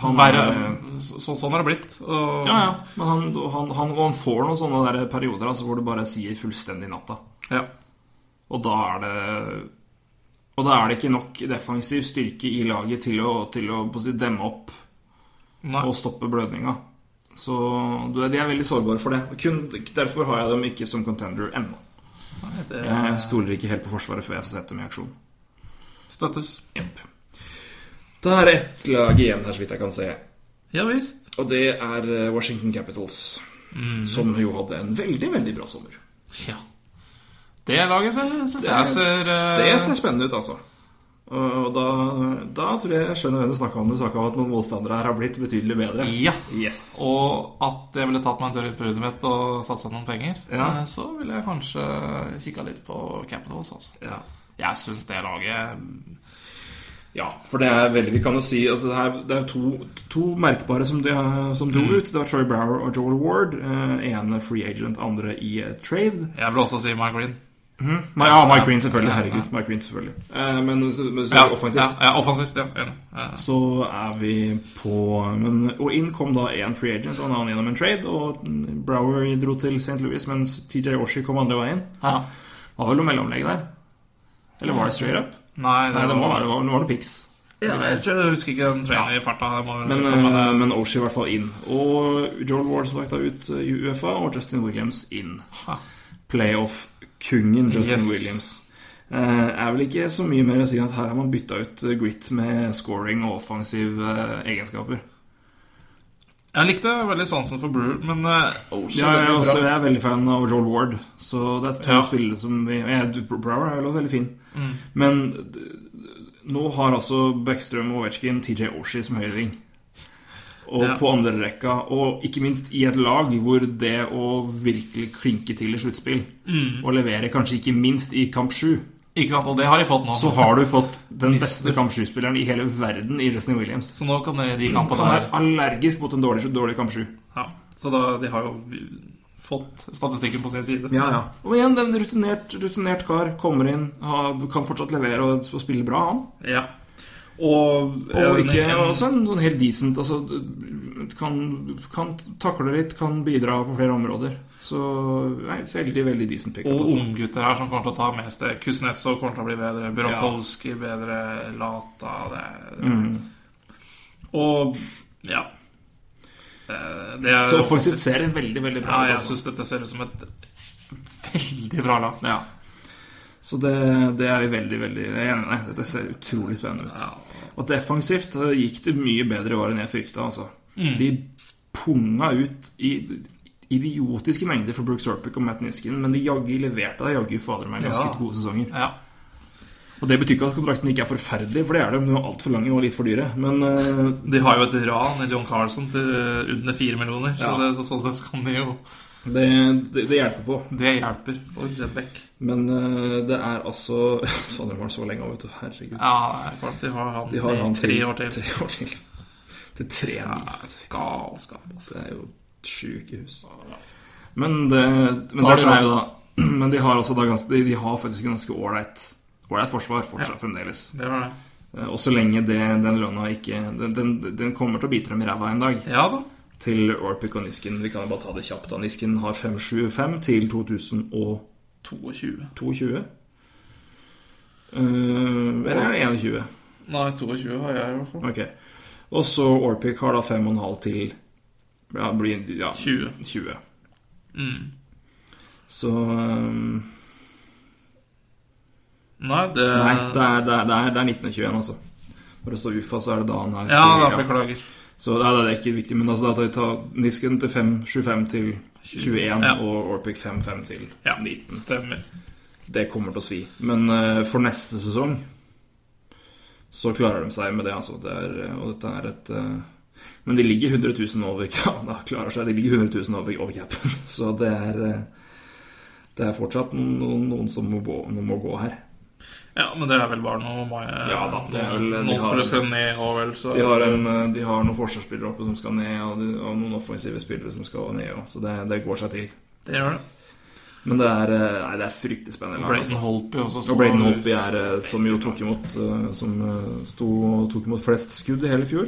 han verre. er- Så, sånn har det blitt. Og, Ja, ja. Men han, han, han, og han får noen sånne der perioder altså, hvor du bare sier fullstendig natta. Ja. Og da er det Og da er det ikke nok defensiv styrke i laget til å, til å, på å si, demme opp Nei. og stoppe blødninga. Så du, de er veldig sårbare for det. Og Kun, derfor har jeg dem ikke som contender ennå. det Jeg stoler ikke helt på Forsvaret før jeg får sett dem i aksjon. støttes. Jep. Da er det ett lag igjen her, så vidt jeg kan se. Ja visst. Og det er eh, Washington Capitals. Som jo hadde en veldig, veldig bra sommer. Mm. Ja. Det laget syns jeg Det ser eh, det ser spennende ut, altså. Og og da, da tror jeg jeg skjønner hvem du snakka om. Du snakka om at noen motstandere her har blitt betydelig bedre. Ja. Yes. Og at jeg ville tatt meg en tur ut på hudet mitt og satsa noen penger, Ja. eh, så ville jeg kanskje kikka litt på Capitals, altså. Ja. Jeg syns det laget ja, for det er veldig Vi kan jo si altså, det, er, det er to, to merkbare som, de, som dro ut. Det var Troy Brower og Joel Ward. Eh, ene free agent, andre i eh, trade. Jeg vil også si Mark Green. Ma- Ja, Mike Ja. Green, selvfølgelig. Ja, Herregud. Mike Green, selvfølgelig. Eh, men så, men så offensivt Ja, ja, offensivt, ja. Enig. Eh, så er vi på men, Og inn kom da én free agent og en annen gjennom en trade. Og Brower dro til St. Louis, mens TJ Oshie kom andre veien. Ja. Var vel noe mellomlegg der? Eller var det straight up? Nei, Nei, det må være det. var- Nå var det pics. Ja, jeg, tror, jeg husker ikke den trainen i farta. Jeg må Men, sjekke, men, eh, men Oshie i hvert fall inn. Og Joel Ward som sagt da ut eh, i UFA, og Justin Williams inn. Ha. Playoff-kongen Justin Yes. Williams. Eh, er vel ikke så mye mer å si enn at her har man bytta ut eh, grit med scoring og offensive eh, egenskaper. jeg likte veldig sansen for Brewer, men uh, Ja, jeg, er også, jeg er veldig fan av Joel Ward. Så det er to Ja. spillere som vi ja, du- Brower er jo også veldig fin. Men d- nå har altså Backstrøm og Ovechkin TJ Oshie som høyreving. Og Ja. på andre rekka, og ikke minst i et lag hvor det å virkelig klinke til i sluttspill, og levere kanskje ikke minst i kamp sju, Ikke sant, og det har de fått nå. så har du fått den beste kamp sju-spilleren i hele verden i Justin Williams. Så nå kan de, de Han kampene er her allergisk mot en dårlig, dårlig kamp sju. ja. Så da, de har jo fått statistikken på sin side. Ja, ja. Og igjen, det er en rutinert, rutinert kar. Kommer inn, har, kan fortsatt levere og, og spille bra, han. Ja. Og, Og en- ikke en- også en sånn helt decent altså, kan, kan takle litt, kan bidra på flere områder. Så nei, veldig, veldig decent pickup. og Altså. unggutter her som kommer til å ta med seg Kuznetsov kommer til å bli bedre. Buratovski bedre. Lata det. Mhm. Og ja. Eh, Det er, Så offensivt ser det veldig, veldig bra Ja, ut. jeg Altså. syns dette ser ut som et veldig bra lag. Ja. Så det, det er vi veldig, veldig jeg er enig med. deg. Dette ser utrolig spennende ut. Og defensivt eh, gikk det mye bedre i år enn jeg frykta, altså. Mm. De punga ut i idiotiske mengder for Brooks Orpic og Matt Nisken, men de jaggu leverte da jaggu fader meg ganske Ja. gode sesonger. Ja. Og det betyr ikke at kontraktene ikke er forferdelige, for det er de. De er altfor lange og litt for dyre. Men eh, De har jo et ran i John Carlson til eh, under fire millioner, så, Ja. det, så sånn sett kan de jo det, det, det hjelper på. Det hjelper for Redbeck. Men eh, det er altså Fader, de har så lenge òg, vet du. Herregud. Ja, for at de har han, De har han i tre år til. Tre år til. Til tre mil. Galskap. Altså, det er jo et sjukehus. Men, det, men, Da har det de er jo da, men de har også da ganske, de, de har faktisk en ganske ålreit ålreit forsvar fortsatt fremdeles. Det var det. Eh, Og så lenge det, den lønna ikke den, den, den kommer til å bite dem i ræva en dag. Ja da. Til Orpic og Nisken. Vi kan jo bare ta det kjapt. da Nisken har 575 til 2012. 22. 22? Eh, eller er det 21? Nei, 22 har jeg i hvert fall. Ok. Og så Orpic har da 5,5 til ja, blir, ja, 20. 20. Mm. Så eh, Nei, det Nei, det er, det, er, det, er, det er 1921, altså. Når det står UFA, så er det da han er Ja, da, ja. beklager. Så det er, det er ikke viktig, men altså, da tar vi ta Nisken til 5, 25 til 21 Ja. og Orpic 5-5 til 19. Stemmer. Det kommer til å svi. Men eh, for neste sesong så klarer de seg med det, altså. Det er, eh, og dette er et eh, Men de ligger 100 000 over Ja, da klarer seg. De ligger 100 000 over, over capen. Så det er eh, Det er fortsatt noen, noen som må gå, må gå her. Ja, men det er vel bare noe meg Ja da, det er vel- de Noen har- spillere skal ned og vel, så De har, en, eh, de har noen forsvarsspillere oppe som skal ned, og, de, og noen offensive spillere som skal ned òg, så det, det går seg til. Det gjør det. Men det er, eh, nei, det er fryktelig spennende. lag, altså. Brayton Holpy også. så- Og Braden Holtby er eh, som jo tok imot eh, Som eh, sto og tok imot flest skudd i hele fjor.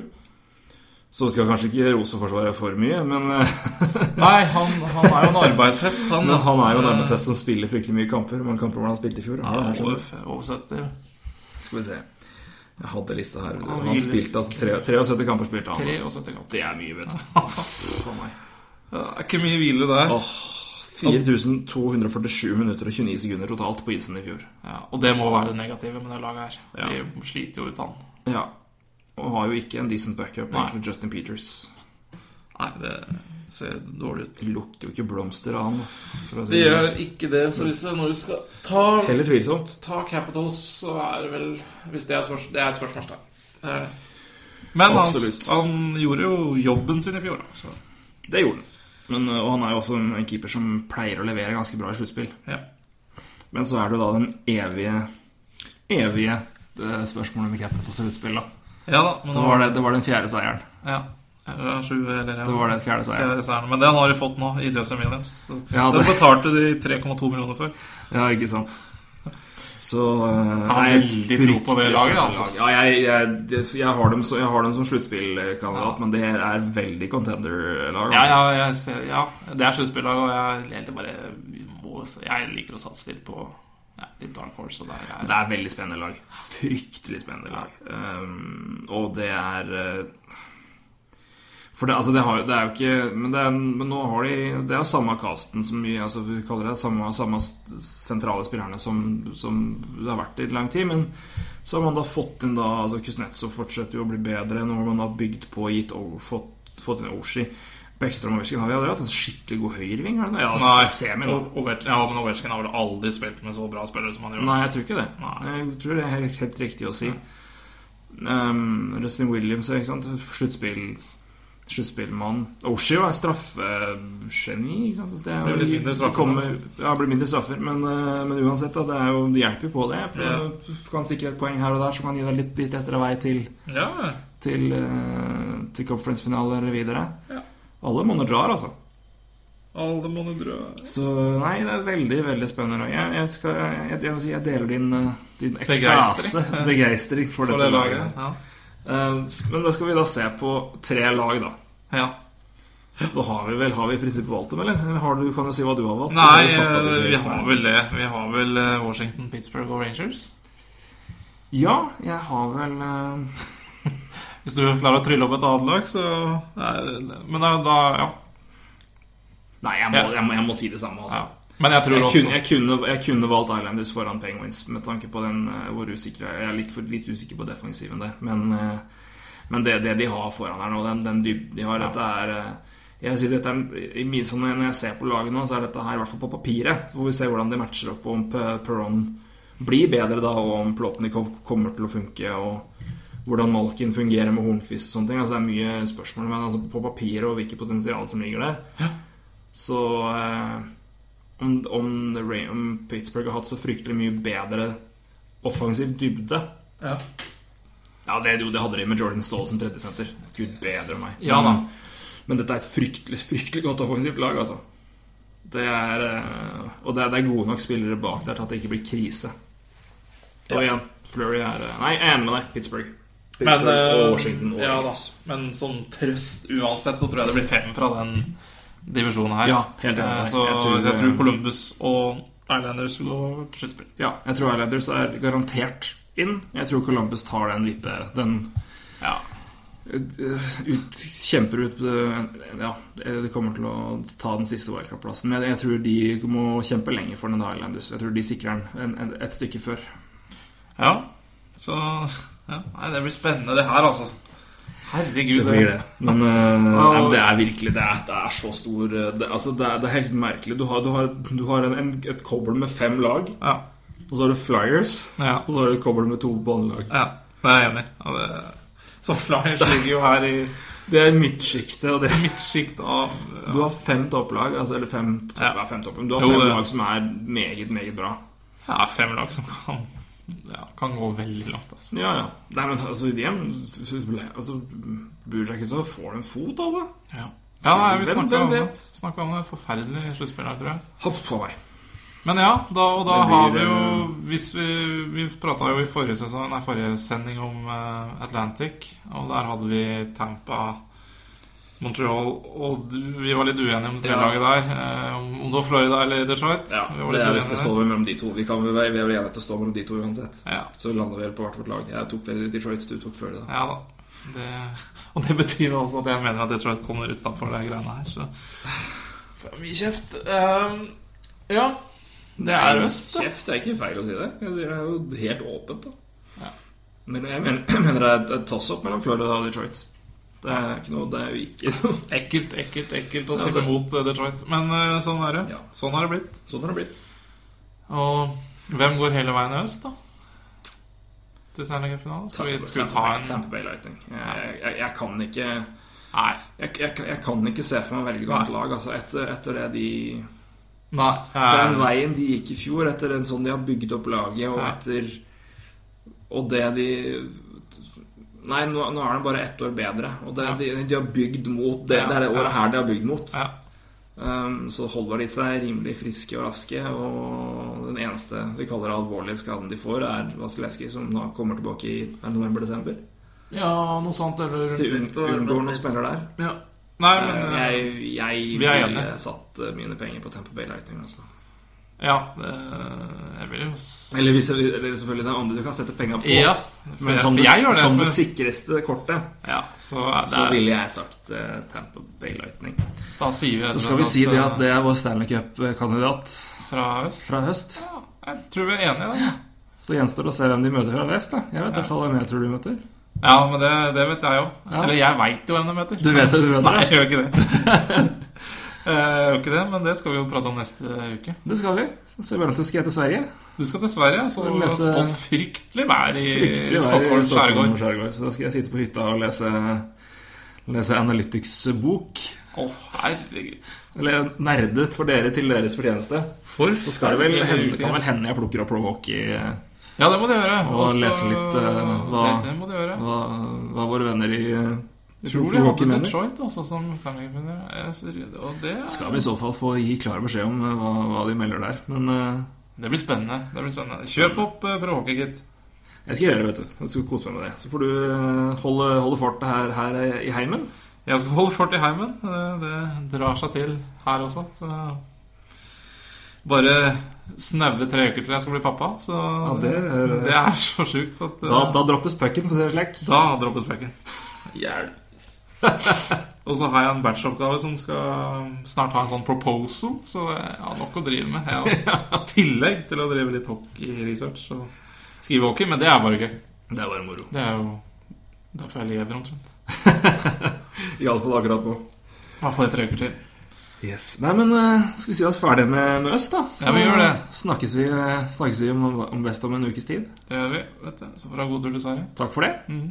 Så skal kanskje ikke rose Forsvaret for mye, men, eh, Nei, han, han er jo en arbeidshest, han. Eh, men han er jo nærmest seg som spiller fryktelig mye kamper. Hvor mange kamper var det han spilte i fjor? Ja, her skjønner du. Over- over 70. skal vi se. Jeg hadde lista her. Han Han spilte altså tre- 73 kamper. spilte han 73 kamper. Det er mye, vet du. For meg. Det er ikke mye hvile der. Åh, 4247 minutter og 29 sekunder totalt på isen i fjor. Ja, og det må være det negative med det laget her. Ja. De sliter jo ut han. Ja. Og har jo ikke en decent backup, Nei. egentlig, Justin Peters. Nei, det ser dårlig ut. Det lukter jo ikke blomster av han. For å si De det. gjør ikke det, så hvis det, når du skal ta, Heller tvilsomt. ta Capitals, så er det vel Hvis det er, spørs, det er et spørsmålstegn. Det er det. Men han, Absolutt. han gjorde jo jobben sin i fjor, da. Så. Det gjorde han. Men, øh, og han er jo også en en keeper som pleier å levere ganske bra i sluttspill. Ja. Men så er det jo da den evige, evige øh, spørsmålet med Capitals og sluttspill, da. ja da, men Det var, det, det var den fjerde seieren. Ja. Eller sju, eller ja. Det var den fjerde Det seieren. er seieren. Men den har de fått nå, i Justin Williams. Så. Ja, Den det- betalte de 3,2 millioner for. Ja, ikke sant. Så eh, Jeg har veldig tro på det laget, altså. Ja, jeg, jeg, det- jeg, har dem, så, jeg har dem som sluttspillkandidat, men det er veldig contender-lag. Ja, ja, jeg ser, ja. det er sluttspillag, og jeg, egentlig bare, vi må, jeg liker å satse litt på ja, litt dark horse. Og der, er- Det er veldig spennende lag. Fryktelig spennende lag. Um, og det er eh, For det, altså det, har, jo- det er jo ikke Men, det er, men nå har de Det er jo samme casten som vi, altså vi kaller det. Samme, samme s- sentrale spillerne som, som det har vært i lang tid. Men så har man da fått inn da altså Kuznetsov fortsetter jo å bli bedre. Nå har man da bygd på og gitt over, fått, fått inn Oshi. Beckstrøm og Weskin har vi aldri hatt en skikkelig god høyreving? har de det? Ja, Nei, semi, da. O- Ovech- ja, men Ovechkin har vel aldri spilt med så bra spillere som han gjør. Nei, jeg tror ikke det. Nei. Jeg tror det er helt, helt riktig å si. Um, Rustin Williams, ikke sant. Sluttspill Sluttspillmann. Oshio er straffegeni, ikke sant. Det er jo- Blir litt mindre straffer, kommer- Ja, blir mindre straffer. Men, eh, men uansett, da. Det, er jo, det hjelper jo på det. Ja. Du Kan sikre et poeng her og der som kan gi deg litt, litt lettere vei til Ja, Til, eh, til conference-finaler videre. Ja. Alle monner drar, altså. alle måneder dra. Så nei, det er veldig, veldig spennende. lag. Jeg, jeg, skal, jeg, jeg, vil si, jeg deler din, eh, din ekstase, Begeistring. begeistring for, For dette det laget. laget. Ja. Eh, s- Men da skal vi da se på tre lag, da. ja. Da har vi vel har vi i prinsippet valgt dem, eller? eller har du, kan du si hva du har valgt? Nei, Du har satt av disse eh, vi listene. har vel det. Vi har vel eh, Washington, Pittsburgh og Rangers. Ja, jeg har vel eh, Hvis du klarer å trylle opp et annet lag, så nei, det- Men da, da ja. Nei, jeg må, jeg, må, jeg må si det samme, altså. ja. Men jeg tror Jeg også kunne, jeg, kunne, jeg kunne valgt Islanders foran Penguins med tanke på den, eh, hvor usikre jeg er. Jeg er litt, for, litt usikker på defensiven der. Men, eh, men det, det de har foran her nå, den, den dybden de har, dette er eh, jeg vil si dette er, i min, sånn, Når jeg ser på laget nå, så er dette her i hvert fall på papiret. Så får vi se hvordan de matcher opp, og om Pe- Perron blir bedre da, og om Plotnikov kommer til å funke. og hvordan Malkin fungerer med Hornquist og sånne ting. Altså, det er mye spørsmål, men altså, på papiret og hvilket potensial som ligger der, så eh, om, om, Ra- om Pittsburgh har hatt så fryktelig mye bedre offensiv dybde ja. Ja, det, jo, det hadde de med Jordan Stall som tredjesenter. Gud bedre meg. Ja da. Men, men dette er et fryktelig fryktelig godt offensivt lag, altså. Det er, eh, og det er, det er gode nok spillere bak der til at det ikke blir krise. Og igjen, Flurry er eh, Nei, jeg er enig med deg. Pittsburgh. Men, Pittsburgh eh, og Washington. Og ja, da. men som trøst uansett så tror jeg det blir fem fra den divisjonen her. Ja, helt enig. Eh, Så Jeg jeg tror- tror, Columbus og Islanders og sluttspill. Ja, jeg tror Islanders er garantert inn. Jeg tror Columbus tar den vippe... Den eh, Ja. ut, kjemper ut eh, Ja, de kommer til å ta den siste wildcard-plassen. Men jeg, jeg tror de må kjempe lenger for den Islanders. Jeg tror de sikrer den en, en, et stykke før. ja. Så ja. Nei, det blir spennende, det her, altså. Herregud. Det blir det. Men eh, nei, men det er virkelig Det er, det er så stor eh, det, altså, det, er, det er helt merkelig. Du har, du har, du har en, en, et kobbel med fem lag, Ja. og så har du Flyers, Ja. og så har du et kobbel med to båndlag. ja. Det er jeg enig i. Ja, det- Så Flyers ligger jo her i Det er midtsjiktet, og det midtsjikt av Du har fem topplag, altså, eller fem, topp, Ja. ja. fem topplag. Du har Jo, fem det- lag som er meget, meget bra. Ja, fem lag som kan ja, Kan gå veldig langt, altså. Ja, ja. Nei, men altså, igjen altså, Burjak ikke så får du en fot, altså. Ja, ja nei, vi Hvem- snakka hvem om, det. vet? Snakket om det forferdelige sluttspillet her, tror jeg. Hopp på vei. Men ja, da, og da Det blir, har vi jo eh, hvis Vi, vi prata jo i forrige, sesong, nei, forrige sending om eh, Atlantic, og der hadde vi Tampa Montreal, og du, vi var litt uenige om trelaget der. eh, om- om det var Florida eller Detroit. Ja, vi var det litt er hvis det uenige står der. vel mellom de to. Vi kan vel være vi er vel enige til å stå mellom de to uansett. Ja, Så lander vi vel på hvert vårt lag. Jeg tok vel Detroit, du tok før det. da ja da. Det, og det betyr jo altså at jeg mener at Detroit kommer utafor de greiene her, så Får jeg mye kjeft. Eh, ja. Det er øst, da. Kjeft det er ikke feil å si det. Det er jo helt åpent, da. Men jeg mener, jeg mener det er et- et toss-up mellom Florida og Detroit. Det er ikke noe Det er jo ikke noe Ekkelt, ekkelt, ekkelt å Ja, tippe det- mot eh, Detroit. Men eh, sånn er det. Ja. Sånn har det blitt. Sånn har det blitt. Og hvem går hele veien i øst, da? Til Stanley Cup-finalen? Skal, vi- skal vi ta en Tampa Bay Lightning. Jeg, jeg, jeg kan ikke Nei. Jeg, jeg, jeg kan ikke se for meg å velge noe annet lag. Altså, etter, etter det de Nei. Den eh, veien de gikk i fjor, etter den sånn de har bygd opp laget, og Ja. etter Og det de Nei, nå, nå er det bare ett år bedre. Og det, Ja. de, de har bygd mot det. Ja, Det er det ja. året her de har bygd mot. Ja. Um, så holder de seg rimelig friske og raske. Og den eneste vi kaller alvorlige skaden de får, er Vasilevskij, som da kommer tilbake i november-desember. ja, noe sånt, eller Så de unn- rundt- unngår noen smeller der. Ja. Nei, men Eh, eh, Jeg, jeg vi er ville enige. satt eh, mine penger på Tampa Bay Lightning. Altså. Ja, det, jeg vil jo s- Eller, hvis, eller selvfølgelig det er andre du kan sette penger på. Ja. Men for som, det, jeg gjør det. som det for- sikreste kortet, ja, så er det så ville jeg sagt eh, Tampa Bay Lightning. Da sier vi Så skal vi si det eh, at det er vår Stanley Cup-kandidat Fra øst. fra høst. Ja, jeg tror vi er enige, da. Så gjenstår det å se hvem de møter fra vest. Da. Jeg vet i hvert fall hvem jeg tror de møter. Ja, men det, det vet jeg jo. Ja. Eller jeg veit jo hvem de møter. Du vet det, du vet Nei, det. jeg gjør ikke det. Eh, Jeg gjør ikke det, men det skal vi jo prate om neste uke. Det skal vi. Så i mellomtiden skal jeg til Sverige. Du skal til Sverige, så Skal du vi har lese- spådd fryktelig vær i Fryktelig vær i Stockholms Stockholm skjærgård. skjærgård. Så da skal jeg sitte på hytta og lese, lese Analytics-bok. Å, herregud. Eller nerdet for dere til deres fortjeneste. For Så skal det vel hende, kan vel hende jeg plukker opp eh, Provoki, Ja, det må du gjøre. Altså, Og lese litt, eh, det, hva- det må du gjøre. hva, hva våre venner i eh, Tror de Provoki hadde mener. Detroit altså, som sammenligner. Jeg synes- Og det, Skal vi i så fall få gi klar beskjed om eh, hva, hva de melder der. Men eh, det blir spennende. Det blir spennende. Kjøp opp eh, for hockey, gitt. jeg skal gjøre det, vet du. Jeg skal kose meg med det. Så får du eh, holde, holde fortet her, her eh, i heimen. Jeg skal holde fort i heimen. Eh, Det drar seg til her også. Så bare snaue tre uker til jeg skal bli pappa. Så det er- det er så sjukt at eh, Da, da droppes pucken, for å si det slik. da droppes bekken. Hjelp. Og så har jeg en bacheloroppgave som skal snart ha en sånn proposal. Så det er nok å drive med. Jeg har tillegg til å drive litt hockey-research og skrive hockey, men det er bare gøy. Det er bare moro. Det er jo derfor jeg lever omtrent. Iallfall akkurat nå. I hvert fall i tre uker til. Yes. Nei, men eh, skal vi si oss ferdige med, med øst, da? Så Ja, vi gjør det. Snakkes vi, eh, snakkes vi om, om vest om en ukes tid. Det gjør vi. vet du. Så får du ha god tur til Sverige. Takk for det. Mhm.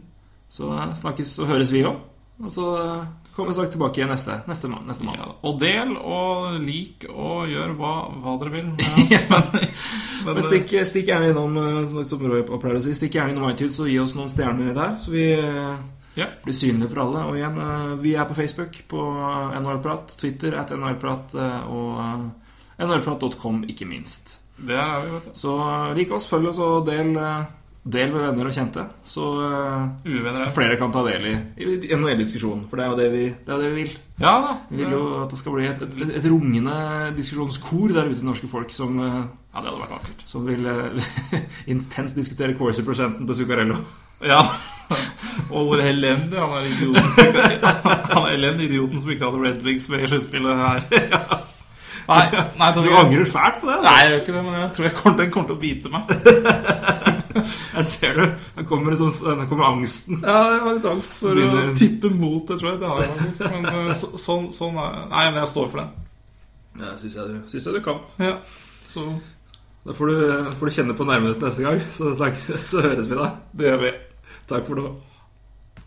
Så eh, snakkes og høres vi òg. Og så eh, kommer vi snart tilbake igjen neste, neste, man- neste Ja, mandag. da. og del og lik og gjør hva, hva dere vil. med oss. Men, men, Men stikk, stikk gjerne innom eh, som, som Roy pleier å si, stikk gjerne innom iTunes og gi oss noen stjerner der, så vi eh, Ja. blir synlige for alle. Og igjen, eh, vi er på Facebook, på eh, NHL-prat, Twitter at NHL-prat eh, og eh, nhlprat.com, ikke minst. eh, Der er vi, vet du. Så eh, lik oss, følg oss og del eh, Del med venner og kjente, så eh, Uvenner er flere kan ta del i, i NHL-diskusjonen. For det er jo det vi, det er jo det vi vil. Ja da. Vi vil jo at det skal bli et, et, et rungende diskusjonskor der ute i det norske folk som, eh, Ja, det hadde vært vakkert. som vil eh, intenst diskutere Corsi-prosenten til Zuccarello. Ja. Og hvor elendig han er idioten som ikke, han er elendig idioten som ikke hadde Red Wings med i sluttspillet her. Nei, nei, Du Torgeir. angrer fælt på det? da. Nei, jeg gjør ikke det, men jeg tror jeg kommer, den kommer til å bite meg. Jeg ser det. Her kommer, det sånn, her kommer angsten. Ja, jeg har litt angst for Begynner- å tippe mot Detroit. Det har jeg faktisk. Men eh, så, sånn, sånn er Nei, men jeg står for den. Det syns jeg, du- synes jeg du kan. Ja, så Da eh, får du, får du kjenne på nervene neste gang, så, snak, så høres vi da. det gjør vi. Takk for nå.